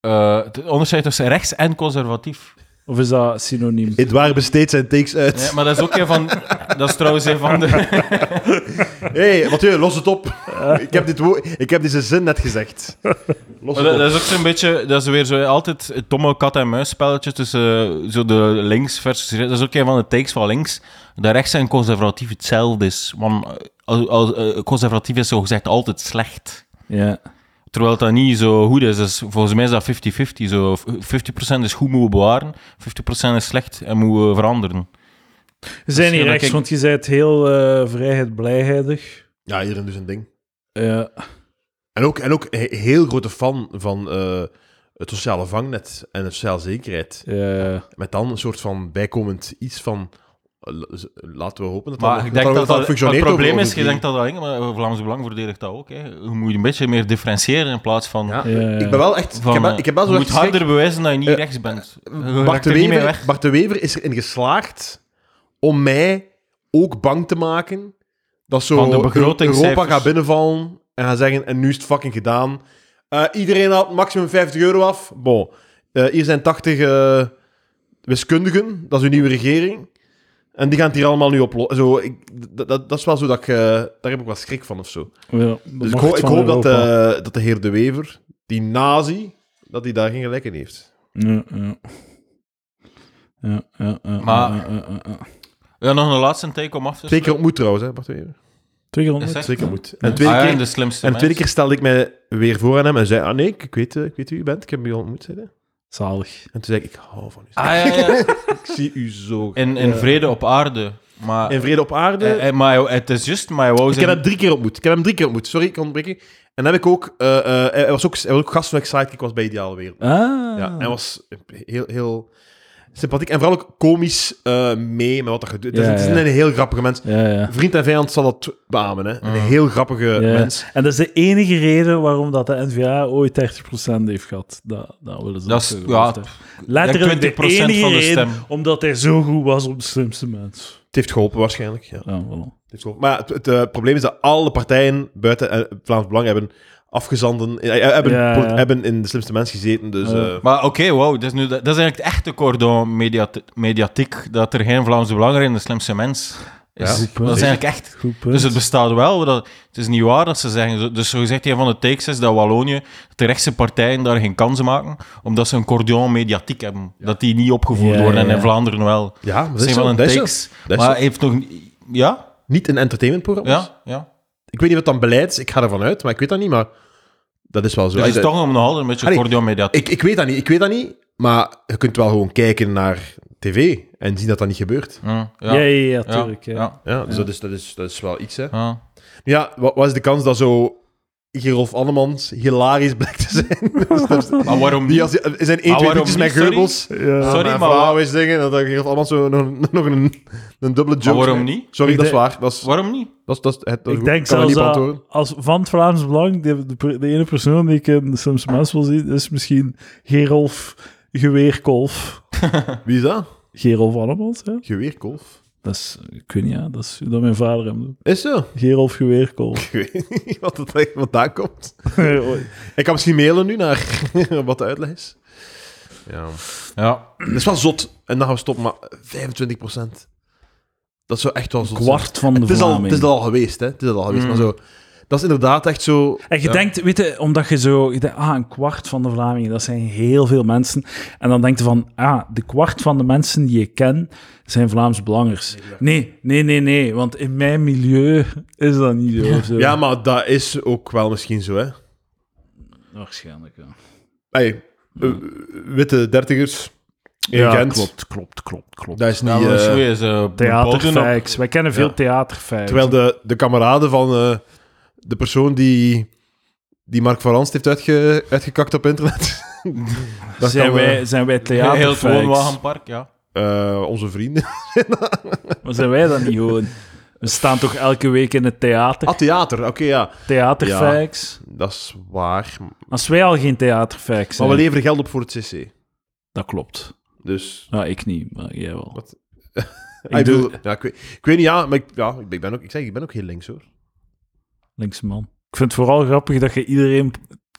[SPEAKER 3] Eh, het onderscheid tussen rechts en conservatief.
[SPEAKER 1] Of is dat synoniem?
[SPEAKER 2] Het waar besteedt zijn takes uit.
[SPEAKER 3] Nee, maar dat is ook een van... Dat is trouwens een van de...
[SPEAKER 2] Hé, hey, Mathieu, los het op. ik, heb dit wo- ik heb deze zin net gezegd. Los het
[SPEAKER 3] Maar dat,
[SPEAKER 2] op.
[SPEAKER 3] dat is ook zo'n beetje... Dat is weer zo altijd het domme kat-en-muis spelletje tussen eh, zo de links versus rechts. Dat is ook een van de takes van links. Dat rechts en conservatief hetzelfde is. Want eh, als, als, eh, conservatief is zogezegd altijd slecht.
[SPEAKER 1] Ja.
[SPEAKER 3] Terwijl dat niet zo goed is. Dus volgens mij is dat 50-50. Zo, 50% is goed, moeten we bewaren. 50% is slecht en moeten we veranderen.
[SPEAKER 1] We zijn niet
[SPEAKER 3] dat
[SPEAKER 1] rechts,
[SPEAKER 3] ik-
[SPEAKER 1] want je bent heel eh vrijheid blijheidig.
[SPEAKER 2] Ja, iedereen doet zijn ding.
[SPEAKER 1] Ja.
[SPEAKER 2] En ook, en ook he- heel grote fan van eh, het sociale vangnet en de sociale zekerheid.
[SPEAKER 1] ja.
[SPEAKER 2] Met dan een soort van bijkomend iets van... L- z- Laten we hopen dat
[SPEAKER 3] Maar
[SPEAKER 2] dat,
[SPEAKER 3] ik denk dat, dat, het
[SPEAKER 2] functioneert.
[SPEAKER 3] probleem
[SPEAKER 2] over-
[SPEAKER 3] is,
[SPEAKER 2] over
[SPEAKER 3] je
[SPEAKER 2] die-
[SPEAKER 3] denkt dat dat eng, maar Vlaams Belang verdedigt dat ook. Hè. Je moet een beetje meer differentiëren in plaats van...
[SPEAKER 2] Ja.
[SPEAKER 1] Ja, ja.
[SPEAKER 2] Ik ben wel echt...
[SPEAKER 3] van,
[SPEAKER 2] ik, heb wel,
[SPEAKER 3] eh,
[SPEAKER 2] ik heb wel
[SPEAKER 3] je
[SPEAKER 2] zo
[SPEAKER 3] moet
[SPEAKER 2] echt schrik.
[SPEAKER 3] harder bewijzen dat je niet
[SPEAKER 2] Eh,
[SPEAKER 3] rechts bent. Je
[SPEAKER 2] Bart
[SPEAKER 3] raakt
[SPEAKER 2] de,
[SPEAKER 3] er niet mee
[SPEAKER 2] Wever,
[SPEAKER 3] weg.
[SPEAKER 2] Bart de Wever is erin geslaagd om mij ook bang te maken dat
[SPEAKER 3] Van
[SPEAKER 2] zo
[SPEAKER 3] de begrotingscijfers.
[SPEAKER 2] Europa gaat binnenvallen en gaat zeggen, en nu is het fucking gedaan. Eh, iedereen haalt maximum 50 euro af. Bon, Eh, hier zijn 80 eh, wiskundigen, dat is uw nieuwe regering. En die gaan het hier allemaal nu oplossen. Zo, ik, dat, dat, dat is wel zo dat ik... eh, daar heb ik wel schrik van of zo.
[SPEAKER 1] Ja, de
[SPEAKER 2] Dus ik,
[SPEAKER 1] macht
[SPEAKER 2] ho- ik
[SPEAKER 1] van
[SPEAKER 2] hoop dat,
[SPEAKER 1] Europa.
[SPEAKER 2] eh, dat de heer De Wever, die nazi, dat hij daar geen gelijk in heeft.
[SPEAKER 1] Dus Ja, ja. Ja, ja, ja,
[SPEAKER 3] Maar-
[SPEAKER 1] ja, ja, ja, ja.
[SPEAKER 3] Ja, nog een laatste take om af te
[SPEAKER 2] Zeker ontmoet trouwens, hè, Bart de Wever.
[SPEAKER 1] 200?
[SPEAKER 3] Is echt?
[SPEAKER 2] Zeker moet. En de
[SPEAKER 3] Ah
[SPEAKER 2] tweede,
[SPEAKER 3] ja,
[SPEAKER 2] keer,
[SPEAKER 3] de slimste
[SPEAKER 2] en de tweede
[SPEAKER 3] mens.
[SPEAKER 2] keer stelde ik mij weer voor aan hem en zei: Ah nee, ik ik weet, eh, ik weet wie u bent, ik heb u al ontmoet. Zei hij.
[SPEAKER 1] Zalig.
[SPEAKER 2] en toen zei ik: Ik hou van u.
[SPEAKER 3] Ah, ja, ja.
[SPEAKER 2] Ik zie u zo. In,
[SPEAKER 3] In, in vrede op aarde. Maar,
[SPEAKER 2] vrede op aarde.
[SPEAKER 3] eh, eh, maar hij- het is juist, maar hij wou
[SPEAKER 2] ik heb
[SPEAKER 3] zijn-
[SPEAKER 2] hem drie keer ontmoet. Ik heb hem drie keer ontmoet. Sorry, ik ontbreek je. En dan heb ik ook, eh, eh, hij- hij was ook, hij was ook gast van ik Sidekick was bij Ideale Wereld.
[SPEAKER 1] Ah.
[SPEAKER 2] Ja, en hij was heel, heel sympathiek en vooral ook komisch eh, mee met wat er gebeurt.
[SPEAKER 1] Ja,
[SPEAKER 2] het is
[SPEAKER 1] ja.
[SPEAKER 2] een heel grappige mens.
[SPEAKER 1] ja, ja.
[SPEAKER 2] Vriend en vijand zal dat beamen, hè? Een
[SPEAKER 3] Mm.
[SPEAKER 2] heel grappige
[SPEAKER 1] Ja.
[SPEAKER 2] mens.
[SPEAKER 1] En dat is de enige reden waarom dat de NVA ooit 30% heeft gehad. Dat, dat willen ze
[SPEAKER 3] Dat is,
[SPEAKER 1] natuurlijk
[SPEAKER 3] ja,
[SPEAKER 1] niet, hè. Letterlijk de
[SPEAKER 3] 20% van
[SPEAKER 1] enige
[SPEAKER 3] de
[SPEAKER 1] reden,
[SPEAKER 3] stem.
[SPEAKER 1] omdat hij zo goed was op de slimste mens.
[SPEAKER 2] Het heeft geholpen waarschijnlijk. Ja.
[SPEAKER 1] Ja, voilà.
[SPEAKER 2] Dus gewoon- Maar het, het, eh, probleem is dat alle partijen buiten eh, Vlaams Belang hebben afgezanden, eh, eh, hebben,
[SPEAKER 1] Ja,
[SPEAKER 2] poli-
[SPEAKER 1] ja.
[SPEAKER 2] hebben in de slimste mens gezeten. Dus,
[SPEAKER 1] Ja.
[SPEAKER 2] eh,
[SPEAKER 3] Maar oké, wow, dat is, nu, dat is eigenlijk het echte cordon mediat- mediatiek, dat er geen Vlaamse belangrijk in de slimste mens is.
[SPEAKER 2] Ja,
[SPEAKER 3] dat
[SPEAKER 2] goed
[SPEAKER 3] is
[SPEAKER 1] punt.
[SPEAKER 3] eigenlijk echt...
[SPEAKER 1] Goed punt.
[SPEAKER 3] Dus het bestaat wel, maar dat, het is niet waar dat ze zeggen... zo- Dus zogezegd, een van de takes is dat Wallonië, dat de rechtse partijen daar geen kans maken, omdat ze een cordon mediatiek hebben. Dat die niet opgevoerd
[SPEAKER 1] Ja,
[SPEAKER 3] worden, en
[SPEAKER 1] ja,
[SPEAKER 3] in
[SPEAKER 1] ja.
[SPEAKER 3] Vlaanderen wel. Dat
[SPEAKER 2] ja, maar dat is
[SPEAKER 3] zijn
[SPEAKER 2] zo,
[SPEAKER 3] wel een
[SPEAKER 2] dat is zo.
[SPEAKER 3] takes,
[SPEAKER 2] Dat is
[SPEAKER 3] maar
[SPEAKER 2] zo.
[SPEAKER 3] heeft nog... Ja?
[SPEAKER 2] Niet een entertainmentprogramma.
[SPEAKER 3] Ja? Ja? Dus
[SPEAKER 2] Ik weet niet wat dan beleid is, ik ga ervan uit, maar ik weet dat niet, maar dat is wel zo.
[SPEAKER 3] Dus het
[SPEAKER 2] Ik-
[SPEAKER 3] is toch nog nog altijd een beetje
[SPEAKER 2] Allee,
[SPEAKER 3] cordon mediatiek.
[SPEAKER 2] ik, ik weet dat niet, ik weet dat niet, maar je kunt wel gewoon kijken naar tv en zien dat dat niet gebeurt.
[SPEAKER 3] Mm, ja.
[SPEAKER 1] ja, ja, ja, ja,
[SPEAKER 3] Ja,
[SPEAKER 1] tuurlijk. Ja.
[SPEAKER 3] ja,
[SPEAKER 2] Ja, dus Dat, is, dat, is, dat is wel iets, hè.
[SPEAKER 3] ja.
[SPEAKER 2] Ja, wat, wat is de kans dat zo Gerolf Annemans hilarisch blijkt te zijn?
[SPEAKER 3] Maar waarom
[SPEAKER 2] Die
[SPEAKER 3] niet?
[SPEAKER 2] als, er zijn één, twee
[SPEAKER 3] waarom
[SPEAKER 2] liedjes met
[SPEAKER 3] niet? Sorry.
[SPEAKER 2] Geubels.
[SPEAKER 1] Ja.
[SPEAKER 3] Sorry,
[SPEAKER 2] Sorry,
[SPEAKER 3] maar
[SPEAKER 2] maar
[SPEAKER 3] wa-
[SPEAKER 2] is dingen. Dat dat geeft allemaal zo nog, nog een, een dubbele joke.
[SPEAKER 3] Maar waarom niet?
[SPEAKER 2] Sorry,
[SPEAKER 1] Ik
[SPEAKER 2] dat is
[SPEAKER 1] denk-
[SPEAKER 2] waar. Dat is,
[SPEAKER 3] Waarom niet?
[SPEAKER 2] dat is, dat is, het, dat is
[SPEAKER 1] Ik
[SPEAKER 2] goed.
[SPEAKER 1] denk
[SPEAKER 2] kan er
[SPEAKER 1] zelfs
[SPEAKER 2] niet op
[SPEAKER 1] dat
[SPEAKER 2] antwoorden.
[SPEAKER 1] als van het Vlaams Belang, de, de, de ene persoon die ik in de slimste mens wil zien, is misschien Gerolf Geweerkolf.
[SPEAKER 2] Wie is dat?
[SPEAKER 1] Gerolf Annemans, hè?
[SPEAKER 2] Geweerkolf.
[SPEAKER 1] Dat is, ik weet niet, ja, dat is hoe dat mijn vader hem doet.
[SPEAKER 2] Is zo.
[SPEAKER 1] Gerolf Geweerkolf.
[SPEAKER 2] Ik weet niet wat het echt vandaan komt.
[SPEAKER 1] Oei.
[SPEAKER 2] Ik kan misschien mailen nu naar wat de uitleg is. Ja.
[SPEAKER 3] Ja.
[SPEAKER 2] Dat is wel zot. En dan gaan we stoppen, maar 25 Dat zou echt wel zot zijn.
[SPEAKER 1] kwart van de
[SPEAKER 2] Het is, al, het
[SPEAKER 1] Vlamingen.
[SPEAKER 2] is dat al geweest, hè. Het is dat al geweest,
[SPEAKER 3] Mm.
[SPEAKER 2] maar zo... Dat is inderdaad echt zo...
[SPEAKER 1] En je denkt, weet je, omdat je zo... Je denkt, ah, een kwart van de Vlamingen, dat zijn heel veel mensen. En dan denk je van, ah, de kwart van de mensen die ik ken, zijn Vlaams belangers. Nee, nee, nee, nee, want in mijn milieu is dat niet zo. of zo.
[SPEAKER 2] Ja, maar dat is ook wel misschien zo, hè.
[SPEAKER 1] Waarschijnlijk, ja.
[SPEAKER 2] Hey, eh, witte dertigers in Gent.
[SPEAKER 1] klopt, klopt, klopt, klopt.
[SPEAKER 2] Dat is niet...
[SPEAKER 3] Ja, maar
[SPEAKER 2] eh,
[SPEAKER 3] zo is, eh, een podium op-
[SPEAKER 1] Theaterfacts. Wij kennen veel
[SPEAKER 2] Ja.
[SPEAKER 1] theaterfacts.
[SPEAKER 2] terwijl de, de kameraden van eh, de persoon die, die Mark van Ranst heeft uitge, uitgekakt op internet. dat
[SPEAKER 1] zijn,
[SPEAKER 2] kan, eh,
[SPEAKER 1] wij, zijn wij
[SPEAKER 3] Heel het
[SPEAKER 1] theaterfacts?
[SPEAKER 3] woonwagenpark, ja.
[SPEAKER 2] eh, onze vrienden.
[SPEAKER 1] Maar zijn wij dan niet gewoon? We staan toch elke week in het theater?
[SPEAKER 2] Ah, theater. Oké, ja.
[SPEAKER 1] Theaterfacts.
[SPEAKER 2] Dat is waar.
[SPEAKER 1] Als wij al geen theaterfacts
[SPEAKER 2] Maar we
[SPEAKER 1] zijn...
[SPEAKER 2] leveren geld op voor het CC.
[SPEAKER 1] Dat klopt.
[SPEAKER 2] Dus...
[SPEAKER 1] Nou, ik niet, maar jij wel.
[SPEAKER 2] Wat?
[SPEAKER 1] ik
[SPEAKER 2] Ah, Ik,
[SPEAKER 1] doe
[SPEAKER 2] bedoel, ja, ik, weet, ik weet niet, ja, maar ik, ja, ik ben ook, ik zeg, ik ben ook heel links, hoor.
[SPEAKER 1] linksman. Ik vind het vooral grappig dat je iedereen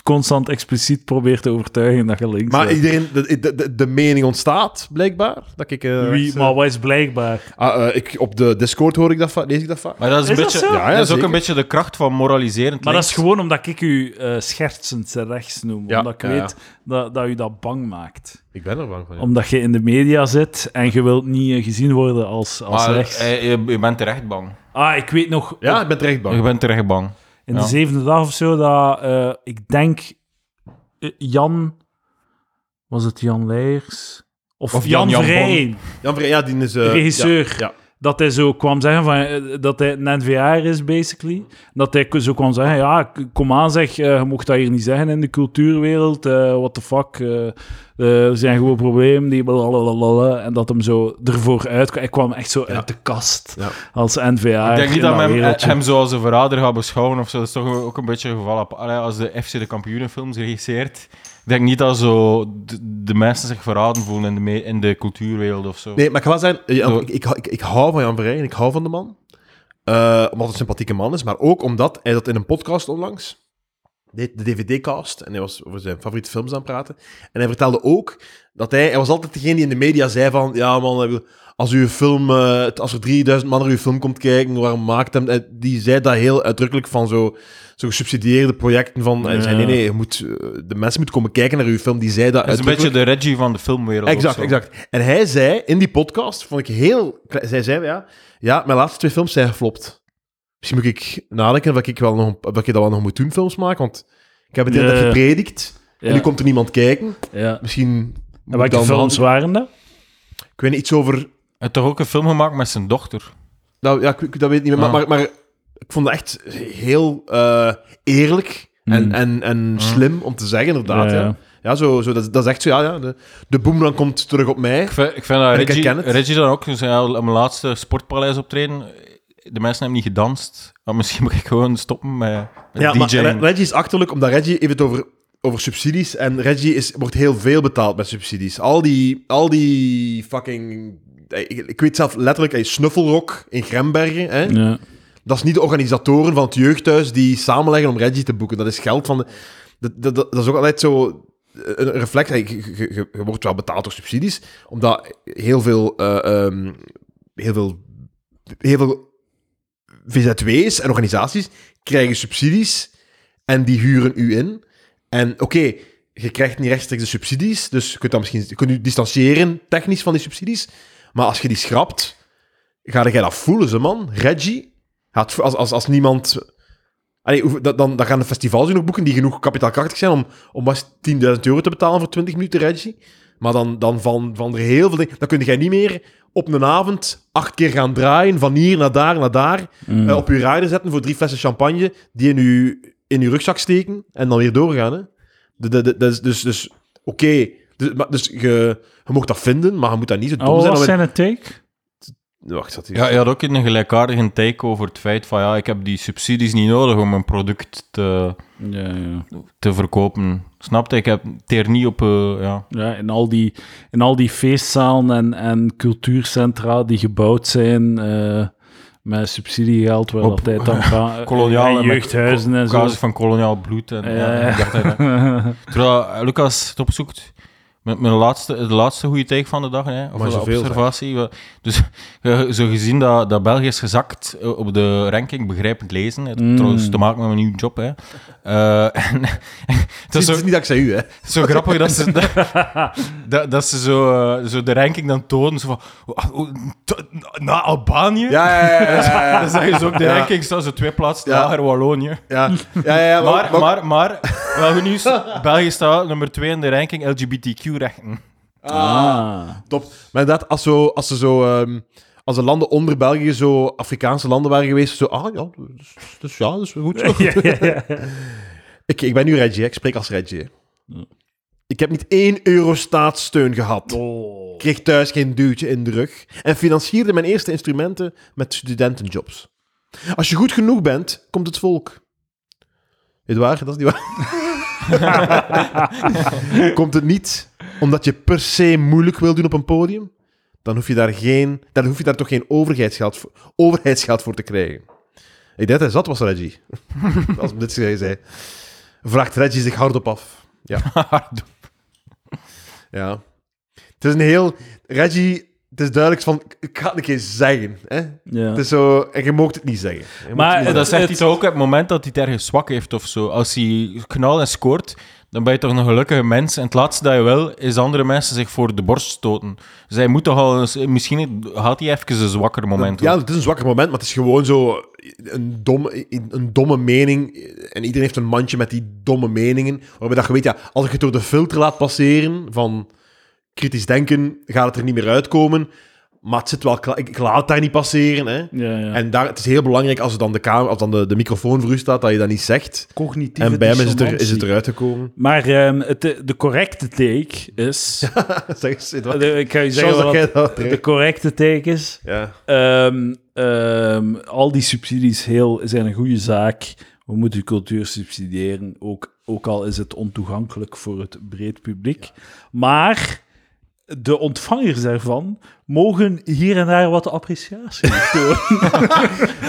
[SPEAKER 1] constant expliciet probeert te overtuigen dat je links
[SPEAKER 2] Maar
[SPEAKER 1] bent.
[SPEAKER 2] iedereen, de, de, de, de mening ontstaat, blijkbaar. Dat ik,
[SPEAKER 1] Wie,
[SPEAKER 2] eh, rechts, eh,
[SPEAKER 1] maar wat is blijkbaar?
[SPEAKER 2] ah, eh, ik, op de Discord hoor ik dat, va- lees ik dat vaak.
[SPEAKER 3] Maar dat
[SPEAKER 1] Is
[SPEAKER 3] is,
[SPEAKER 1] dat
[SPEAKER 3] een beetje,
[SPEAKER 1] zo?
[SPEAKER 3] dat,
[SPEAKER 2] Ja, ja,
[SPEAKER 3] is ook
[SPEAKER 2] zeker.
[SPEAKER 3] een beetje de kracht van moraliserend
[SPEAKER 1] Maar dat is
[SPEAKER 3] links.
[SPEAKER 1] gewoon omdat ik u eh, schertsend rechts noem.
[SPEAKER 2] Ja,
[SPEAKER 1] omdat ik
[SPEAKER 2] ja, ja.
[SPEAKER 1] weet Dat, dat u dat bang maakt.
[SPEAKER 2] Ik ben er bang van. ja.
[SPEAKER 1] Omdat je in de media zit en je wilt niet eh, gezien worden als, als
[SPEAKER 3] Maar,
[SPEAKER 1] rechts.
[SPEAKER 3] eh, je, je bent terecht bang.
[SPEAKER 1] Ah, ik weet nog,
[SPEAKER 2] Ja, ik ben terecht
[SPEAKER 3] Je
[SPEAKER 2] bang.
[SPEAKER 3] bent terecht bang.
[SPEAKER 2] Ah,
[SPEAKER 1] in
[SPEAKER 3] Ja.
[SPEAKER 1] de zevende dag of zo, dat eh, ik denk eh, Jan... Was het Jan Leijers? Of,
[SPEAKER 3] Of
[SPEAKER 1] Jan,
[SPEAKER 3] Jan Jan Bon.
[SPEAKER 1] Verheyen,
[SPEAKER 2] Jan Verheyen, ja, die is... eh,
[SPEAKER 1] regisseur.
[SPEAKER 2] ja.
[SPEAKER 1] dat hij zo kwam zeggen van, eh, dat hij een NVR is, basically. Dat hij zo kwam zeggen, ja, k- kom aan zeg, eh, je mocht dat hier niet zeggen in de cultuurwereld, eh what the fuck, eh, eh, er zijn gewoon problemen, die blablabla. En dat hem zo ervoor uitkwam. Hij kwam echt zo uit de kast
[SPEAKER 2] Ja.
[SPEAKER 1] als NVR.
[SPEAKER 3] Ik denk niet
[SPEAKER 1] in dat
[SPEAKER 3] dat men hem, eh,
[SPEAKER 1] wereldje.
[SPEAKER 3] hem zo als een verrader gaat beschouwen of zo. Dat is toch ook een beetje een geval apart. Allee, Als de FC de kampioenenfilms regisseert, ik denk niet dat zo de, de mensen zich verraden voelen in de, me- in de cultuurwereld of zo.
[SPEAKER 2] Nee, maar ik ga wel zeggen, eh, Jan-
[SPEAKER 3] Zo.
[SPEAKER 2] ik, ik, ik, ik hou van Jan Verheyen en ik hou van de man. Eh, omdat het een sympathieke man is, maar ook omdat hij dat in een podcast onlangs deed, de DVD-cast, en hij was over zijn favoriete films aan het praten. En hij vertelde ook dat hij, hij was altijd degene die in de media zei van, ja man, ik bedoel, als, uw film, eh, het- als er 3000 man naar uw film komt kijken, waarom maakt hem... eh, Die zei dat heel uitdrukkelijk van zo, zo gesubsidieerde projecten van, hij zei,
[SPEAKER 1] Ja.
[SPEAKER 2] nee nee, je moet, eh, de mensen moeten komen kijken naar uw film, die zei dat
[SPEAKER 3] dat is een
[SPEAKER 2] uitdrukkelijk.
[SPEAKER 3] beetje de Reggie van de filmwereld. of
[SPEAKER 2] Exact,
[SPEAKER 3] zo.
[SPEAKER 2] exact. En hij zei in die podcast, vond ik heel... kle- Zij zei, ja, ja mijn laatste twee films zijn geflopt. Misschien moet ik nadenken of ik, wel nog, een- of ik dat wel nog moet doen, films maken. Want ik heb het hele
[SPEAKER 1] Ja.
[SPEAKER 2] tijd gepredikt.
[SPEAKER 1] Ja.
[SPEAKER 2] En nu komt er niemand kijken.
[SPEAKER 1] Ja.
[SPEAKER 2] Misschien...
[SPEAKER 1] En
[SPEAKER 2] moet ik
[SPEAKER 1] welke
[SPEAKER 2] dan
[SPEAKER 1] films
[SPEAKER 2] wel-
[SPEAKER 1] waren dat?
[SPEAKER 2] Ik weet niet, iets over...
[SPEAKER 3] Hij heeft toch ook een film gemaakt met zijn dochter.
[SPEAKER 2] Nou, ja, ik, ik- dat weet ik niet meer. Maar,
[SPEAKER 3] Ah.
[SPEAKER 2] maar, maar ik vond het echt heel eh, eerlijk en,
[SPEAKER 1] Mm.
[SPEAKER 2] en, en slim om te zeggen, inderdaad.
[SPEAKER 1] Ja,
[SPEAKER 2] Ja,
[SPEAKER 1] ja.
[SPEAKER 2] ja. zo, zo, dat, dat is echt zo, ja. ja de, de boemerang komt terug op mij.
[SPEAKER 3] Ik vind, ik vind dat
[SPEAKER 2] En ik
[SPEAKER 3] Reggie,
[SPEAKER 2] herken het.
[SPEAKER 3] Reggie dan ook, dus ja, op mijn laatste sportpaleis optreden, de mensen hebben niet gedanst. Maar misschien moet ik gewoon stoppen met, met
[SPEAKER 2] Ja, maar
[SPEAKER 3] DJ'en.
[SPEAKER 2] Re- Reggie is achterlijk, omdat Reggie heeft het over, over subsidies. En Reggie is, wordt heel veel betaald met subsidies. Al die, al die fucking... Ik, ik weet zelf letterlijk, hey, Snuffelrock in Grembergen. Hè?
[SPEAKER 1] Ja.
[SPEAKER 2] Dat is niet de organisatoren van het jeugdhuis die samenleggen om Reggie te boeken. Dat is geld van... De, dat, dat, dat is ook altijd zo... eh, Een een reflex, Hey, je, je- je- je wordt wel betaald door subsidies, omdat heel veel, eh, ehm, heel veel, heel veel VZW's en organisaties krijgen subsidies en die huren u in. En oké, je krijgt niet rechtstreeks de subsidies, dus je kunt, dan misschien, je kunt je distancieren technisch van die subsidies. Maar als je die schrapt, ga jij dat voelen, ze man. Reggie, gaat, vo- als, als, als niemand... Allee, hoe- dat- dan, dan gaan de festivals u nog boeken die genoeg kapitaalkrachtig zijn om, om maar eens 10.000 euro te betalen voor 20 minuten Reggie. Maar dan, dan van, van er heel veel dingen... Dan kun jij niet meer op een avond acht keer gaan draaien, van hier naar daar, naar daar.
[SPEAKER 1] Mm.
[SPEAKER 2] Eh, op je rider zetten voor drie flessen champagne, die in je, in je rugzak steken en dan weer doorgaan. Hè? De, de, de- dat is- dus, dus oké. Dus, maar- dus je, je mocht dat vinden, maar je moet dat niet zo dom
[SPEAKER 1] Oh,
[SPEAKER 2] zijn.
[SPEAKER 1] wat
[SPEAKER 2] om het-
[SPEAKER 1] zijn het take?
[SPEAKER 2] Wacht, zat hier.
[SPEAKER 3] Ja, je had ook een gelijkaardige take over het feit van ja, ik heb die subsidies niet nodig om mijn product te,
[SPEAKER 1] Ja, ja.
[SPEAKER 3] te verkopen. Snapte? Ik heb teer niet op. eh, ja.
[SPEAKER 1] Ja, in al die, in al die feestzalen en, en cultuurcentra die gebouwd zijn eh, met subsidiegeld, waar
[SPEAKER 3] Op-
[SPEAKER 1] dat hij dan gaat.
[SPEAKER 3] Koloniale
[SPEAKER 1] en jeugdhuizen en zo.
[SPEAKER 3] Casus van koloniaal bloed. En, ja,
[SPEAKER 1] Ja,
[SPEAKER 3] ik dacht dat- Terwijl eh, Lucas het opzoekt. Met mijn laatste, de laatste goede take van de dag, hè, of
[SPEAKER 2] Maar
[SPEAKER 3] de
[SPEAKER 2] zoveel,
[SPEAKER 3] observatie. wel. Dus eh, zo gezien dat, dat België is gezakt eh, op de ranking begrijpend lezen. Het heeft
[SPEAKER 1] Mm.
[SPEAKER 3] trouwens te maken met mijn nieuwe job. Hè. Eh, en- het
[SPEAKER 2] Het
[SPEAKER 3] is
[SPEAKER 2] is,
[SPEAKER 3] zo,
[SPEAKER 2] het is niet dankzij u, hè?
[SPEAKER 3] zo grappig dat ze, dat, dat, dat ze zo, eh, zo de ranking dan tonen. Zo van, oh, oh, to- na Albanië?
[SPEAKER 2] Ja, ja, ja. ja, ja,
[SPEAKER 3] Dan zijn ze ook de
[SPEAKER 2] Ja.
[SPEAKER 3] ranking staan zo twee plaatsen
[SPEAKER 2] Ja.
[SPEAKER 3] lager Wallonië.
[SPEAKER 2] ja, ja, ja, ja,
[SPEAKER 3] Maar, maar, maar, wel goed nieuws. België staat nummer 2 in de ranking LGBTQ-rechten.
[SPEAKER 2] Ah, top. Maar inderdaad, als, zo, als ze zo... ehm, als de landen onder België zo Afrikaanse landen waren geweest, zo... Ah, ja, dus, dus ja, dus goed zo.
[SPEAKER 1] Ja, ja, ja.
[SPEAKER 2] Ik, ik ben nu Reggie, hè. ik spreek als Reggie. hè.
[SPEAKER 1] Ja.
[SPEAKER 2] Ik heb niet één euro staatssteun gehad.
[SPEAKER 1] Oh.
[SPEAKER 2] Ik kreeg thuis geen duwtje in de rug. En financierde mijn eerste instrumenten met studentenjobs. Als je goed genoeg bent, komt het volk. Weet waar? Dat is niet waar. komt het niet omdat je per se moeilijk wil doen op een podium? Dan hoef je daar, geen, dan hoef je daar toch geen overheidsgeld voor, overheidsgeld voor te krijgen. Ik denk dat hij zat was, Reggie. Als hem dit zei. Vraagt Reggie zich hardop af. Ja. Het is een heel... Reggie, het is duidelijk van... Ik ga het een keer zeggen. Hè?
[SPEAKER 1] Ja.
[SPEAKER 2] Het is zo... En je mag het niet zeggen. Je mag
[SPEAKER 1] Maar
[SPEAKER 2] het niet
[SPEAKER 3] dat
[SPEAKER 1] het-
[SPEAKER 3] zegt hij toch ook op het moment dat hij het ergens zwak heeft of zo. Als hij knal en scoort, dan ben je toch een gelukkige mens. En het laatste dat je wil, is andere mensen zich voor de borst stoten. Dus hij moet toch al... eens- Misschien had hij even een zwakker moment.
[SPEAKER 2] Ja,
[SPEAKER 3] hoor.
[SPEAKER 2] het is een zwakker moment, maar het is gewoon zo een domme, een domme mening. En iedereen heeft een mandje met die domme meningen. Waarbij dat je weet, ja, als ik het door de filter laat passeren van kritisch denken, gaat het er niet meer uitkomen. Maar het zit wel klaar. Ik, ik laat het daar niet passeren. Hè.
[SPEAKER 1] Ja, ja.
[SPEAKER 2] En daar, het is heel belangrijk als er dan de, camera, of dan de, de microfoon voor u staat, dat je dat niet zegt.
[SPEAKER 1] Cognitieve
[SPEAKER 2] En bij hem is het, er, is het
[SPEAKER 1] dissonantie.
[SPEAKER 2] eruit gekomen.
[SPEAKER 1] Maar ehm, het, de correcte take is...
[SPEAKER 2] zeg eens, Sid, wat-
[SPEAKER 1] de- ik kan je
[SPEAKER 2] Zoals
[SPEAKER 1] zeggen wat
[SPEAKER 2] dat jij dat...
[SPEAKER 1] de correcte take is.
[SPEAKER 2] Ja.
[SPEAKER 1] Ehm, ehm, al die subsidies heel, zijn een goede zaak. We moeten cultuur subsidiëren, ook, ook al is het ontoegankelijk voor het breed publiek. Maar de ontvangers daarvan mogen hier en daar wat appreciatie tonen.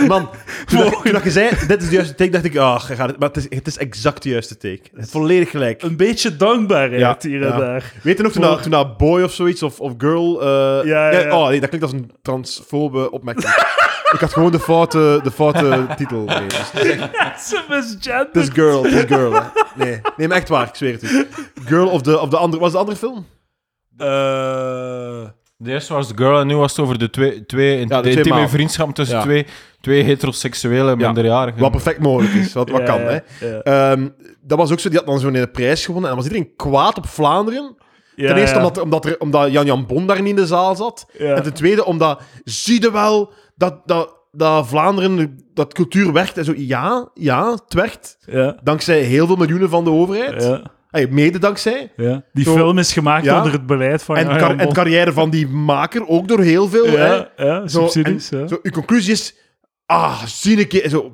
[SPEAKER 2] Man, toen, dat, toen dat je zei, dit is de juiste take, dacht ik, ah, ga dit- maar het is, het is exact de juiste take. Het is volledig gelijk.
[SPEAKER 1] een beetje dankbaarheid
[SPEAKER 2] Ja,
[SPEAKER 1] hier en
[SPEAKER 2] ja.
[SPEAKER 1] daar.
[SPEAKER 2] Weet je nog, toen dat, toen dat boy of zoiets, of, of girl... eh,
[SPEAKER 1] Ja, ja, ja.
[SPEAKER 2] Oh, nee, dat klinkt als een transfobe opmerking. ik had gewoon de foute, de foute titel. Nee, dus het is echt-
[SPEAKER 1] Ze misgenderen.
[SPEAKER 2] het is girl, het is girl. hè. Nee, nee, maar echt waar, ik zweer het u. Girl of de, of de andere... Was de andere film?
[SPEAKER 1] Eh,
[SPEAKER 3] De eerste was The Girl en nu was het over de twee, twee, in-
[SPEAKER 2] de twee
[SPEAKER 3] intieme
[SPEAKER 2] maanden.
[SPEAKER 3] vriendschap tussen
[SPEAKER 2] Ja.
[SPEAKER 3] twee, twee heteroseksuele minderjarigen.
[SPEAKER 2] Wat perfect mogelijk is, wat, wat
[SPEAKER 1] ja,
[SPEAKER 2] kan, hè.
[SPEAKER 1] ja, ja.
[SPEAKER 2] Ehm, dat was ook zo, die had dan zo'n prijs gewonnen. En dan was iedereen kwaad op Vlaanderen.
[SPEAKER 1] Ja,
[SPEAKER 2] ten eerste
[SPEAKER 1] ja.
[SPEAKER 2] omdat, omdat, er, omdat Jan Jan Bon daar niet in de zaal zat.
[SPEAKER 1] Ja.
[SPEAKER 2] En ten tweede omdat, zie je wel dat, dat, dat Vlaanderen, dat cultuur werkt. En zo, ja, ja, het werkt.
[SPEAKER 1] Ja,
[SPEAKER 2] Dankzij heel veel miljoenen van de overheid.
[SPEAKER 1] ja,
[SPEAKER 2] Hey, mede dankzij.
[SPEAKER 1] ja. Die
[SPEAKER 2] Zo-
[SPEAKER 1] film is gemaakt
[SPEAKER 2] Ja.
[SPEAKER 1] onder het beleid van
[SPEAKER 2] En,
[SPEAKER 1] Jan
[SPEAKER 2] kar-
[SPEAKER 1] Jan
[SPEAKER 2] en
[SPEAKER 1] Bot.
[SPEAKER 2] carrière van die maker ook door heel veel. hè.
[SPEAKER 1] ja, ja,
[SPEAKER 2] Zo,
[SPEAKER 1] subsidies.
[SPEAKER 2] en
[SPEAKER 1] ja.
[SPEAKER 2] Zo, uw conclusie is... Ah, zie ik je... Zo,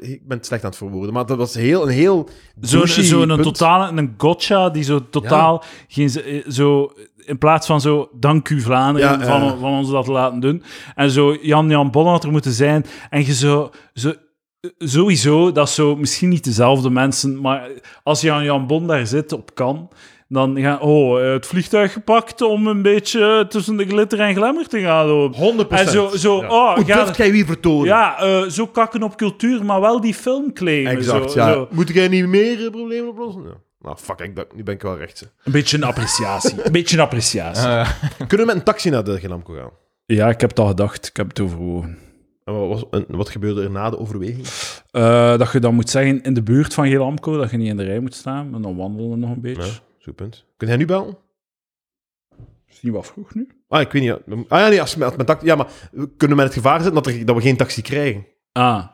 [SPEAKER 2] ik ben het slecht aan het verwoorden, maar dat was heel, een heel...
[SPEAKER 1] Zo'n
[SPEAKER 2] douchey
[SPEAKER 1] zo een
[SPEAKER 2] punt.
[SPEAKER 1] totale, een gotcha die zo totaal geen, z- eh, zo, in plaats van zo, dank u Vlaanderen
[SPEAKER 2] Ja,
[SPEAKER 1] van,
[SPEAKER 2] ja.
[SPEAKER 1] van ons dat laten doen. En zo, Jan-Jan Bonn had er moeten zijn. En je zo, zo, eh, sowieso, dat is zo, misschien niet dezelfde mensen, maar als Jan-Jan Bon daar zit op kan, dan gaan, oh, eh, het vliegtuig gepakt om een beetje tussen de glitter en glamour te gaan lopen.
[SPEAKER 2] 100%.
[SPEAKER 1] En zo, zo
[SPEAKER 2] Ja.
[SPEAKER 1] oh,
[SPEAKER 2] Hoe
[SPEAKER 1] ga-
[SPEAKER 2] durft jij wie vertonen?
[SPEAKER 1] ja, eh, zo kakken op cultuur, maar wel die film claimen.
[SPEAKER 2] Exact,
[SPEAKER 1] zo,
[SPEAKER 2] ja.
[SPEAKER 1] zo.
[SPEAKER 2] Moet jij niet meer eh, problemen oplossen? Ja. Nou, fuck, ik, ben- nu ben ik wel rechts. hè.
[SPEAKER 1] Een beetje een appreciatie. Een beetje een appreciatie.
[SPEAKER 3] Eh,
[SPEAKER 2] Kunnen we met een taxi naar de Genamco gaan?
[SPEAKER 1] Ja, ik heb het al gedacht. Ik heb het overwogen.
[SPEAKER 2] En wat, was, en wat gebeurde er na de overweging?
[SPEAKER 1] Eh, dat je dan moet zeggen in de buurt van Gelamco dat je niet in de rij moet staan. En dan wandelen we nog een beetje.
[SPEAKER 2] Ja, zo'n punt. Kun jij nu bellen?
[SPEAKER 1] Is het niet wat vroeg nu?
[SPEAKER 2] Ah, ik weet niet. Ah ja, nee, als, als mijn taxi... Ja, maar we kunnen we met het gevaar zitten dat, er, dat we geen taxi krijgen?
[SPEAKER 1] Ah,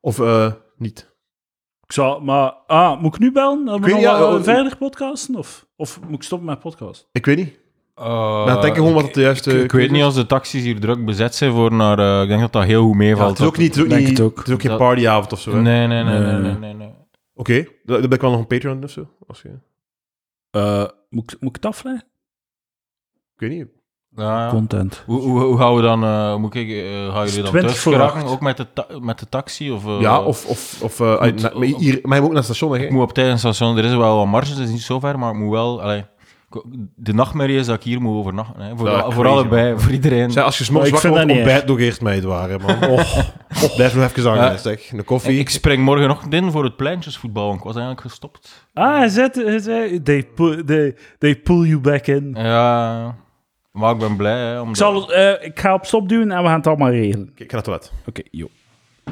[SPEAKER 2] Of eh, niet?
[SPEAKER 1] ik zou... Maar... Ah, moet ik nu bellen? Dan
[SPEAKER 2] Ik weet
[SPEAKER 1] we
[SPEAKER 2] niet,
[SPEAKER 1] nog
[SPEAKER 2] ja,
[SPEAKER 1] wel
[SPEAKER 2] eh,
[SPEAKER 1] verder podcasten? Of, of moet ik stoppen met podcast?
[SPEAKER 2] Ik weet niet.
[SPEAKER 3] eh,
[SPEAKER 2] Maar denk gewoon wat het eh, juiste...
[SPEAKER 3] Ik, ik weet niet als de taxis hier druk bezet zijn voor naar. eh, ik denk dat dat heel goed
[SPEAKER 2] Ja,
[SPEAKER 3] meevalt.
[SPEAKER 2] het is ook niet... Het is ook,
[SPEAKER 1] Denk
[SPEAKER 2] niet,
[SPEAKER 1] het ook.
[SPEAKER 2] het is ook geen
[SPEAKER 3] Dat-
[SPEAKER 2] partyavond of zo. hè?
[SPEAKER 3] Nee, nee, nee, nee, nee.
[SPEAKER 1] Nee.
[SPEAKER 3] nee, nee, nee.
[SPEAKER 2] Oké, dan dan ben ik wel nog een Patreon of zo. Als je,
[SPEAKER 1] Eh, moet, ik- moet ik het afleggen?
[SPEAKER 2] ik weet niet.
[SPEAKER 3] Ja, ja.
[SPEAKER 1] Content.
[SPEAKER 3] Hoe, hoe, hoe gaan we dan? eh, moet ik, eh gaan
[SPEAKER 1] is
[SPEAKER 3] jullie dan
[SPEAKER 1] 20
[SPEAKER 3] thuis
[SPEAKER 1] voor
[SPEAKER 3] geraken?
[SPEAKER 1] acht.
[SPEAKER 3] Ook met de, ta- met de taxi? Of, eh,
[SPEAKER 2] ja, of... of, of eh,
[SPEAKER 3] moet-
[SPEAKER 2] na- maar, hier, maar je moet ook naar het station, hè?
[SPEAKER 3] Ik moet op tijd een station. Er is wel wat marge, het is niet zo ver, maar ik moet wel. allee, ik- de nachtmerrie is dat ik hier moet overnachten. Hè. Voor,
[SPEAKER 2] Ja,
[SPEAKER 3] voor
[SPEAKER 2] crazy,
[SPEAKER 3] allebei, voor iedereen.
[SPEAKER 2] Zeg, als je smokt
[SPEAKER 1] Maar ik
[SPEAKER 2] wakker
[SPEAKER 1] vind
[SPEAKER 2] wordt,
[SPEAKER 1] dat niet
[SPEAKER 2] ontbijt nog eerst mij het waren, man. Och, och, blijf nog even hangen,
[SPEAKER 3] Ja.
[SPEAKER 2] zeg. Een
[SPEAKER 3] Ik,
[SPEAKER 2] koffie.
[SPEAKER 3] ik spring morgenochtend in voor het pleintjesvoetbal. Ik was eigenlijk gestopt.
[SPEAKER 1] Ah, hij zet... hij zet- They, pull, they, they pull you back in.
[SPEAKER 3] Ja, maar ik ben blij. Hè, omdat...
[SPEAKER 1] Ik, zal, eh, ik ga op stop doen en we gaan het allemaal regelen.
[SPEAKER 2] Oké, ik ga naar het toilet.
[SPEAKER 1] Oké, joh.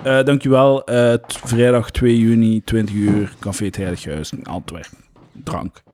[SPEAKER 1] Eh, dankjewel. Eh, t- vrijdag 2 juni, 20 uur, Café het Heilighuis, in Antwerpen. Drank.